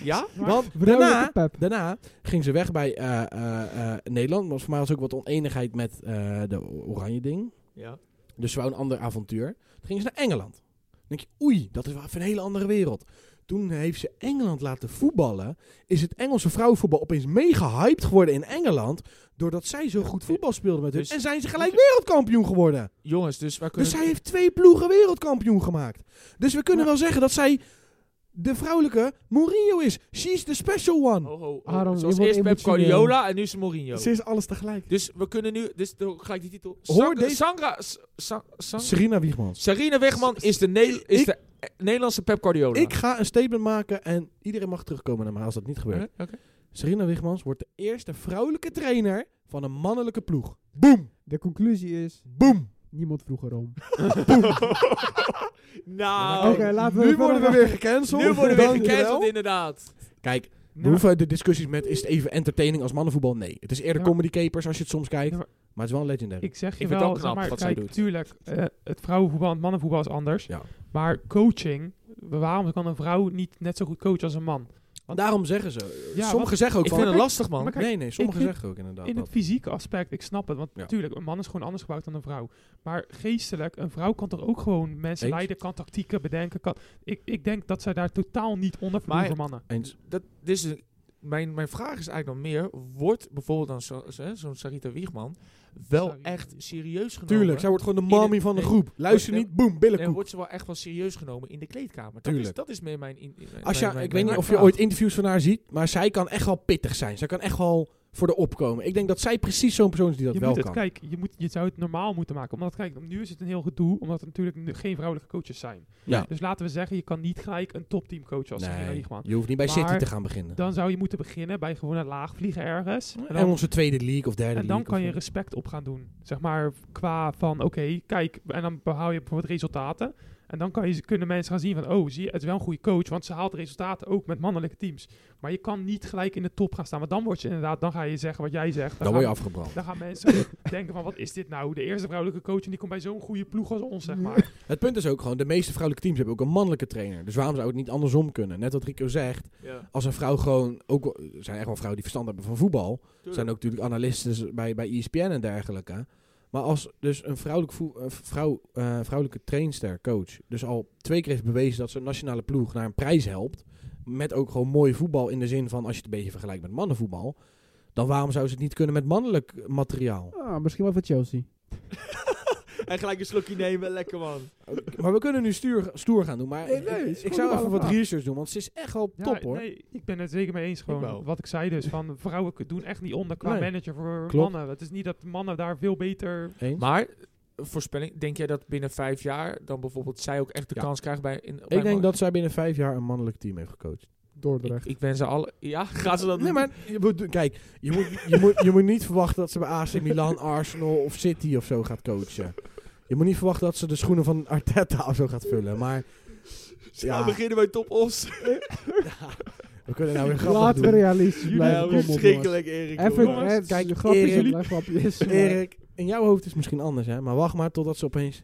S1: Ja?
S3: Maar-
S2: Want daarna,
S4: Vrouwelijke pep.
S2: Daarna ging ze weg bij eh, eh, eh, Nederland. Want voor mij was ook wat oneenigheid met eh, de o- Oranje Ding.
S1: Ja.
S2: Dus ze wou een ander avontuur. Toen ging ze naar Engeland. Dan denk je, oei, dat is wel even een hele andere wereld. Toen heeft ze Engeland laten voetballen. Is het Engelse vrouwenvoetbal opeens mega hyped geworden in Engeland. Doordat zij zo goed voetbal speelde met hun.
S1: Dus-
S2: en zijn ze gelijk wereldkampioen geworden.
S1: Jongens, dus waar
S2: Dus
S1: kunnen...
S2: zij heeft twee ploegen wereldkampioen gemaakt. Dus we kunnen wel zeggen dat zij de vrouwelijke Mourinho is. She's the special one.
S1: Ho, ho, ho.
S4: Aaron,
S1: Zoals
S4: je wordt
S1: eerst Pep
S4: emotioneel.
S1: Guardiola en nu is het Mourinho.
S2: Ze is alles tegelijk.
S1: Dus we kunnen nu... Dus de, gelijk die titel.
S2: Hoor
S1: Sangra-
S2: deze-
S1: Sangra... S- Sa- Sang-
S2: Serena Wiegmans.
S1: Sarine Wegman is de, Ne- is
S2: ik-
S1: de eh, Nederlandse Pep Guardiola.
S2: Ik ga een statement maken en iedereen mag terugkomen naar mij als dat niet gebeurt.
S1: Oké, oké.
S2: Serena Wiegmans wordt de eerste vrouwelijke trainer van een mannelijke ploeg. Boom,
S4: De conclusie is,
S2: boom.
S4: niemand vroeg erom.
S1: nou,
S4: Oké, laten we
S2: nu
S4: even
S2: worden we
S4: verder
S2: weer gecanceld.
S1: Ah, nu worden we weer
S2: Dankjewel.
S1: gecanceld inderdaad.
S2: Kijk, we
S3: Nou,
S2: hoeven de discussies met is het even entertaining als mannenvoetbal? Nee. Het is eerder
S3: Ja.
S2: comedy capers als je het soms kijkt.
S3: Ja,
S2: maar
S3: maar-
S2: het is wel een legendary.
S3: ik zeg je
S1: Ik vind
S3: wel,
S1: het wel knap
S3: zeg maar,
S1: wat zij
S3: kijk,
S1: doet.
S3: tuurlijk, eh, het vrouwenvoetbal en het mannenvoetbal is anders.
S2: Ja.
S3: Maar coaching, waarom kan een vrouw niet net zo goed coachen als een man? want-
S2: Daarom zeggen ze.
S3: Ja,
S2: sommigen zeggen ook
S1: Ik
S2: van...
S1: vind het lastig, man.
S3: Maar kijk,
S2: nee, nee, sommigen
S3: ik vind-
S2: zeggen ook inderdaad
S3: In
S2: dat.
S3: het fysieke aspect, ik snap het. Want
S2: Ja.
S3: natuurlijk, een man is gewoon anders gebouwd dan een vrouw. Maar geestelijk, een vrouw kan toch ook gewoon mensen
S2: Eens.
S3: leiden, kan tactieken bedenken. Kan, ik, ik denk dat zij daar totaal niet onder
S1: Maar-
S3: verdoen voor mannen.
S2: Eens.
S1: Dat, dit is een- mijn, mijn vraag is eigenlijk dan meer, wordt bijvoorbeeld dan zo- zo- zo'n Sarita Wiegman wel
S3: Sarita.
S1: echt serieus genomen?
S2: Tuurlijk, zij wordt gewoon de mami
S1: Ieder-
S2: van de
S1: nee.
S2: groep. Luister
S1: Nee,
S2: niet, boem,
S1: Nee,
S2: billenkoek.
S1: wordt ze wel echt wel serieus genomen in de kleedkamer? Dat is,
S2: Tuurlijk.
S1: dat is meer mijn... In, in- mijn-
S2: Als je,
S1: mijn-
S2: ik weet
S1: mijn
S2: niet of je
S1: vraag.
S2: ooit interviews van haar ziet, maar zij kan echt wel pittig zijn. Zij kan echt wel voor de opkomen. Ik denk dat zij precies zo'n persoon is die dat
S3: je
S2: wel
S3: moet het,
S2: kan.
S3: kkijk, je, moet, je zou het normaal moeten maken. Omdat, kijk, nu is het een heel gedoe, omdat er natuurlijk nu geen vrouwelijke coaches zijn.
S2: Ja.
S3: Dus laten we zeggen, je kan niet gelijk een topteam coachen als Sarita
S2: nee,
S3: Wiegman.
S2: je hoeft niet bij
S3: Maar-
S2: City te gaan beginnen.
S3: Dan zou je moeten beginnen bij gewoon een laag vliegen ergens. En
S2: en
S3: dan,
S2: onze tweede league of derde
S3: en dan
S2: league
S3: kan
S2: of-
S3: je respect op gaan doen. Zeg maar qua van, oké, kijk, en dan behaal je bijvoorbeeld resultaten. En dan kan je, kunnen mensen gaan zien van, oh, zie je, het is wel een goede coach. Want ze haalt resultaten ook met mannelijke teams. Maar je kan niet gelijk in de top gaan staan. Want dan word je inderdaad, dan ga je zeggen wat jij zegt.
S2: dan
S3: gaan-
S2: word je afgebrand.
S3: Dan gaan mensen denken van, wat is dit nou? De eerste vrouwelijke coach en die komt bij zo'n goede ploeg als ons, zeg maar.
S2: Het punt is ook gewoon, de meeste vrouwelijke teams hebben ook een mannelijke trainer. Dus waarom zou het niet andersom kunnen? Net wat Rico zegt,
S1: Ja,
S2: als een vrouw gewoon, ook wel- er zijn echt wel vrouwen die verstand hebben van voetbal. Er zijn ook natuurlijk analisten bij, bij E ESPN en dergelijke. Maar als dus een vrouwelijk voe- eh, vrouw, eh, vrouwelijke trainster, coach, dus al twee keer heeft bewezen dat ze een nationale ploeg naar een prijs helpt. Met ook gewoon mooi voetbal in de zin van als je het een beetje vergelijkt met mannenvoetbal. Dan waarom zou ze het niet kunnen met mannelijk materiaal?
S4: Ah, misschien wel voor Chelsea.
S1: En gelijk een slokje nemen, lekker man.
S2: Maar we kunnen nu stuur, stoer gaan doen. Maar
S4: Nee, nee,
S2: ik-
S4: het is
S2: ik, zou
S4: gewoon een
S2: even
S4: normale
S2: wat
S4: vraag.
S2: research doen, want ze is echt wel
S3: Ja,
S2: top hoor.
S3: Nee, ik ben het zeker mee eens. Gewoon
S1: wel.
S3: wat ik zei dus, van vrouwen k- doen echt niet onder qua
S2: Nee.
S3: manager voor
S2: Klopt.
S3: mannen. Het is niet dat mannen daar veel beter...
S2: Eens?
S1: Maar, eh, voorspelling, denk jij dat binnen vijf jaar dan bijvoorbeeld zij ook echt de
S2: Ja.
S1: kans krijgt bij... In,
S2: ik denk dat zij binnen vijf jaar een mannelijk team heeft gecoacht.
S4: Dordrecht.
S1: Ik ben ze alle... Ja, gaan ze dat
S2: Nee, maar je moet, kijk, je moet, je, moet, je moet niet verwachten dat ze bij AC Milan, Arsenal of City of zo gaat coachen. Je moet niet verwachten dat ze de schoenen van Arteta of zo gaat vullen. Maar
S1: Ja.
S2: ja,
S1: beginnen bij top os.
S2: we kunnen nou weer grappig
S4: Laten we
S2: doen.
S4: realistisch blijven. Kom op, jongens.
S1: Erik.
S4: Even,
S1: jongens.
S4: hè,
S2: Kijk,
S4: kijk, grapjes
S2: Erik-
S4: en blijf grapjes. maar-
S2: Erik, in jouw hoofd is het misschien anders, hè? Maar wacht maar totdat ze opeens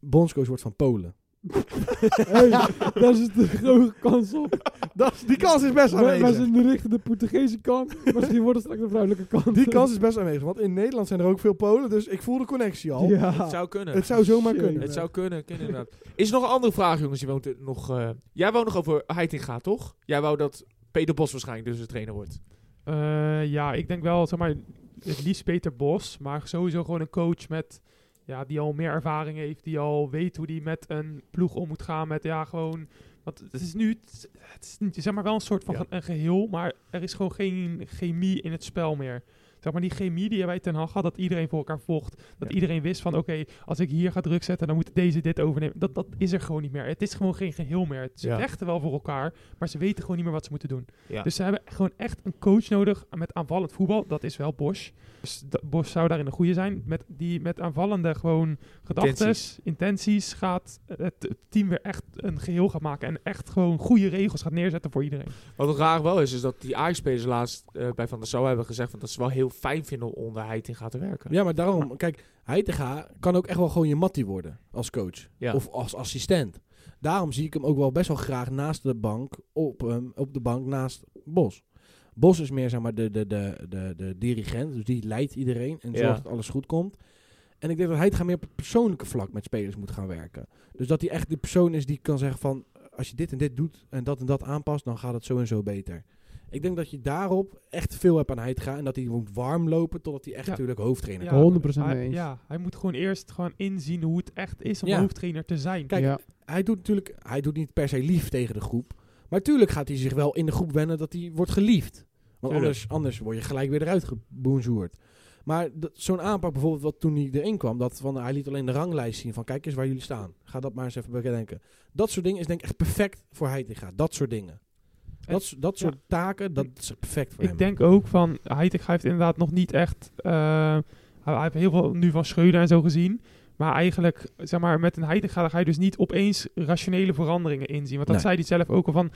S2: bondscoach wordt van Polen.
S4: Hey, daar zit de grote kans op.
S2: Dat, die kans is best
S4: Wij, wij
S2: aanwezig.
S4: zijn nu richting de Portugese kant. Misschien wordt het straks de vrouwelijke kant.
S2: Die kans is best aanwezig, want in Nederland zijn er ook veel Polen, dus ik voel de connectie al.
S4: Ja.
S1: Het zou kunnen.
S2: Het zou zomaar
S4: Shit.
S2: kunnen.
S1: Het zou kunnen, kunnen inderdaad. Is er nog een andere vraag, jongens? Je woont er nog, eh, jij wou nog over Heitinga, toch? Jij wou dat Peter Bos waarschijnlijk dus de trainer wordt.
S3: Eh, ja, ik denk wel, zeg maar, het liefst Peter Bos. Maar sowieso gewoon een coach met... Ja, die al meer ervaring heeft. Die al weet hoe die met een ploeg om moet gaan. Met, ja, gewoon... Want het is nu... Het is, het is niet- zeg maar wel een soort van
S1: Ja.
S3: een geheel. Maar er is gewoon geen chemie in het spel meer. Zeg maar die chemie die wij ten Hag had. Dat iedereen voor elkaar vocht. Dat
S1: Ja.
S3: iedereen wist van... Oké, als ik hier ga druk zetten... Dan moet deze dit overnemen. Dat, dat is er gewoon niet meer. Het is gewoon geen geheel meer. Ze
S1: Ja.
S3: vechten wel voor elkaar. Maar ze weten gewoon niet meer wat ze moeten doen.
S1: Ja.
S3: Dus ze hebben gewoon echt een coach nodig met aanvallend voetbal. Dat is wel Bosch. Dus da- Bosch zou daarin een goede zijn. Met, die met aanvallende gewoon gedachten,
S1: Intenties.
S3: intenties gaat het team weer echt een geheel gaan maken. En echt gewoon goede regels gaat neerzetten voor iedereen.
S1: Wat raar wel is, is dat die Ajax-spelers laatst eh, bij Van der Sar hebben gezegd van dat ze wel heel fijn vinden om onder Heitinga te werken.
S2: Ja, maar daarom, kijk, Heitinga kan ook echt wel gewoon je mattie worden als coach
S1: Ja.
S2: of als assistent. Daarom zie ik hem ook wel best wel graag naast de bank, op, ehm, op de bank naast Bos. Bos is meer zeg maar de, de, de, de, de dirigent, dus die leidt iedereen en
S1: Ja.
S2: zorgt dat alles goed komt. En ik denk dat Heitinga meer op het persoonlijke vlak met spelers moet gaan werken. Dus dat hij echt de persoon is die kan zeggen van, als je dit en dit doet en dat en dat aanpast, dan gaat het zo en zo beter. Ik denk dat je daarop echt veel hebt aan Heitinga en dat hij moet warm lopen totdat hij echt
S3: Ja.
S2: natuurlijk hoofdtrainer
S3: Ja,
S4: 100% mee
S3: Hij,
S4: eens.
S3: ja, hij moet gewoon eerst gewoon inzien hoe het echt is om
S2: Ja.
S3: hoofdtrainer te zijn.
S2: Kijk,
S4: ja.
S2: hij doet natuurlijk, hij doet niet per se lief tegen de groep. Maar tuurlijk gaat hij zich wel in de groep wennen dat hij wordt geliefd. Want
S1: Tuurlijk.
S2: anders, anders word je gelijk weer eruit geboenzoerd. Maar dat- zo'n aanpak bijvoorbeeld, wat toen hij erin kwam, dat van, hij liet alleen de ranglijst zien van kijk eens waar jullie staan. Ga dat maar eens even bedenken. Dat soort dingen is denk ik echt perfect voor Heitinga. Dat soort dingen.
S3: En-
S2: Dat, s- dat soort taken, dat is perfect voor
S3: Ik
S2: hem.
S3: denk ook van, Heitinga heeft inderdaad nog niet echt... eh, hij, hij heeft heel veel nu van Schreuder en zo gezien. Maar eigenlijk, zeg maar, met een Heitinga ga je dus niet opeens rationele veranderingen inzien. Want dat
S2: Nee.
S3: zei hij zelf ook al van...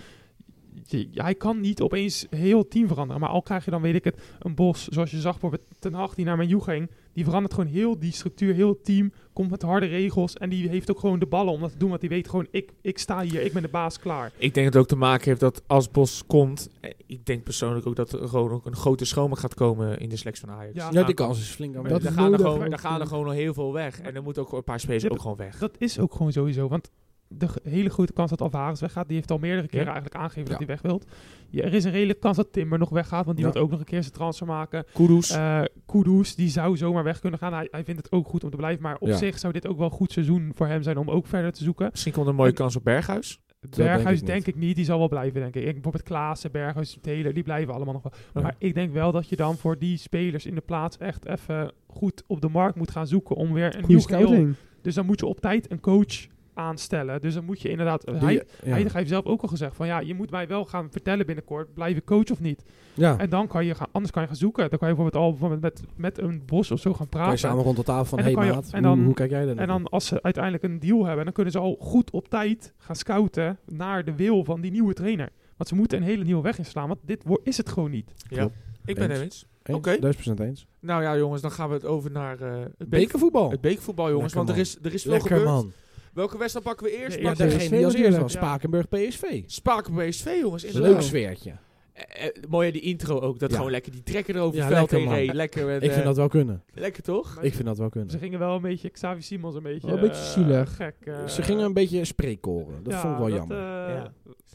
S3: je- hij kan niet opeens heel team veranderen. Maar al krijg je dan, weet ik het, een bos. Zoals je zag bijvoorbeeld Ten Hag die naar Menu ging. Die verandert gewoon heel die structuur, heel het team. Komt met harde regels. En die heeft ook gewoon de ballen om dat te doen. Want die weet gewoon, ik, ik sta hier, ik ben de baas, klaar.
S1: Ik denk dat het ook te maken heeft dat als Bos komt, eh, ik denk persoonlijk ook dat er gewoon ook een grote schoonmaak gaat komen in de selectie van Ajax.
S3: Ja.
S2: ja, die kans is flink aan
S1: Maar
S4: Dat
S1: daar
S4: is
S1: gaan er
S4: nodig
S1: gewoon,
S4: ook,
S1: daar gaan er
S4: eh.
S1: gewoon al heel veel weg. En er moeten ook een paar spelers
S3: Ja,
S1: ook gewoon weg.
S3: Dat is ook gewoon sowieso. Want de ge- hele grote kans dat Alvarez weggaat. Die heeft al meerdere keren
S1: Ja.
S3: eigenlijk aangegeven
S2: Ja.
S3: dat hij weg wilt. Ja, er is een redelijke kans dat Timber nog weggaat, want die
S2: Ja.
S3: wil ook nog een keer zijn transfer maken.
S1: Kudus.
S3: Eh Kudus, die zou zomaar weg kunnen gaan. Hij, hij vindt het ook goed om te blijven, maar op
S2: Ja.
S3: zich zou dit ook wel een goed seizoen voor hem zijn om ook verder te zoeken.
S1: Misschien komt er een mooie kans op Berghuis.
S2: denk
S3: Berghuis
S2: ik
S3: denk,
S2: niet.
S3: ik niet, die zal wel blijven denk ik. ik bijvoorbeeld Klaassen, Berghuis, Taylor, die blijven allemaal nog wel.
S1: Ja.
S3: Maar ik denk wel dat je dan voor die spelers in de plaats echt even goed op de markt moet gaan zoeken om weer een
S4: Goede
S3: nieuw geheel.
S4: scouting.
S3: Dus dan moet je op tijd een coach aanstellen. Dus dan moet je inderdaad...
S2: Die-
S3: hij,
S2: ja.
S3: hij heeft zelf ook al gezegd van ja, je moet mij wel gaan vertellen binnenkort, blijf ik coach of niet.
S2: ja.
S3: En dan kan je gaan, anders kan je gaan zoeken. Dan kan je bijvoorbeeld al bijvoorbeeld met, met een bos of zo gaan
S2: Kan je
S3: praten.
S2: samen rond de tafel van,
S3: En
S2: hey
S3: dan kan je-
S2: maat,
S3: en
S2: hoe-
S3: dan-
S2: hoe, kijk jij daar
S3: En
S2: naar?
S3: dan als ze uiteindelijk een deal hebben, dan kunnen ze al goed op tijd gaan scouten naar de wil van die nieuwe trainer. Want ze moeten een hele nieuwe weg inslaan, want dit wo- is het gewoon niet.
S1: Ja. Ik ben
S2: Eens.
S1: er eens.
S2: Eens?
S1: Oké.
S2: 1000% eens.
S1: Nou ja, jongens, dan gaan we het over naar eh, het, beek,
S2: Bekervoetbal.
S1: het bekervoetbal, jongens.
S2: Lekker,
S1: want er
S2: man.
S1: is, er is veel
S2: Lekker
S1: gebeurd.
S2: man.
S1: Welke wedstrijd pakken we eerst?
S3: De
S1: Pak-
S3: eerste.
S2: Degene die als
S4: natuurlijk.
S2: eerste was,
S3: Ja.
S2: Spakenburg PSV.
S1: Spaken bij PSV, jongens. inderdaad.
S2: Leuk sfeertje.
S1: Eh, eh, mooi hè, die intro ook. Dat
S2: Ja.
S1: gewoon lekker die trekker erover
S2: Ja,
S1: het veld
S2: lekker,
S1: heen
S2: man.
S1: reed. Lekker, met,
S2: Ik
S1: eh,
S2: vind dat wel kunnen.
S1: lekker toch?
S2: Ik vind dat wel kunnen.
S3: Ze gingen wel een beetje, Xavi Simons een beetje...
S4: Wel een beetje
S3: eh,
S4: zielig.
S3: gek, eh,
S2: Ze gingen een beetje spreekkoren. Dat
S3: ja,
S2: vond ik wel
S3: dat,
S2: jammer.
S3: eh,
S1: Ja.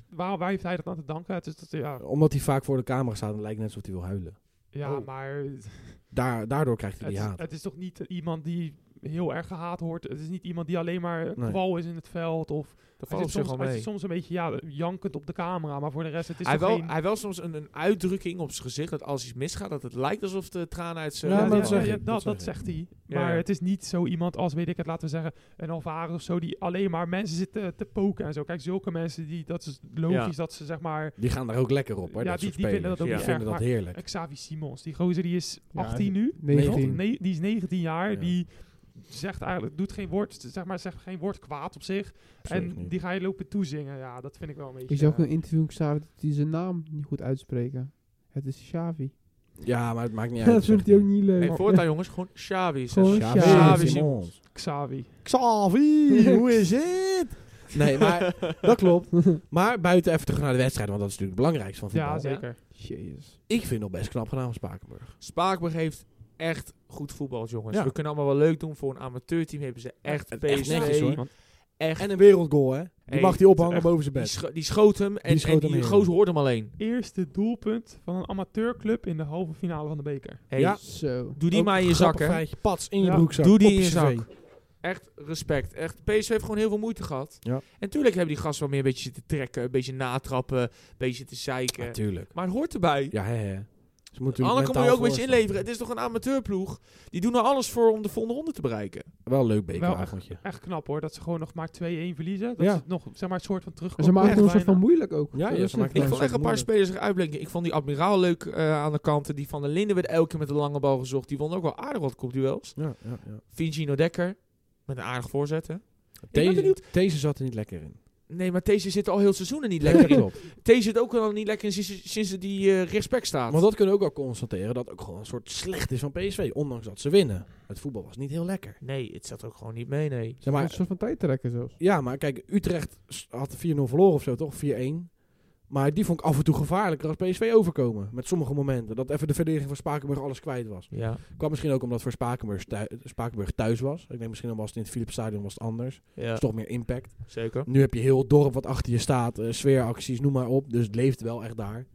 S3: waar, waar heeft hij dat aan te danken? Het is dat, ja,
S2: Omdat hij vaak voor de camera staat en lijkt net alsof hij wil huilen.
S3: ja
S1: Oh.
S3: maar het
S2: Daar, daardoor krijgt hij
S3: is,
S2: die haat.
S3: het is toch niet iemand die heel erg gehaat wordt? Het is niet iemand die alleen maar een
S2: Nee.
S3: kwal is in het veld of...
S1: Dat
S3: Hij
S1: valt op
S3: zit,
S1: zich
S3: soms,
S1: wel
S3: hij zit
S1: mee.
S3: soms een beetje ja, jankend op de camera, maar voor de rest het is
S1: Hij
S3: toch
S1: wel,
S3: geen-
S1: hij wel soms een, een uitdrukking op zijn gezicht dat als iets misgaat, dat het lijkt alsof de tranen uit zijn.
S2: Ja,
S3: Ja,
S2: maar
S3: die-
S2: dat zeg
S3: ja,
S2: ik, dat
S3: dat, dat
S2: zeg
S3: zegt hij.
S1: Ja,
S3: Maar
S1: ja.
S3: het is niet zo iemand als, weet ik het, laten we zeggen, een Alvarez of zo, die alleen maar mensen zitten te poken en zo. Kijk, zulke mensen, die, dat is logisch
S1: Ja.
S3: dat ze, zeg maar,
S2: Die gaan daar ook lekker op, hoor.
S3: Ja,
S2: dat
S3: die-
S2: soort
S3: die vinden
S2: spelers.
S3: dat
S1: ook
S2: Die
S1: niet
S2: vinden
S3: erg,
S2: dat heerlijk.
S3: Xavi Simons, die gozer die is
S4: Ja,
S3: 18 nu,
S4: 19.
S3: nee, die is 19 jaar,
S2: Ja.
S3: die zegt eigenlijk, doet geen woord, zeg maar, zegt geen woord kwaad op zich.
S2: Absoluut
S3: en
S2: niet.
S3: die ga je lopen toezingen, ja, dat vind ik wel een beetje...
S4: Ik zag ook
S3: eh,
S4: een interview met Xavi dat hij zijn naam niet goed uitspreken. Het is Xavi.
S2: Ja, maar het maakt niet
S4: Ja,
S2: uit.
S4: dat vindt hij ook niet leuk.
S1: Hey, voortaan jongens, gewoon Xavi. zeg.
S4: Gewoon
S2: Ja,
S4: Xavi.
S1: Xavi.
S2: Simons.
S3: eh, Xavi.
S2: Xavi, hoe is het? Nee, maar dat klopt. Maar buiten even terug naar de wedstrijd, want dat is natuurlijk het belangrijkste van voetbal.
S3: Ja, zeker.
S4: Jezus.
S2: Ik vind het best knap gedaan van Spakenburg.
S1: Spakenburg heeft echt goed voetbal, jongens.
S2: Ja.
S1: We kunnen allemaal wel leuk doen. Voor een amateurteam hebben ze echt
S2: Echt netjes,
S1: PSV.
S2: Nee, hoor.
S3: Want
S1: Echt.
S2: En een wereldgoal, hè? Die
S1: Hey,
S2: mag hij ophangen
S3: echt.
S2: boven zijn
S1: Die,
S2: bed.
S1: scho- die schoot hem en die,
S2: schoot
S1: en
S2: hem
S1: die
S2: in.
S1: goos hoorde hem alleen.
S3: eerste doelpunt van een amateurclub in de halve finale van de beker.
S1: Hey,
S2: Ja.
S4: Zo.
S1: Doe die
S2: Ook
S1: maar in
S2: een
S1: je zak,
S2: grappig
S1: hè.
S2: feitje. Pats, in je
S3: Ja,
S2: broekzak.
S1: doe die
S2: op
S1: in je
S2: cv.
S1: Echt respect. Echt, PSV heeft gewoon heel veel moeite gehad.
S2: Ja.
S1: En natuurlijk hebben die gasten wel meer een beetje zitten trekken, een beetje natrappen, een beetje zitten zeiken.
S2: Natuurlijk.
S1: maar het hoort erbij.
S2: Ja, hè, hè. Ze moeten
S1: Anneke moet
S2: mentaal
S1: je ook een beetje
S2: voorstaan.
S1: inleveren. Het is toch een amateurploeg? Die doen er alles voor om de volgende ronde te bereiken.
S2: Wel een leuk
S3: Wel
S2: bekeravondje.
S3: Echt knap hoor, dat ze gewoon nog maar 2-1 verliezen. Dat
S2: Ja.
S3: is nog, zeg maar, een soort van terugkomen.
S4: Ze maken
S3: Echt
S4: het een soort
S3: bijna.
S4: van moeilijk ook.
S2: Ja,
S4: Dat
S2: ja,
S4: is
S2: ze
S4: het.
S2: maken
S1: Ik
S2: Ja,
S1: vond
S2: dat
S1: echt
S2: is
S1: een paar
S2: moeilijk.
S1: spelers zich uitblinken. Ik vond die Admiraal leuk eh, aan de kanten. Die Van der Linden werd elke keer met de lange bal gezocht. Die won ook wel aardig wat kopduels.
S2: Ja, ja, ja.
S1: Vincino Dekker met een aardig voorzet. Hè? ben
S2: Deze,
S1: benieuwd.
S2: deze zat er niet lekker in.
S1: Nee, maar deze zit al heel het seizoen er niet lekker in.
S2: Klopt.
S1: Deze zit ook al niet lekker in sinds, sinds die eh rechtsback staat.
S2: Maar dat kunnen we ook wel constateren, dat ook gewoon een soort slecht is van PSV. Ondanks dat ze winnen. Het voetbal was niet heel lekker.
S1: Nee, het zat ook gewoon niet mee, nee.
S2: Zeg
S4: Een
S2: maar,
S4: soort van tijdtrekker zelfs.
S2: ja, maar kijk, Utrecht s- had 4-0 verloren of zo, toch? 4-1. Maar die vond ik af en toe gevaarlijker als PSV overkomen. Met sommige momenten. Dat even de verdediging van Spakenburg alles kwijt was.
S1: Ja,
S2: Kwam misschien ook omdat voor Spakenburg, thui- Spakenburg thuis was. Ik denk misschien dan was het in het Philipsstadion was het anders.
S1: ja
S2: Is toch meer impact.
S1: zeker.
S2: Nu heb je heel het dorp wat achter je staat. eh, sfeeracties, noem maar op. Dus het leeft wel echt daar.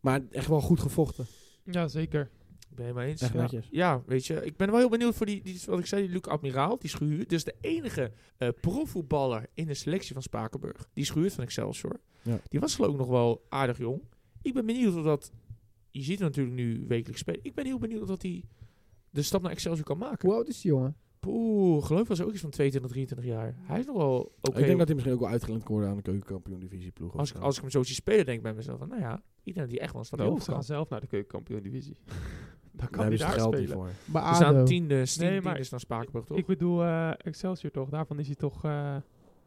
S2: Maar echt wel goed gevochten.
S3: Ja, zeker.
S1: Ik ben je mee eens.
S2: Echt
S1: ja.
S2: netjes.
S1: Ja, weet je, ik ben wel heel benieuwd voor die, die wat ik zei, die Luc Admiraal, die is gehuurd. Dus de enige eh profvoetballer in de selectie van Spakenburg, die is gehuurd van Excelsior.
S2: Ja.
S1: Die was geloof ik nog wel aardig jong. Ik ben benieuwd of dat, je ziet hem natuurlijk nu wekelijks spelen. Ik ben heel benieuwd of dat hij de stap naar Excelsior kan maken.
S4: Hoe oud is die jongen?
S1: Poeh, geloof was ook iets van 22, 23 jaar. Hij is nog wel oké.
S2: Ik denk dat hij misschien ook wel uitgeleend kon worden aan de keukenkampioen divisieploeg. of
S1: als, ik,
S2: zo.
S1: als ik hem zo zie spelen, denk ik bij mezelf van, nou ja, ik denk dat hij echt wel een stapje
S3: Nou,
S1: hoger
S3: ze
S1: kan.
S3: gaan zelf naar de keukenkampioen divisie. Dan
S2: daar
S3: kan hij
S2: hebben ze het
S3: daar
S2: geld niet
S3: spelen.
S2: voor.
S4: Bij
S1: Ze
S4: ADO.
S1: staan Dus tiende, tien,
S3: Nee, maar
S1: tiende is dan Spakenburg, toch?
S3: Ik bedoel, eh, Excelsior toch, daarvan is hij toch... eh,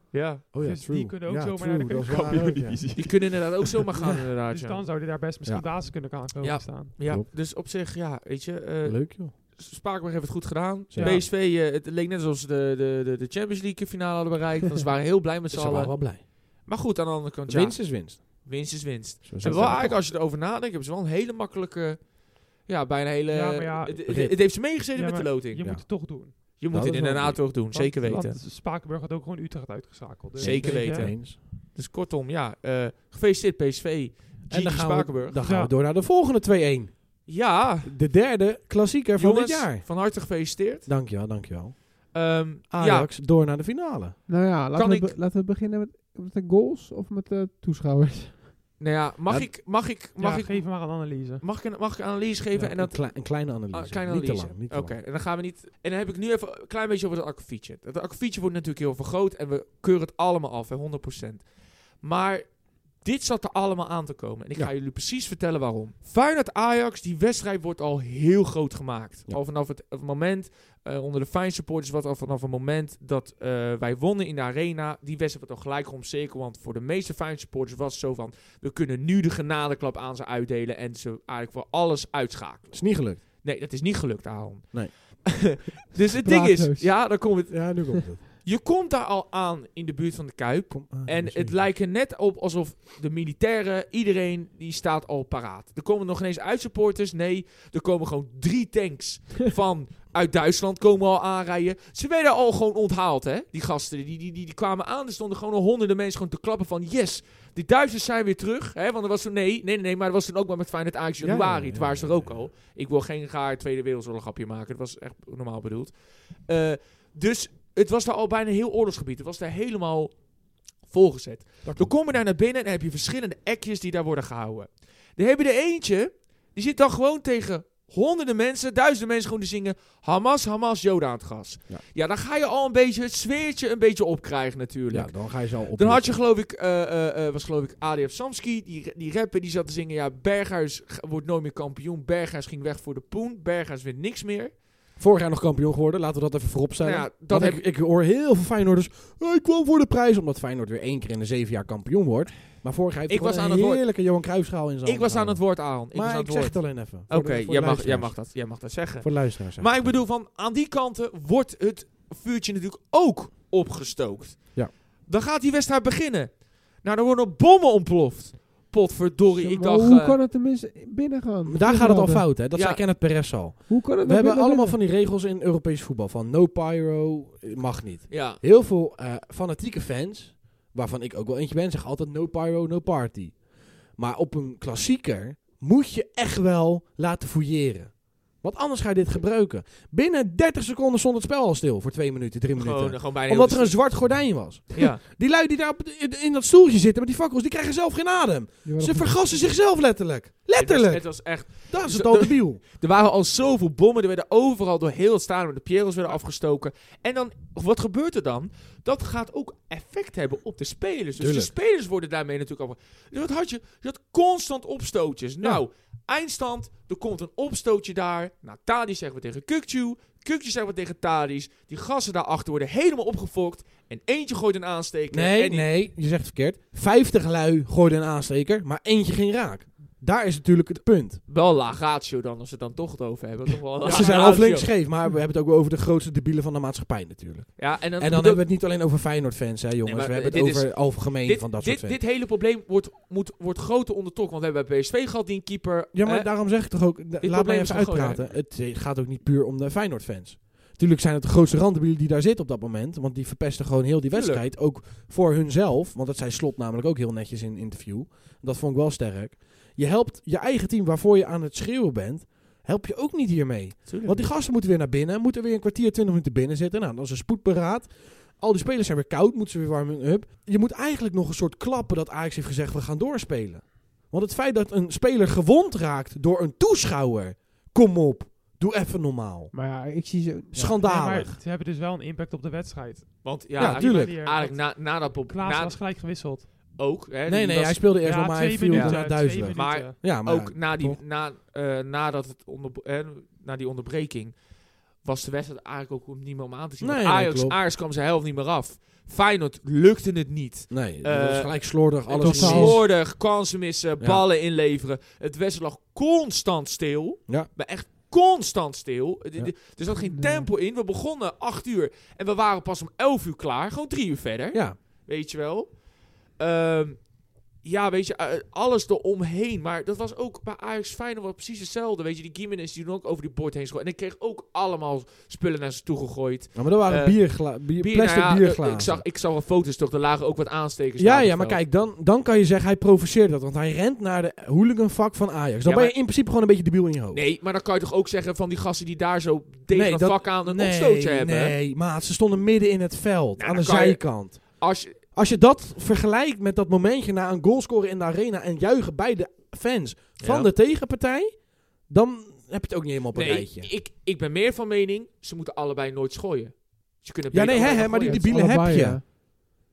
S1: ja.
S2: Oh ja,
S3: Dus
S2: true.
S3: die kunnen ook
S2: ja,
S3: zomaar
S2: true,
S3: naar de
S2: dat is waar ook,
S3: keukenkampioen
S2: ja.
S3: divisie.
S1: Die kunnen inderdaad ook zomaar gaan, inderdaad.
S3: Dus
S1: ja.
S3: dan zouden daar best misschien
S2: Ja.
S3: basis kunnen gaan komen
S1: Ja.
S3: staan.
S1: Ja,
S2: Klopt.
S1: dus op zich, ja, weet je, eh
S2: Leuk joh.
S1: Spakenburg heeft het goed gedaan.
S2: Zeker.
S1: PSV, eh, het leek net alsof ze de, de, de, de Champions League finale hadden bereikt. Dus ze waren heel blij met z'n
S2: Ze waren wel
S1: allen.
S2: blij.
S1: Maar goed, aan de andere kant, ja, winst,
S2: Winst is winst.
S1: is winst. Ze
S2: Zo
S1: hebben
S2: is het
S1: wel
S2: wel.
S1: eigenlijk, als je erover nadenkt, hebben ze wel een hele makkelijke, ja, bijna hele,
S3: Ja, maar ja,
S1: het, het-
S2: rit.
S1: het heeft ze meegezeten
S3: Ja,
S1: met de
S3: maar
S1: loting.
S3: Je
S2: Ja.
S3: moet het toch doen.
S1: Je moet
S2: Nou, dat
S1: het
S2: is wel
S1: inderdaad
S2: leuk.
S1: toch doen, zeker
S3: Want-
S1: weten.
S3: want Spakenburg had ook gewoon Utrecht uitgeschakeld. Dus
S1: Zeker
S3: weet je,
S1: weten.
S2: Eens.
S1: Dus kortom, ja, eh gefeliciteerd PSV.
S2: En dan gaan, we,
S1: Spakenburg.
S2: dan gaan
S3: Ja.
S2: we door naar de volgende 2-1.
S1: Ja,
S2: De derde klassieker van
S1: jongens,
S2: dit jaar.
S1: van harte gefeliciteerd.
S2: Dankjewel, dankjewel.
S1: Ehm ja,
S2: Ajax door naar de finale.
S4: Nou ja, laten,
S1: Kan
S4: we,
S1: ik-
S4: be- laten we beginnen met, met de goals of met de toeschouwers.
S1: nou ja, mag
S2: Ja.
S1: ik, mag ik,
S3: Ja,
S1: mag ik,
S3: geef maar een analyse.
S1: mag ik, een, mag ik een analyse geven?
S2: Ja,
S1: en dat,
S2: een, klei- een kleine analyse.
S1: Ah, kleine
S2: Niet te
S1: analyse.
S2: lang, niet te
S1: Oké,
S2: lang.
S1: en dan gaan we niet. En dan heb ik nu even een klein beetje over dat akkefietje. Dat akkefietje wordt natuurlijk heel vergroot en we keuren het allemaal af, hè, 100%. Maar dit zat er allemaal aan te komen. En ik
S2: Ja.
S1: ga jullie precies vertellen waarom. Feyenoord Ajax, die wedstrijd wordt al heel groot gemaakt.
S2: Ja.
S1: Al vanaf het, het moment, eh, onder de Feyenoord supporters, wat al vanaf het moment dat eh, wij wonnen in de arena. Die wedstrijd werd al gelijk omcirkeld. Want voor de meeste Feyenoord supporters was het zo van, we kunnen nu de genadeklap aan ze uitdelen. En ze eigenlijk voor alles uitschakelen.
S2: Is niet gelukt.
S1: Nee, dat is niet gelukt, Aaron.
S2: Nee.
S1: dus het ding is,
S4: Spraakloos.
S1: ja, dan komt het.
S2: Ja, nu komt het.
S1: Je komt daar al aan in de buurt van de Kuip.
S2: Kom Ah, aan,
S1: En
S2: jongens,
S1: het
S2: jongens.
S1: lijkt er net op alsof de militairen, iedereen, die staat al paraat. Er komen nog ineens uitsupporters. Nee, er komen gewoon drie tanks van uit Duitsland komen al aanrijden. Ze werden al gewoon onthaald, hè, die gasten. Die, die, die, die kwamen aan, er stonden gewoon al honderden mensen gewoon te klappen van... Yes, die Duitsers zijn weer terug. Hè, want er was toen... Nee, nee, nee, nee, maar er was toen ook maar met Feyenoord Ajax
S2: Ja,
S1: januari.
S2: ja, ja,
S1: het waren ze er
S2: ja,
S1: ook
S2: ja.
S1: al. Ik wil geen gaar Tweede Wereldoorlog grapje maken. Dat was echt normaal bedoeld. Eh, dus het was daar al bijna heel oorlogsgebied. Het was daar helemaal volgezet.
S2: Dat
S1: Dan
S2: klopt.
S1: kom je daar naar binnen en dan heb je verschillende ekjes die daar worden gehouden. Dan heb je er eentje, die zit dan gewoon tegen honderden mensen, duizenden mensen gewoon te zingen Hamas, Hamas, Joden aan het gas. Ja.
S2: Ja.
S1: dan ga je al een beetje het sfeertje een beetje opkrijgen natuurlijk.
S2: Ja, dan ga je zo op.
S1: Dan had je geloof ik, eh, eh, eh, was geloof ik ADF Samski, die, die rapper, die zat te zingen, ja, Berghuis g- wordt nooit meer kampioen, Berghuis ging weg voor de poen, Berghuis wint niks meer.
S2: Vorig jaar nog kampioen geworden, laten we dat even voorop
S1: Nou
S2: stellen.
S1: ja,
S2: dat
S1: dat heb
S2: ik, ik hoor heel veel Feyenoorders, "Oh, ik kwam voor de prijs, omdat Feyenoord weer één keer in de zeven jaar kampioen wordt. Maar vorig jaar heeft
S1: Ik
S2: hij
S1: was
S2: gewoon
S1: aan het
S2: een
S1: woord.
S2: heerlijke Johan Cruijffschaal in zijn
S1: ik was aan
S2: handen
S1: het woord, Aaron. Ik was
S2: Maar
S1: aan
S2: ik
S1: het
S2: zeg
S1: woord.
S2: het alleen even. Voor de-
S1: Oké,
S2: voor de
S1: jij, mag- jij
S2: luisteraars.
S1: mag dat, jij mag dat zeggen.
S2: Voor de luisteraars.
S1: Maar ik bedoel, van aan die kanten wordt het vuurtje natuurlijk ook opgestookt.
S2: Ja.
S1: Dan gaat die wedstrijd beginnen. Nou, dan worden er bommen ontploft. Potverdorie,
S4: Ja,
S1: ik
S4: maar
S1: dacht...
S4: hoe
S1: eh,
S4: kan het tenminste binnen gaan?
S2: Maar daar gaat het al
S4: Binnenladen.
S2: fout, hè? Dat
S1: Ja.
S2: zei Kenneth Perez al.
S4: Hoe kan het
S2: We
S4: nou
S2: hebben
S4: binnen
S2: allemaal
S4: binnen?
S2: van die regels in Europees voetbal. Van no pyro, eh, mag niet.
S1: Ja,
S2: Heel veel eh, fanatieke fans, waarvan ik ook wel eentje ben, zeggen altijd no pyro, no party. Maar op een klassieker moet je echt wel laten fouilleren. Want anders ga je dit gebruiken. Binnen 30 seconden stond het spel al stil. Voor 2 minuten, 3
S1: gewoon,
S2: minuten.
S1: gewoon bijna...
S2: Omdat er
S1: heel
S2: een zwart gordijn was.
S1: de- Ja,
S2: Die lui die daar op, in, in dat stoeltje zitten met die fakkels, die krijgen zelf geen adem.
S4: Die waren
S2: Ze
S4: goed.
S2: vergassen zichzelf letterlijk.
S1: het was,
S2: Letterlijk.
S1: dus het was echt...
S2: Dat is het al debiel.
S1: Er waren al zoveel bommen, er werden overal door heel het stadion, de Pieros werden afgestoken. En dan, wat gebeurt er dan? Dat gaat ook effect hebben op de spelers. Dus
S2: Tuurlijk.
S1: de spelers worden daarmee natuurlijk ook... Dus wat had je? Je had constant opstootjes. Nou, eindstand, er komt een opstootje daar. Nou, Tadis zeggen we tegen Kukju. Kukju zeggen we tegen Tadis. Die gassen daarachter worden helemaal opgefokt. En eentje gooit een aansteker.
S2: Nee,
S1: en die-
S2: nee, je zegt het verkeerd. 50 lui gooiden een aansteker, maar eentje ging raak. Daar is natuurlijk het punt.
S1: Wel laag ratio dan, als we het dan toch het over hebben. Toch wel een laag
S2: Ze zijn half
S1: ratio.
S2: links scheef, maar we hebben het ook wel over de grootste debielen van de maatschappij natuurlijk.
S1: Ja, en dan,
S2: En dan hebben we het niet alleen over Feyenoord-fans, hè jongens.
S1: Nee, maar,
S2: we hebben
S1: eh,
S2: het
S1: dit
S2: over algemeen
S1: dit,
S2: van dat
S1: dit,
S2: soort fans.
S1: dit hele probleem wordt, moet, wordt groter ondertrokken. Want we hebben bij PSV gehad die een keeper.
S2: ja, maar
S1: eh,
S2: daarom zeg ik toch ook, da-
S1: probleem
S2: laat mij
S1: is
S2: even
S1: toch gewoon,
S2: uitpraten. Het eh, gaat ook niet puur om de Feyenoord-fans. Natuurlijk zijn het de grootste randdebielen die daar zitten op dat moment. Want die verpesten gewoon heel die
S1: Tuurlijk.
S2: wedstrijd. Ook voor hunzelf. Want dat zei Slot namelijk ook heel netjes in een interview. Dat vond ik wel sterk. Je helpt je eigen team waarvoor je aan het schreeuwen bent. Help je ook niet hiermee. Want die gasten moeten weer naar binnen. Moeten weer een kwartier, twintig minuten binnen zitten. Nou, dat is een spoedberaad. Al die spelers zijn weer koud. Moeten ze weer warming up. Je moet eigenlijk nog een soort klappen dat Ajax heeft gezegd. We gaan doorspelen. Want het feit dat een speler gewond raakt door een toeschouwer. Kom op. Doe even normaal.
S4: Maar ja, ik zie ze...
S2: Schandalig.
S3: Nee, maar ze hebben dus wel een impact op de wedstrijd.
S1: want ja,
S2: Ja,
S1: eigenlijk-
S2: tuurlijk.
S1: eigenlijk na, na dat probleem.
S3: Klaas
S1: Na,
S3: was gelijk gewisseld.
S1: ook. Hè, die
S2: Nee, nee,
S1: was-
S2: hij speelde eerst
S3: ja,
S2: wel, maar hij
S3: twee
S2: viel
S3: minuten,
S2: naar
S3: twee
S2: duizelig.
S3: minuten.
S1: Maar-
S2: Ja, maar
S1: ook na die,
S2: toch?
S1: na, eh, nadat het onder, eh, na die onderbreking. was de wedstrijd eigenlijk ook niet meer om aan te zien.
S2: Nee,
S1: Want
S2: nee,
S1: Ajax,
S2: klopt.
S1: Ajax kwam zijn helft niet meer af. Feyenoord lukte het niet.
S2: Nee,
S1: Eh,
S2: dat was gelijk slordig.
S1: Het
S2: Alles
S1: was
S2: precies.
S1: slordig, kansen missen,
S2: Ja.
S1: ballen inleveren. Het wedstrijd lag constant stil.
S2: Ja.
S1: Maar echt constant stil. D- d-
S2: Ja.
S1: Er zat geen tempo in. We begonnen 8 uur en we waren pas om 11 uur klaar. Gewoon drie uur verder,
S2: Ja,
S1: weet je wel. Ehm, Ja, weet je, eh, alles eromheen. Maar dat was ook bij Ajax Feyenoord wel precies hetzelfde. Weet je, die Gimenez die doen ook over die bord heen schoot. En ik kreeg ook allemaal spullen naar ze toe gegooid.
S2: Ja, maar dat waren
S1: Eh,
S2: biergla bier,
S1: Bier,
S2: plastic
S1: nou ja,
S2: bierglazen.
S1: Ik zag, ik zag wel foto's toch, er lagen ook wat aanstekers.
S2: ja,
S1: daar op
S2: ja,
S1: het
S2: maar
S1: veld.
S2: kijk, dan, dan kan je zeggen hij provoceert dat. Want hij rent naar de hooliganvak van Ajax. Dan
S1: Ja,
S2: ben je
S1: maar-
S2: in principe gewoon een beetje debiel in je hoofd.
S1: Nee, maar dan kan je toch ook zeggen van die gasten die daar zo tegen
S2: Nee,
S1: een
S2: dat-
S1: vak aan een
S2: nee,
S1: opstootje hebben.
S2: Nee, maat, ze stonden midden in het veld.
S1: Ja,
S2: aan de
S1: dan kan je-
S2: zijkant.
S1: Als je,
S2: Als je dat vergelijkt met dat momentje na een goal scoren in de arena en juichen bij de fans van
S1: Ja.
S2: de tegenpartij, dan heb je het ook niet helemaal op een
S1: nee,
S2: rijtje.
S1: ik, ik ben meer van mening, ze moeten allebei nooit schooien. Ze kunnen
S2: Ja,
S1: beter
S2: nee, hè,
S1: allebei
S2: hè, maar die
S1: gooien.
S4: Het is
S2: debielen heb
S4: allebei,
S2: je.
S4: ja.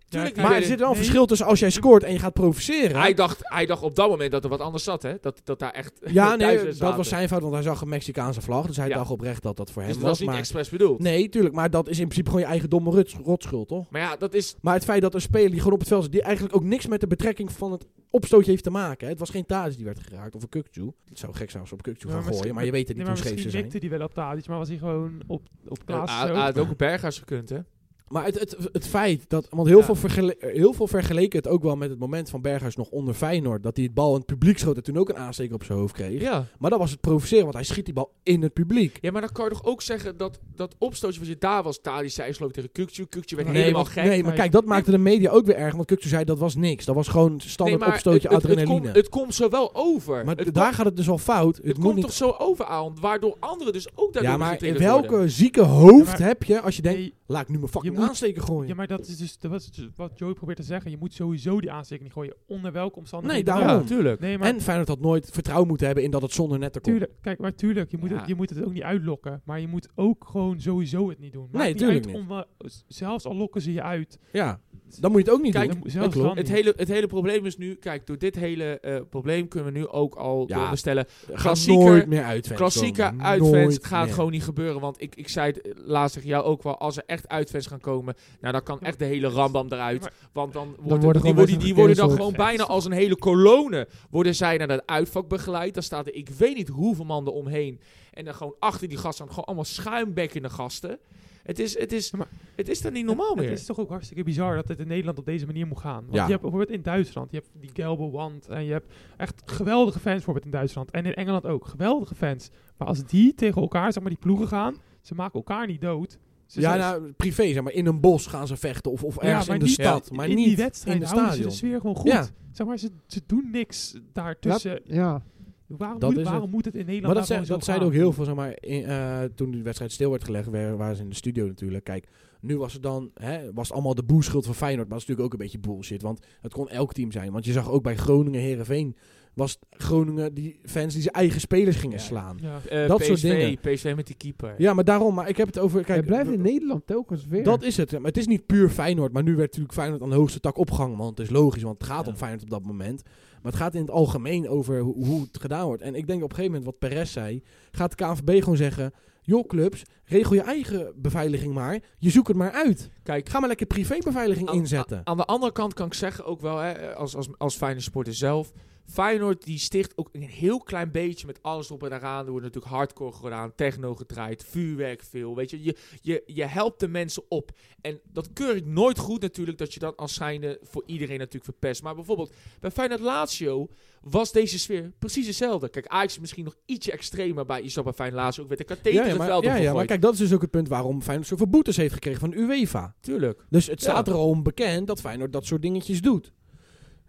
S1: Tuurlijk,
S2: Maar er
S1: nee,
S2: zit wel een
S3: nee.
S2: verschil tussen als jij scoort en je gaat provoceren.
S1: Hij dacht, hij dacht op dat moment dat er wat anders zat, hè? Dat, dat daar echt.
S2: ja,
S1: thuis
S2: nee,
S1: zaten.
S2: dat was zijn fout, want hij zag een Mexicaanse vlag. Dus hij
S1: Ja.
S2: dacht oprecht dat dat voor
S1: Dus
S2: hem
S1: dat
S2: was.
S1: was niet
S2: maar...
S1: expres bedoeld.
S2: Nee, tuurlijk, maar dat is in principe gewoon je eigen domme ruts- rotschuld, toch?
S1: Maar ja, dat is.
S2: Maar het feit dat een speler die gewoon op het veld zit, die eigenlijk ook niks met de betrekking van het opstootje heeft te maken. hè. Het was geen Thadis die werd geraakt of een Kukju. Het zou gek zijn als ze op Kukju
S3: Ja,
S2: gaan
S3: maar
S2: gooien, maar je weet het niet
S3: Nee, maar
S2: hoe scheef ze
S3: misschien
S2: zijn.
S3: mikte die wel op Tadic, maar was hij gewoon op, op
S1: Ah,
S3: plaats.
S1: ah,
S3: zo.
S1: had ook een berghuis gekund, hè?
S2: Maar het, het, het feit dat, want heel,
S1: Ja.
S2: veel vergele- heel veel vergeleken het ook wel met het moment van Berghuis nog onder Feyenoord. Dat hij het bal in het publiek schoot en toen ook een aansteker op zijn hoofd kreeg.
S1: Ja.
S2: Maar dat was het provoceren, want hij schiet die bal in het publiek.
S1: Ja, maar dan kan je toch ook zeggen dat dat opstootje wat je daar was, Tadi zei geloof ik tegen Kukcu. Kukcu werd
S3: Nee,
S1: helemaal
S2: want-
S1: gek.
S2: nee, maar
S3: Nee.
S2: kijk, dat maakte de media ook weer erg. Want Kuktu zei dat was niks. Dat was gewoon standaard
S1: maar
S2: opstootje
S1: het, het, het,
S2: adrenaline.
S1: komt, het komt zo wel over.
S2: maar
S1: het
S2: daar
S1: komt,
S2: gaat het dus al fout. Het,
S1: het
S2: moet
S1: komt
S2: niet.
S1: toch zo over aan, waardoor anderen dus ook daardoor
S2: ja, maar in
S1: getriggerd
S2: welke
S1: worden.
S2: zieke hoofd
S3: Ja, maar-
S2: heb je als je denkt,
S3: Nee,
S2: laat ik nu mijn fucking
S3: Je moet-
S2: aansteker gooien?
S3: ja, maar dat is dus dat was dus wat Joey probeert te zeggen. Je moet sowieso die aansteking niet gooien, onder welke omstandigheden.
S2: Nee,
S3: dan
S1: Ja,
S2: daarom.
S3: ook.
S1: natuurlijk.
S3: Nee, maar
S2: En Feyenoord had nooit vertrouwen moeten hebben in dat het zonder netter komt.
S3: tuurlijk, kijk, maar tuurlijk, je moet,
S1: Ja.
S3: het, je moet het ook niet uitlokken. Maar je moet ook gewoon sowieso het niet doen. Maakt
S2: Nee,
S3: niet
S2: tuurlijk
S3: uit om wel- z- zelfs al lokken ze je uit.
S2: Ja, dan moet je het ook niet
S1: Kijk,
S2: doen.
S3: dan moet- zelfs
S2: klopt.
S3: dan
S1: Het
S3: niet.
S1: hele, het hele probleem is nu, kijk, door dit hele eh, probleem kunnen we nu ook al
S2: Ja.
S1: bestellen.
S2: Gaat
S1: Klassieker-
S2: nooit meer uitfans
S1: Klassieke
S2: komen.
S1: uitfans
S2: Nooit
S1: gaat
S2: meer.
S1: gewoon niet gebeuren. Want ik, ik zei het eh, laatst tegen jou ook wel. Als er echt uitfans gaan komen, nou dan kan
S3: Ja,
S1: echt de hele rambam eruit.
S3: maar-
S1: want dan worden,
S4: worden
S1: die,
S4: gewoon
S1: worden,
S4: mensen
S1: die worden dan
S4: gecanceld.
S1: gewoon bijna als een hele kolonne. Worden zij naar dat uitvak begeleid. Dan staat er ik weet niet hoeveel man eromheen. En dan gewoon achter die gasten. Gewoon allemaal schuimbekkende gasten. Het is, het is,
S3: Ja, maar-
S1: het is dan niet normaal
S3: Het-
S1: meer.
S3: Het is toch ook hartstikke bizar dat het in Nederland op deze manier moet gaan. Want
S2: Ja.
S3: je hebt bijvoorbeeld in Duitsland, je hebt die gelbe wand en je hebt echt geweldige fans bijvoorbeeld in Duitsland. En in Engeland ook, geweldige fans. Maar als die tegen elkaar, zeg maar die ploegen gaan, ze maken elkaar niet dood. Ze
S2: ja,
S3: zijn-
S2: nou, privé, zeg maar. In een bos gaan ze vechten of, of
S3: Ja,
S2: ergens
S3: maar
S2: in de
S3: niet-
S2: stad.
S1: Ja,
S2: maar
S3: in
S2: niet
S3: die wedstrijd
S2: in de
S3: houden ze de
S2: stadion.
S3: sfeer gewoon goed.
S2: Ja.
S3: Zeg maar, ze, ze doen niks daartussen.
S4: Ja,
S3: waarom
S2: dat
S3: moet,
S2: is
S3: waarom
S2: het.
S3: moet het in
S2: Maar
S3: Nederland
S2: dat, zei,
S3: nou
S2: dat
S3: gewoon zo
S2: zeiden ook
S3: gaan?
S2: heel veel, zeg maar, in, eh, toen de wedstrijd stil werd gelegd, wer- waren ze in de studio natuurlijk. Kijk, nu was het dan, hè, was het allemaal de boerschuld van Feyenoord, maar dat is natuurlijk ook een beetje bullshit, want het kon elk team zijn. Want je zag ook bij Groningen, Herenveen, was het Groningen die fans die zijn eigen spelers gingen
S1: Ja.
S2: slaan.
S3: Ja.
S1: Eh,
S2: dat
S1: PSV,
S2: soort dingen.
S1: PSV met die keeper.
S2: Ja, maar daarom, maar ik heb het over,
S4: hij
S2: kijk,
S4: blijft
S2: we-
S4: in Nederland telkens weer.
S2: Dat is het. hè. Maar het is niet puur Feyenoord. Maar nu werd natuurlijk Feyenoord aan de hoogste tak opgehangen. Want het is logisch, want het gaat
S1: Ja.
S2: om Feyenoord op dat moment. Maar het gaat in het algemeen over ho- hoe het gedaan wordt. En ik denk op een gegeven moment, wat Perez zei, gaat de KNVB gewoon zeggen... Joh clubs, regel je eigen beveiliging maar. Je zoekt het maar uit.
S1: Kijk,
S2: Ga maar lekker privébeveiliging
S1: Aan-
S2: inzetten.
S1: a- Aan de andere kant kan ik zeggen ook wel, hè, als, als, als Feyenoord supporter zelf... Feyenoord die sticht ook een heel klein beetje met alles op en eraan. Er wordt natuurlijk hardcore gedaan, techno gedraaid, vuurwerk veel. Weet je, je, je, je helpt de mensen op. En dat keur ik nooit goed natuurlijk, dat je dat als zijnde voor iedereen natuurlijk verpest. Maar bijvoorbeeld bij Feyenoord Lazio was deze sfeer precies hetzelfde. Kijk, Ajax is misschien nog ietsje extremer bij Isabel bij Feyenoord Lazio. Ook werd de katheter
S2: ja, ja,
S1: het
S2: maar,
S1: veld
S2: ja, ja, maar
S1: opgegooid.
S2: kijk, dat is dus ook het punt waarom Feyenoord zoveel boetes heeft gekregen van de UEFA.
S1: Tuurlijk.
S2: Dus het
S1: Ja.
S2: staat er al om bekend dat Feyenoord dat soort dingetjes doet.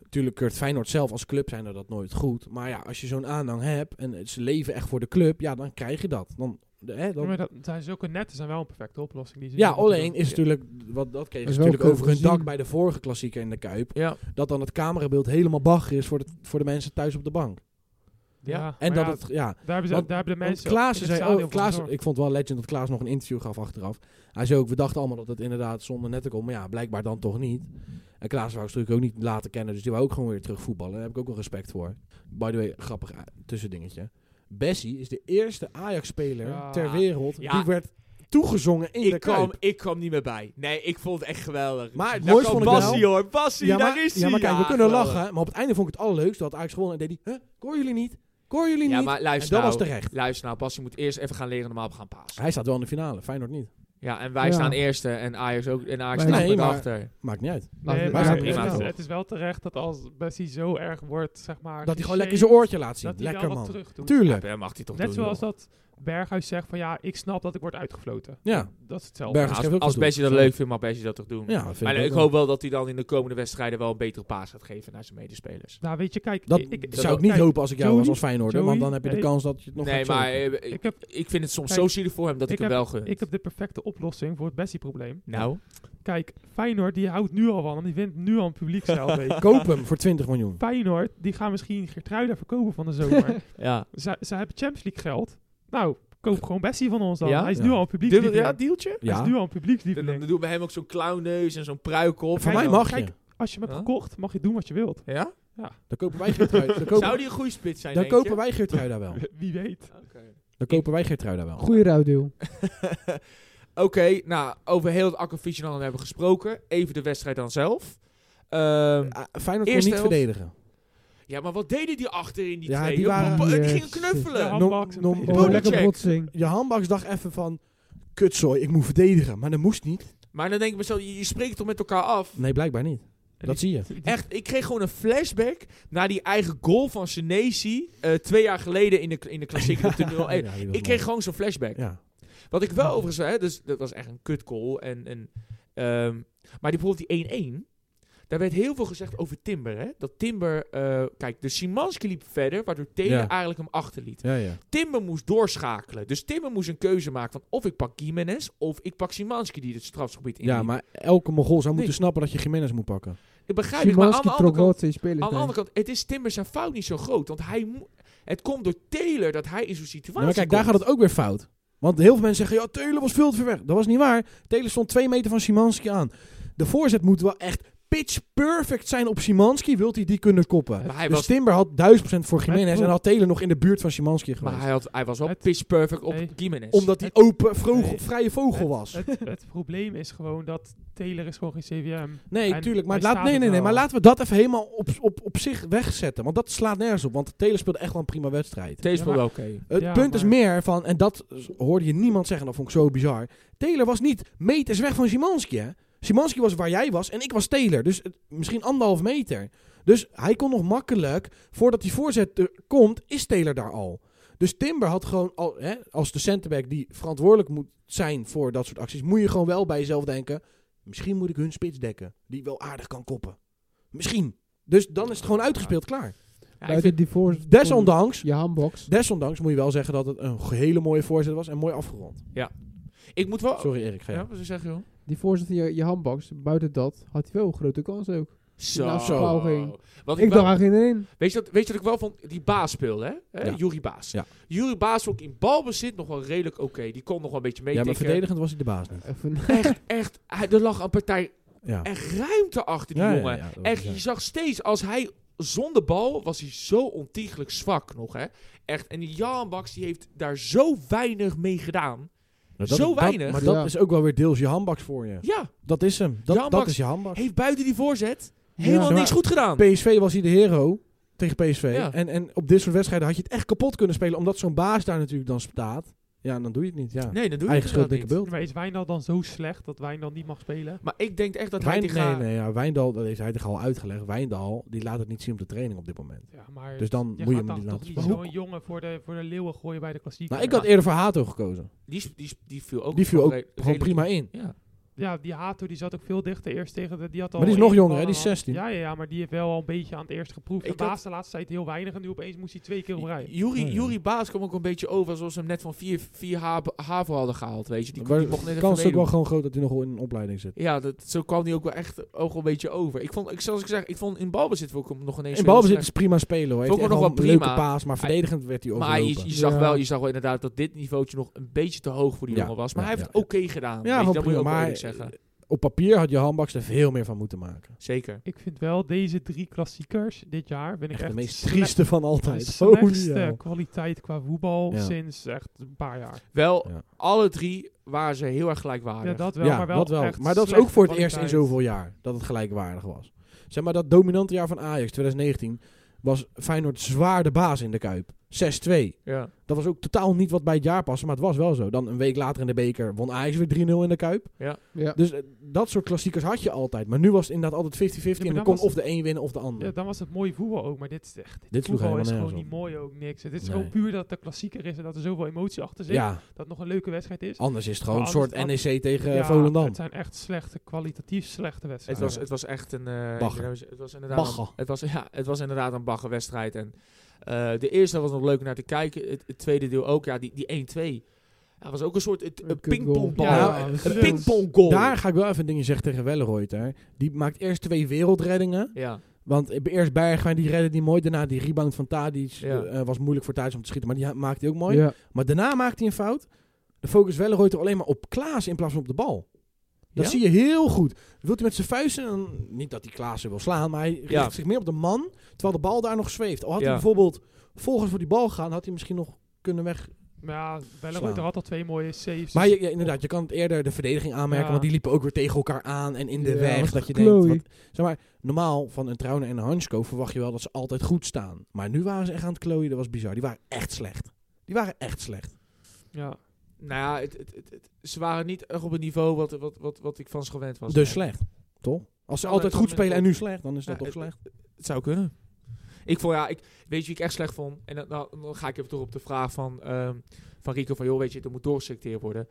S2: Natuurlijk keurt Feyenoord zelf als club zijn er dat nooit goed. Maar ja, als je zo'n aanhang hebt en het- ze leven echt voor de club, ja, dan krijg je dat. Dan, de- hè,
S3: Ja,
S2: dan,
S3: maar dat, zijn zulke netten zijn wel een perfecte oplossing. Die ze
S2: ja,
S3: nu moeten
S2: alleen
S3: doen.
S2: is natuurlijk, wat, dat kregen
S4: Dat
S2: ze
S4: is wel
S2: natuurlijk over
S4: kunnen
S2: hun dak
S4: zien.
S2: bij de vorige klassieker in de Kuip.
S1: Ja.
S2: Dat dan het camerabeeld helemaal bagger is voor de, voor de mensen thuis op de bank.
S1: Ja.
S3: Ja,
S2: En
S3: maar
S2: dat
S3: ja,
S2: het, ja,
S3: daar hebben, ze,
S2: want-
S3: daar hebben de
S2: Want
S3: mensen
S2: Klaassen
S3: in
S2: zei
S3: het stadion
S2: ook,
S3: voor
S2: Klaassen,
S3: gezorgd.
S2: ik vond het wel legend dat Klaas nog een interview gaf achteraf. Hij zei ook, we dachten allemaal dat het inderdaad zonder netten kon, maar ja, blijkbaar dan toch niet. En Klaas wou ze natuurlijk ook niet laten kennen, dus die wou ook gewoon weer terug voetballen. Daar heb ik ook wel respect voor. By the way, grappig eh, tussendingetje. Bessie is de eerste Ajax-speler
S3: Ja.
S2: ter wereld
S1: Ja.
S2: die werd toegezongen in de
S1: Ik
S2: Kuip.
S1: kwam, ik kwam niet meer bij. Nee, ik vond het echt geweldig.
S2: Maar het
S1: Daar
S2: mooiste
S1: kwam
S2: vond ik wel-
S1: Bassie hoor. Bassie,
S2: ja, maar,
S1: daar is hij.
S2: ja, maar kijk, we kunnen
S1: geweldig.
S2: lachen, maar op het einde vond ik het allerleukste. Dat Ajax gewonnen en deed hij, huh, koor jullie niet? Koor jullie
S1: Ja,
S2: niet?
S1: maar
S2: en dat
S1: luister nou.
S2: was terecht.
S1: Luister nou, Bassie moet eerst even gaan leren normaal op gaan pasen.
S2: Hij staat wel in de finale, Feyenoord niet.
S1: Ja, en wij
S4: Ja.
S1: staan eerste en Ajax ook. En Ajax
S4: Nee,
S1: staat
S2: maar-
S1: achter.
S2: Maakt niet uit.
S4: Laten
S3: Nee,
S4: we-
S3: maar
S4: laten
S3: het,
S4: we
S3: is,
S1: prima
S4: het
S1: toch?
S4: wel.
S3: het is wel terecht dat als Bessie zo erg wordt, zeg
S2: Dat hij
S3: maar...
S2: gewoon
S3: geshaped,
S2: lekker zijn oortje laat zien.
S3: dat hij
S2: Lekker
S3: wel wat
S2: man.
S3: terug doet.
S2: Tuurlijk.
S1: Ja, mag hij toch
S3: Net
S1: doen,
S3: zoals
S1: joh.
S3: dat Berghuis zegt van ja, ik snap dat ik word uitgefloten.
S2: Ja.
S3: Dat is hetzelfde.
S2: Berghuis
S1: Ja,
S2: geeft
S1: als
S2: ook
S1: als
S2: goed
S1: Bessie
S2: door.
S1: dat leuk vindt, mag Bessie dat toch doen.
S2: Ja, dat vind
S1: maar
S2: ik,
S1: ik,
S2: ook wel.
S1: hoop wel dat hij dan in de komende wedstrijden wel een betere paas gaat geven naar zijn medespelers.
S3: Nou, weet je, kijk...
S2: Dat
S3: ik, ik,
S2: zou ik
S3: kijk,
S2: niet hopen als ik jou
S3: Joey-
S2: was als Feyenoord.
S3: Joey-
S2: want dan heb je de
S3: Hey.
S2: kans dat je het nog
S1: nee,
S2: gaat
S1: maar
S2: zorgen.
S1: eh, ik,
S3: Ik heb,
S1: ik vind het soms
S3: Kijk,
S1: zo zielig voor hem dat ik,
S3: ik
S1: hem
S3: heb-
S1: wel gun.
S3: ik heb de perfecte oplossing voor het Bessie-probleem.
S1: nou,
S3: Kijk, Feyenoord die houdt nu al van hem. Die wint nu al een publiek zelf. weet
S1: eh,
S3: je.
S2: Koop hem voor 20 miljoen.
S3: Feyenoord, die gaan misschien Gertruida verkopen van de zomer.
S1: ja.
S3: Ze ze hebben Champions League geld. Nou, koop gewoon Bessie van ons dan.
S1: Ja?
S3: Hij is
S2: Ja.
S3: nu al een publiek.
S1: Dubbel, ja, dealtje?
S3: Hij is nu al een
S1: Dan, dan
S3: publiekslieveling.
S1: doen we hem ook zo'n clownneus en zo'n pruik op.
S2: Voor
S1: En
S2: mij
S1: dan-
S2: mag
S3: kijk,
S2: je.
S3: Als je hem hebt
S1: Huh?
S3: gekocht, mag je doen wat je wilt.
S1: Ja?
S2: Dan kopen wij Geertruida. Dan kopen,
S1: Zou die een goede spits zijn,
S2: dan
S1: denk je?
S2: kopen wij Geertruida wel.
S3: Wie weet.
S2: Dan kopen wij Geertruida wel.
S4: Goeie ruildeal.
S1: Oké, nou, over heel het akkefietje dan hebben we gesproken. Even de wedstrijd dan zelf. Ehm,
S2: Ah, Feyenoord kon
S1: Eerste
S2: niet
S1: helft.
S2: verdedigen.
S1: ja, maar wat deden die achterin, die
S2: Ja,
S1: twee?
S2: die
S1: joh?
S2: waren- eh,
S1: Papa, die gingen
S4: Jezus.
S1: knuffelen.
S3: Ja,
S2: Nom-
S3: Handbaks en-
S2: nom-
S4: Oh,
S1: Boom,
S4: lekker
S1: check.
S4: botsing.
S2: Je handbaks dacht even van... Kutzooi, ik moet verdedigen. Maar dat moest niet.
S1: Maar dan denk ik mezelf, je, je spreekt toch met elkaar af?
S2: Nee, blijkbaar niet.
S3: En
S2: Dat
S3: die-
S2: zie je.
S3: die-
S1: Echt, ik kreeg gewoon een flashback naar die eigen goal van Senesi eh, twee jaar geleden in de, in de klassieker op de 0-1.
S2: Ja, die was
S1: Ik kreeg
S2: mooi.
S1: gewoon zo'n flashback.
S2: Ja.
S1: Wat ik wel overigens, hè, dus dat was echt een kut goal. En, en, ehm, maar die, bijvoorbeeld die 1-1, daar werd heel veel gezegd over Timber. Hè? Dat Timber, eh, kijk, de Simanski liep verder, waardoor Taylor
S2: Ja.
S1: eigenlijk hem achterliet.
S2: Ja, ja.
S1: Timber moest doorschakelen. Dus Timber moest een keuze maken van of ik pak Jiménez of ik pak Simanski die het strafgebied in.
S2: Ja, maar elke Mongool zou moeten
S1: Nee.
S2: snappen dat je Jiménez moet pakken.
S1: ik begrijp het, maar aan de
S4: Szymanski
S1: andere
S4: trok wel
S1: kant,
S4: twee spelers
S1: aan de
S4: mee.
S1: andere kant, het is Timber zijn fout niet zo groot. Want hij mo- het komt door Taylor dat hij in zo'n situatie
S2: Ja, Nou, maar kijk, daar gaat
S1: komt.
S2: het ook weer fout. Want heel veel mensen zeggen, ja, Telen was veel te ver weg. Dat was niet waar. Telen stond twee meter van Simanski aan. De voorzet moet wel echt pitch perfect zijn op Simanski. Wilt hij die kunnen koppen?
S1: Maar hij
S2: dus
S1: was-
S2: Timber had duizend procent voor Jiménez
S3: Met-
S2: en had Telen nog in de buurt van Simanski
S1: Maar
S2: geweest.
S1: hij, had, hij was wel
S3: Het-
S1: pitch perfect op
S3: Nee.
S1: Jiménez.
S2: Dus- Omdat hij open, vrogel-
S3: Nee.
S2: vrije vogel
S3: Het-
S2: was.
S3: Het, het probleem is gewoon dat Taylor is gewoon geen CWM.
S2: nee,
S3: en
S2: tuurlijk. Maar,
S3: hij
S2: laat,
S3: staat
S2: nee, nee,
S3: er
S2: nee,
S3: wel.
S2: maar laten we dat even helemaal op, op, op zich wegzetten. Want dat slaat nergens op. Want Telen speelde echt wel een prima wedstrijd.
S1: Taylor is
S3: Ja,
S1: wel
S3: maar-
S1: oké.
S2: Het
S3: Ja,
S2: punt is
S3: maar-
S2: meer van, en dat s- hoorde je niemand zeggen, dat vond ik zo bizar. Taylor was niet meters weg van Simanski, hè? Simanski was waar jij was en ik was Taylor. Dus het- misschien anderhalf meter. Dus hij kon nog makkelijk, voordat die voorzet er komt, is Taylor daar al. Dus Timber had gewoon, al, hè, als de centerback die verantwoordelijk moet zijn voor dat soort acties, moet je gewoon wel bij jezelf denken, misschien moet ik hun spits dekken, die wel aardig kan koppen. Misschien. Dus dan is het gewoon uitgespeeld, klaar.
S1: Ja, ik
S4: Buiten
S1: vind-
S4: die voor...
S2: Desondanks,
S4: Je handbox.
S2: Desondanks moet je wel zeggen dat het een hele mooie voorzet was en mooi afgerond.
S1: ik moet wel...
S2: Sorry Erik, ga je.
S1: Oh. Ja, wat zeg je, joh?
S4: Die voorzet in je, je handbox. Buiten dat had hij wel een grote kans ook.
S1: Zo.
S4: Nou, zo. ging.
S1: Wat ik
S4: Ik
S1: wel-
S4: dacht eigenlijk in.
S1: weet, je dat, weet je dat ik wel van die baas speelde, hè? hè?
S2: Ja.
S1: Jurie Baas.
S2: Ja.
S1: Jurie Baas ook in balbezit nog wel redelijk oké. Die kon nog wel een beetje
S2: Ja, maar
S1: meetikken.
S2: verdedigend was hij de baas niet.
S4: Even,
S1: Echt, echt. Hij, er lag een partij
S2: Ja.
S1: echt ruimte achter die
S2: Ja, ja,
S1: jongen.
S2: ja, dat
S1: Echt,
S2: was-
S1: je zag steeds als hij zonder bal was hij zo ontiegelijk zwak nog, hè? Echt. En die Jan Baks die heeft daar zo weinig mee gedaan.
S2: Nou,
S1: zo weinig.
S2: maar dat
S4: Ja.
S2: is ook wel weer deels je handbaks voor je.
S1: Ja,
S2: Dat is hem.
S1: Je
S2: Dat,
S1: handbaks-
S2: dat is je handbaks.
S1: heeft buiten die voorzet helemaal
S2: Ja, maar-
S1: niks goed gedaan.
S2: PSV was hij de hero tegen PSV.
S1: Ja.
S2: En, en op dit soort wedstrijden had je het echt kapot kunnen spelen, omdat zo'n baas daar natuurlijk dan staat. Ja, en dan doe je het niet. Ja.
S1: Nee, dat doe je
S2: Eigen schuld,
S1: inderdaad
S2: dikke
S1: niet.
S2: bult.
S3: Maar is Wijndal dan zo slecht dat Wijndal niet mag spelen?
S1: Maar ik denk echt dat hij
S2: Wijn,
S1: die
S2: nee,
S1: gaat...
S2: nee, ja, Wijndal, dat heeft hij toch al uitgelegd. Wijndal, die laat het niet zien op de training op dit moment.
S3: Ja, maar
S2: Dus dan
S3: je
S2: moet je
S3: gaat
S2: hem
S3: dan
S2: niet
S3: toch
S2: laten
S3: niet
S2: spelen.
S3: zo'n jongen voor de, voor de leeuwen gooien bij de klassieker.
S2: Nou, ik had eerder voor Hato gekozen.
S1: Die, sp- die, sp- die viel ook,
S2: Die viel
S1: wel
S2: ook
S1: re-
S2: Gewoon
S1: redelijk-
S2: prima in.
S1: Ja.
S3: Ja, die Hato die zat ook veel dichter eerst tegen de... Die had al
S2: Maar die is nog
S3: één
S2: jonger, hè?
S3: bal
S2: Die is
S3: aan de hand.
S2: 16.
S3: Ja, ja, ja, maar die heeft wel al een beetje aan het eerst geproefd.
S1: Ik
S3: Ik baas de laatste tijd heel weinig en nu opeens moest hij twee keer op rij.
S1: Juri,
S2: Ja, ja.
S1: Juri Baas kwam ook een beetje over alsof ze hem net van 4 vier hab- HAVO hadden gehaald, weet je. Die, kon-
S2: Maar
S1: die mocht net
S2: de
S1: even
S2: kans is ook wel
S1: meedoen.
S2: gewoon groot dat hij nog wel in een opleiding zit.
S1: Ja, dat, zo kwam hij ook wel echt ook wel een beetje over. Ik vond, ik, zoals ik zeg, ik vond in balbezit vond ik hem nog ineens...
S2: In
S1: heel
S2: balbezit is
S1: slecht.
S2: prima spelen hoor. Heeft
S1: Vond
S2: hij
S1: ik
S2: nog
S1: ook
S2: wel
S1: nog
S2: een
S1: wel
S2: leuke
S1: prima.
S2: paas, maar verdedigend werd hij
S1: Maar je,
S2: overlopen.
S1: je zag
S4: Ja.
S1: wel, je zag wel inderdaad dat dit niveautje nog een beetje te hoog voor die
S2: Ja,
S1: jongen was. Maar
S2: ja,
S1: hij heeft
S2: ja,
S1: het oké gedaan.
S2: Ja,
S1: weet je, dat
S2: gewoon
S1: moet je ook
S2: prima,
S1: wel
S2: maar- eh,
S1: eerlijk zeggen.
S2: Op papier had je handbaks er veel meer van moeten maken.
S1: Zeker.
S3: Ik vind wel deze drie klassiekers dit jaar... Ben ik
S2: Echt,
S3: echt
S2: de meest
S3: slecht-
S2: trieste van
S3: de
S2: altijd. Oh,
S3: slechtste
S2: Holy hell.
S3: kwaliteit qua voetbal
S2: Ja.
S3: sinds echt een paar jaar.
S1: Wel,
S2: Ja.
S1: alle drie waren ze heel erg
S3: Ja,
S1: gelijkwaardig.
S3: dat wel,
S2: Ah, Ja,
S3: maar wel
S2: dat wel.
S3: echt
S2: Maar dat is ook
S3: slechte
S2: voor het eerst in
S3: kwaliteit.
S2: zoveel jaar dat het gelijkwaardig was. Zeg maar dat dominante jaar van Ajax 2019 was Feyenoord zwaar de baas in de Kuip. 6-2.
S1: ja.
S2: Dat was ook totaal niet wat bij het jaar paste, maar het was wel zo. Dan een week later in de beker won Ajax weer 3-0 in de Kuip.
S4: Ja.
S2: Dus eh, dat soort klassiekers had je altijd. Maar nu was het inderdaad altijd 50-50
S3: Ja,
S2: en dan
S3: maar dan
S2: kon
S3: was
S2: of de een winnen of de ander.
S3: Ja, dan was het mooie voetbal ook, maar dit is echt...
S2: Dit sloeg
S3: voetbal
S2: helemaal
S3: is gewoon
S2: nergens
S3: niet
S2: op.
S3: mooi ook, niks. Het is
S2: Nee.
S3: gewoon puur dat het een klassieker is en dat er zoveel emotie achter zit.
S2: Ja,
S3: Dat het nog een leuke wedstrijd is.
S2: anders is het gewoon een
S3: Maar
S2: soort
S3: anders-
S2: NEC tegen
S3: Ja,
S2: eh, Volendam.
S3: Het zijn echt slechte, kwalitatief slechte
S1: Het
S3: wedstrijden.
S1: was, het was echt een... eh,
S2: Bagger.
S1: Het was inderdaad
S2: Bagger.
S1: Een, het, was, ja, het was inderdaad een baggerwedstrijd. En eh, de eerste was nog leuk naar te kijken. Het, het tweede deel ook. Ja, die, die 1-2. Dat was ook een soort het-
S4: Een
S1: een
S4: kutgoal.
S1: pingpongbal.
S3: Ja,
S1: een
S3: dat is- Oh.
S1: pingponggoal.
S2: Daar ga ik wel even een dingje zeggen tegen Welleroyter. Die maakt eerst twee wereldreddingen.
S1: Ja,
S2: Want eh, eerst Bergwijn, die redde die mooi. Daarna die rebound van Tadic.
S1: Ja.
S2: eh, was moeilijk voor Tadic om te schieten, maar die ha- maakte hij ook mooi.
S4: Ja.
S2: Maar daarna maakt hij een fout. De focus Welleroyter alleen maar op Klaas in plaats van op de bal. Dat
S1: Ja?
S2: zie je heel goed. Wilt hij met zijn vuisten, dan- niet dat hij Klaassen wil slaan, maar hij richt
S1: Ja.
S2: zich meer op de man, terwijl de bal daar nog zweeft. Al had hij
S1: Ja.
S2: bijvoorbeeld volgens voor die bal gaan, had hij misschien nog kunnen weg.
S3: Maar ja, Belleroyter
S2: Slaan.
S3: had al twee mooie saves.
S2: Maar je,
S3: dus-
S2: ja, inderdaad, je kan het eerder de verdediging aanmerken,
S3: Ja.
S2: want die liepen ook weer tegen elkaar aan en in de
S4: Ja,
S2: weg.
S4: wat
S2: Dat je
S4: geklooi.
S2: denkt, wat- zeg maar, normaal van een Trouwner en een Hansko verwacht je wel dat ze altijd goed staan. Maar nu waren ze echt aan het klooien, dat was bizar. Die waren echt slecht. Die waren echt slecht.
S3: ja.
S1: nou ja, het, het, het- het- ze waren niet echt op het niveau wat, wat, wat, wat ik van ze gewend was.
S2: Dus slecht, toch? Als ze
S1: Ja,
S2: altijd
S1: maar-
S2: goed
S1: maar-
S2: spelen en nu slecht, dan is dat
S1: Ja,
S2: toch
S1: het-
S2: slecht.
S1: Het zou kunnen. Ik vond ja, ik, weet je wie ik echt slecht vond? En dan, dan, dan ga ik even terug op de vraag van, ehm, van Rico van, joh, weet je, er moet doorgeselecteerd worden.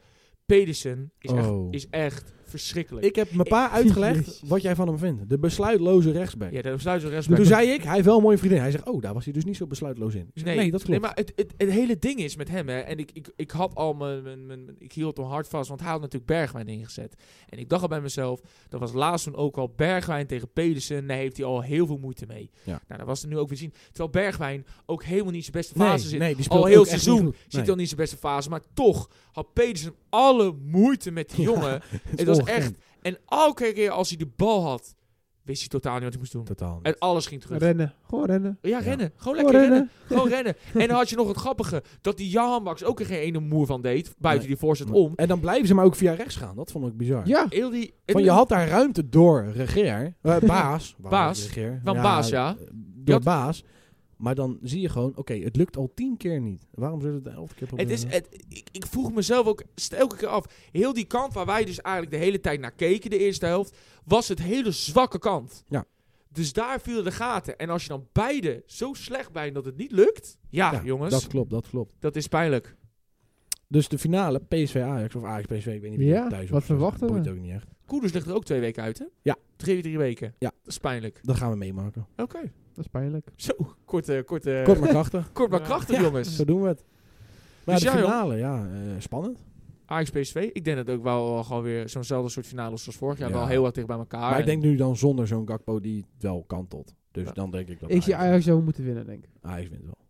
S1: Pedersen is,
S2: Oh.
S1: echt, is echt verschrikkelijk.
S2: Ik heb mijn pa uitgelegd wat jij van hem vindt. De besluitloze rechtsback.
S1: ja, daar besluit ze respect.
S2: Toen zei ik, hij heeft wel een mooie vriendin. Hij zegt, oh, daar was hij dus niet zo besluitloos in. Ik zeg, nee, dat klopt.
S1: maar het, het, het hele ding is met hem, hè, en ik, ik, ik had al mijn, mijn, mijn, mijn- ik hield hem hard vast, want hij had natuurlijk Bergwijn ingezet. En ik dacht al bij mezelf, dat was laatst toen ook al Bergwijn tegen Pedersen, daar heeft hij al heel veel moeite mee.
S2: Ja.
S1: Nou, dat was er nu ook weer zien. Terwijl Bergwijn ook helemaal niet in zijn beste
S2: nee,
S1: fase zit.
S2: nee, die speelt
S1: al heel
S2: ook echt
S1: seizoen
S2: niet goed.
S1: zit
S2: Nee.
S1: hij al niet in zijn beste fase, maar toch had Pedersen alle moeite met die
S2: Ja,
S1: jongen.
S2: is
S1: het was
S2: ongekend.
S1: echt, en elke keer als hij de bal had, wist hij totaal niet wat hij moest doen.
S2: Totaal niet.
S1: En alles ging terug.
S4: Rennen. Gewoon rennen.
S1: Ja,
S2: Ja.
S1: rennen. Gewoon
S4: Gewoon
S1: lekker rennen.
S4: rennen.
S1: Gewoon rennen. En dan had je nog het grappige dat die Jahan Max ook er geen ene moer van deed. Buiten
S2: Nee.
S1: die voorzet
S2: Maar-
S1: om.
S2: En dan blijven ze maar ook via rechts gaan. Dat vond ik bizar.
S4: Ja.
S1: Heel die,
S2: Van, je had daar ruimte door regeer. eh, baas. Waarom
S1: Baas.
S2: Regeer?
S1: Van baas, ja.
S2: eh,
S1: Je
S2: Door
S1: had-
S2: baas. Maar dan zie je gewoon, oké, het lukt al tien keer niet. Waarom zullen we het elf keer
S1: het
S2: proberen?
S1: is, het, ik, ik vroeg mezelf ook st- elke keer af. Heel die kant waar wij dus eigenlijk de hele tijd naar keken, de eerste helft, was het hele zwakke kant.
S2: Ja.
S1: Dus daar vielen de gaten. En als je dan beide zo slecht bent dat het niet lukt.
S3: Ah,
S1: Ja,
S2: Ja,
S1: jongens,
S2: Dat
S1: dat,
S2: klopt, dat klopt.
S1: is pijnlijk.
S2: Dus de finale, PSV-Ajax of Ajax-PSV, ik weet niet wie
S4: Ja,
S2: er thuis
S4: wat
S2: op staat.
S4: verwachten
S2: Boeit
S4: we?
S2: ook niet echt.
S1: Koeders ligt er ook twee weken uit, hè?
S2: Ja.
S1: Drie, drie weken.
S2: Ja.
S1: Dat is pijnlijk.
S2: Dat gaan we meemaken.
S1: Oké.
S4: Dat is pijnlijk.
S1: Zo, korte,
S3: Eh,
S1: korte,
S2: Kort maar krachtig.
S1: kort maar
S3: Ja.
S1: krachtig,
S2: Ja.
S3: dus
S1: jongens.
S2: Zo doen we het. Maar
S1: Dus
S2: de
S1: ja, joh.
S2: finale, ja, eh, spannend.
S1: Ajax PSV. Ik denk dat ook wel eh, gewoon weer zo'nzelfde soort finales als vorig jaar.
S2: Ja.
S1: Wel heel wat dicht bij elkaar.
S2: maar ik
S1: En-
S2: denk nu dan zonder zo'n Gakpo die het wel kantelt. Dus
S1: Ja.
S2: dan denk ik dat
S4: Ik zie Ajax zo moeten winnen, denk ik.
S2: Ajax wint wel.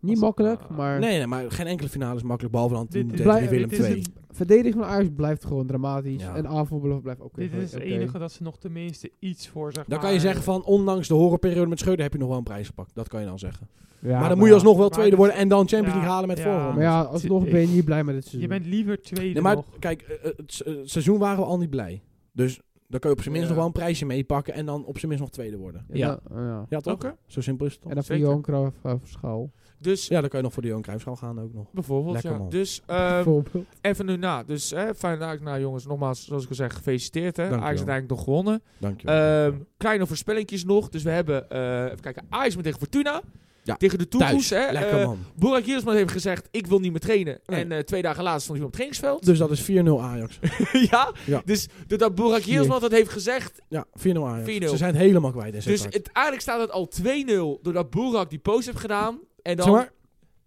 S4: Niet
S1: Als-
S4: makkelijk,
S1: ah,
S4: maar...
S2: Nee, nee, maar geen enkele finale is makkelijk, behalve dan
S3: Dit
S2: toen
S3: is-
S2: tegen die
S3: Blij-
S2: Willem
S3: dit is-
S2: II.
S3: dit
S4: Verdediging van Ajax blijft gewoon dramatisch.
S2: Ja.
S4: En aanvalbeloof blijft ook weer
S3: Dit
S4: gewoon
S3: is het
S4: oké.
S3: enige dat ze nog tenminste iets voor, zeg
S2: Dan
S3: maar...
S2: kan je zeggen van, ondanks de horrorperiode met Scheuder heb je nog wel een prijs gepakt. Dat kan je dan zeggen.
S4: Ja,
S2: maar dan moet je alsnog wel
S3: maar
S2: tweede
S3: dit-
S2: worden en dan Champions
S3: ja,
S2: League halen met
S3: ja.
S2: voorronde.
S4: Maar ja, alsnog ben je niet blij met het
S3: Je
S4: seizoen.
S3: bent liever tweede
S2: Nee, maar
S3: nog.
S2: kijk, eh, het, se- het seizoen waren we al niet blij. Dus dan kun je op zijn minst
S1: Ja.
S2: nog wel een prijsje meepakken en dan op zijn minst nog tweede worden.
S4: En
S1: Ja.
S4: dan- oh ja.
S2: Ja, toch?
S1: Oké.
S2: Zo simpel is het toch?
S4: En dan voor
S1: Zeker.
S4: Johan Cruijff eh, schaal.
S1: Dus
S2: Ja, dan kan je nog voor de Johan Cruijffschaal gaan ook nog.
S1: bijvoorbeeld,
S2: Lekker
S1: ja.
S2: man.
S1: Dus ehm,
S4: Bijvoorbeeld.
S1: even nu na. Dus eh, fijne dag nou jongens. Nogmaals, zoals ik al zei, gefeliciteerd. Hè.
S2: Dankjewel.
S1: Ajax uiteindelijk nog gewonnen.
S2: Dank je
S1: Ehm, kleine voorspellingjes nog. Dus we hebben, eh, even kijken, Ajax moet tegen Fortuna.
S2: Ja.
S1: Tegen de Toekoes.
S2: Thuis,
S1: hè.
S2: lekker
S1: Eh,
S2: man.
S1: Burak Yilmaz heeft gezegd, ik wil niet meer trainen.
S2: Nee.
S1: En eh, twee dagen later stond hij op het trainingsveld.
S2: Dus dat is 4-0 Ajax.
S1: ja?
S2: Ja.
S1: Dus doordat Burak Yilmaz dat heeft gezegd,
S2: Ja, 4-0 Ajax.
S1: 4-0.
S2: Ze zijn het helemaal kwijt. in
S1: Dus
S2: Sittard.
S1: het, eigenlijk staat het al 2-0 doordat Boerak die post heeft gedaan. En dan...
S2: Zeg maar,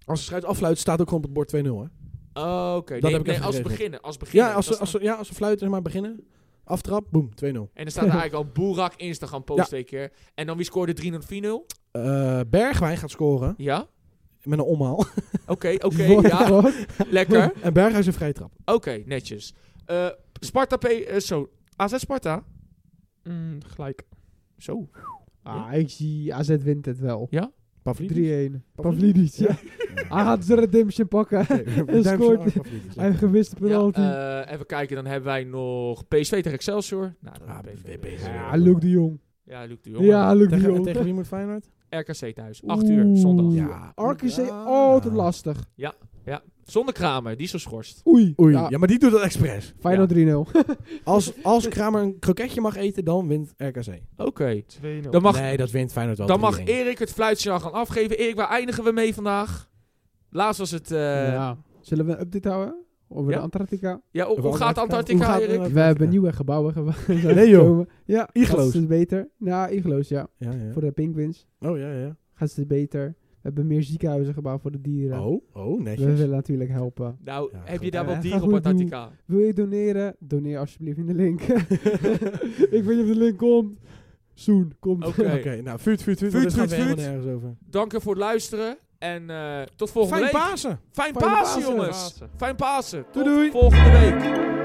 S2: als de scheids afluit, staat ook gewoon op het bord 2-0. Hè?
S1: Oh, Oké,
S2: Dat
S1: nee,
S2: heb ik
S1: nee,
S2: even
S1: als
S2: geregeld.
S1: beginnen. Als beginnen
S2: Ja, als,
S1: dat is
S2: ze, als,
S1: dan-
S2: ze, ja, als ze fluiten, zeg maar beginnen. Aftrap, boem, 2-0.
S1: En dan staat er eigenlijk al Boerak Instagram post
S2: Ja.
S1: twee keer. En dan wie scoorde 3-0-4-0?
S2: Eh, Bergwijn gaat scoren
S1: Ja?
S2: met een omhaal.
S1: Oké, oké,
S4: What the
S1: ja.
S4: fuck?
S1: Lekker.
S2: en Bergwijn is een vrije trap.
S1: Oké, netjes. Eh, Sparta P... eh, zo, AZ Sparta?
S3: Mm, gelijk.
S1: Zo.
S4: Ah, ik zie AZ wint het wel.
S2: Pavlidis.
S4: 3-1. Pavlidis, ja. Hij gaat zijn redemption pakken.
S2: en
S4: scoort.
S2: scoort.
S4: Hij heeft gewist penalty. Ja,
S1: Ja, eh, even kijken, dan hebben wij nog PSV tegen Excelsior. Nou, dat
S2: Ah,
S1: PSV.
S2: PSV.
S1: Ja,
S4: Luc de Jong.
S1: Ja, Luc de Jong.
S4: Ja, Luc de
S2: Tegen,
S4: Jong.
S2: tegen wie moet Feyenoord?
S1: RKC thuis. 8 uur, zondag.
S2: Ja.
S4: RKC
S2: Ja.
S4: altijd lastig.
S1: Zonder Kramer, die is geschorst.
S4: Oei.
S2: Oei,
S4: Ja,
S2: ja, maar die doet dat expres.
S4: Feyenoord 3-0.
S2: Als, als Kramer een kroketje mag eten, dan wint RKC.
S1: Oké.
S3: 2-0.
S1: Dan mag,
S2: nee, dat wint Feyenoord wel.
S1: dan mag
S2: 3-1.
S1: Erik het fluitsignaal gaan afgeven. Erik, waar eindigen we mee vandaag? Laatst was het... eh, ja.
S4: ja. Zullen we een update houden? Over
S1: Ja.
S4: de Antarctica?
S1: hoe, hoe
S2: Over
S1: gaat
S2: Antarctica?
S1: Antarctica,
S2: Hoe gaat-
S1: Erik?
S2: Antarctica.
S4: We hebben nieuwe gebouwen gebouwd.
S2: Nee, joh.
S4: Ja,
S2: Igloos.
S4: gaat steeds beter. Nou, igloos, ja.
S2: Ja, ja.
S4: Voor de penguins
S2: Oh, ja, ja.
S4: gaat steeds beter. We hebben meer ziekenhuizen gebouwd voor de dieren.
S2: Oh, oh,
S4: we
S2: netjes.
S4: willen natuurlijk helpen.
S1: Nou,
S2: Ja,
S1: heb je
S2: goed.
S1: daar
S4: Ja,
S1: wat
S4: ga
S1: dieren op
S4: goed doen.
S1: Antarctica?
S4: Wil je doneren? Doneer alsjeblieft in de link. ik weet niet of de link komt. Soon, komt.
S1: Oké.
S2: Oké, nou, vuut, vuut, vuut.
S1: Vuut,
S2: want dit
S1: vuut,
S2: gaat helemaal
S1: vuut.
S2: nergens over.
S1: Dank je voor het luisteren. En eh, tot volgende
S2: Fijn
S1: week.
S2: Pasen!
S1: Fijn
S2: Fijne
S1: Pasen,
S2: Pasen.
S1: jongens. Fijn Pasen. Tot
S2: Doei, doei.
S1: volgende week.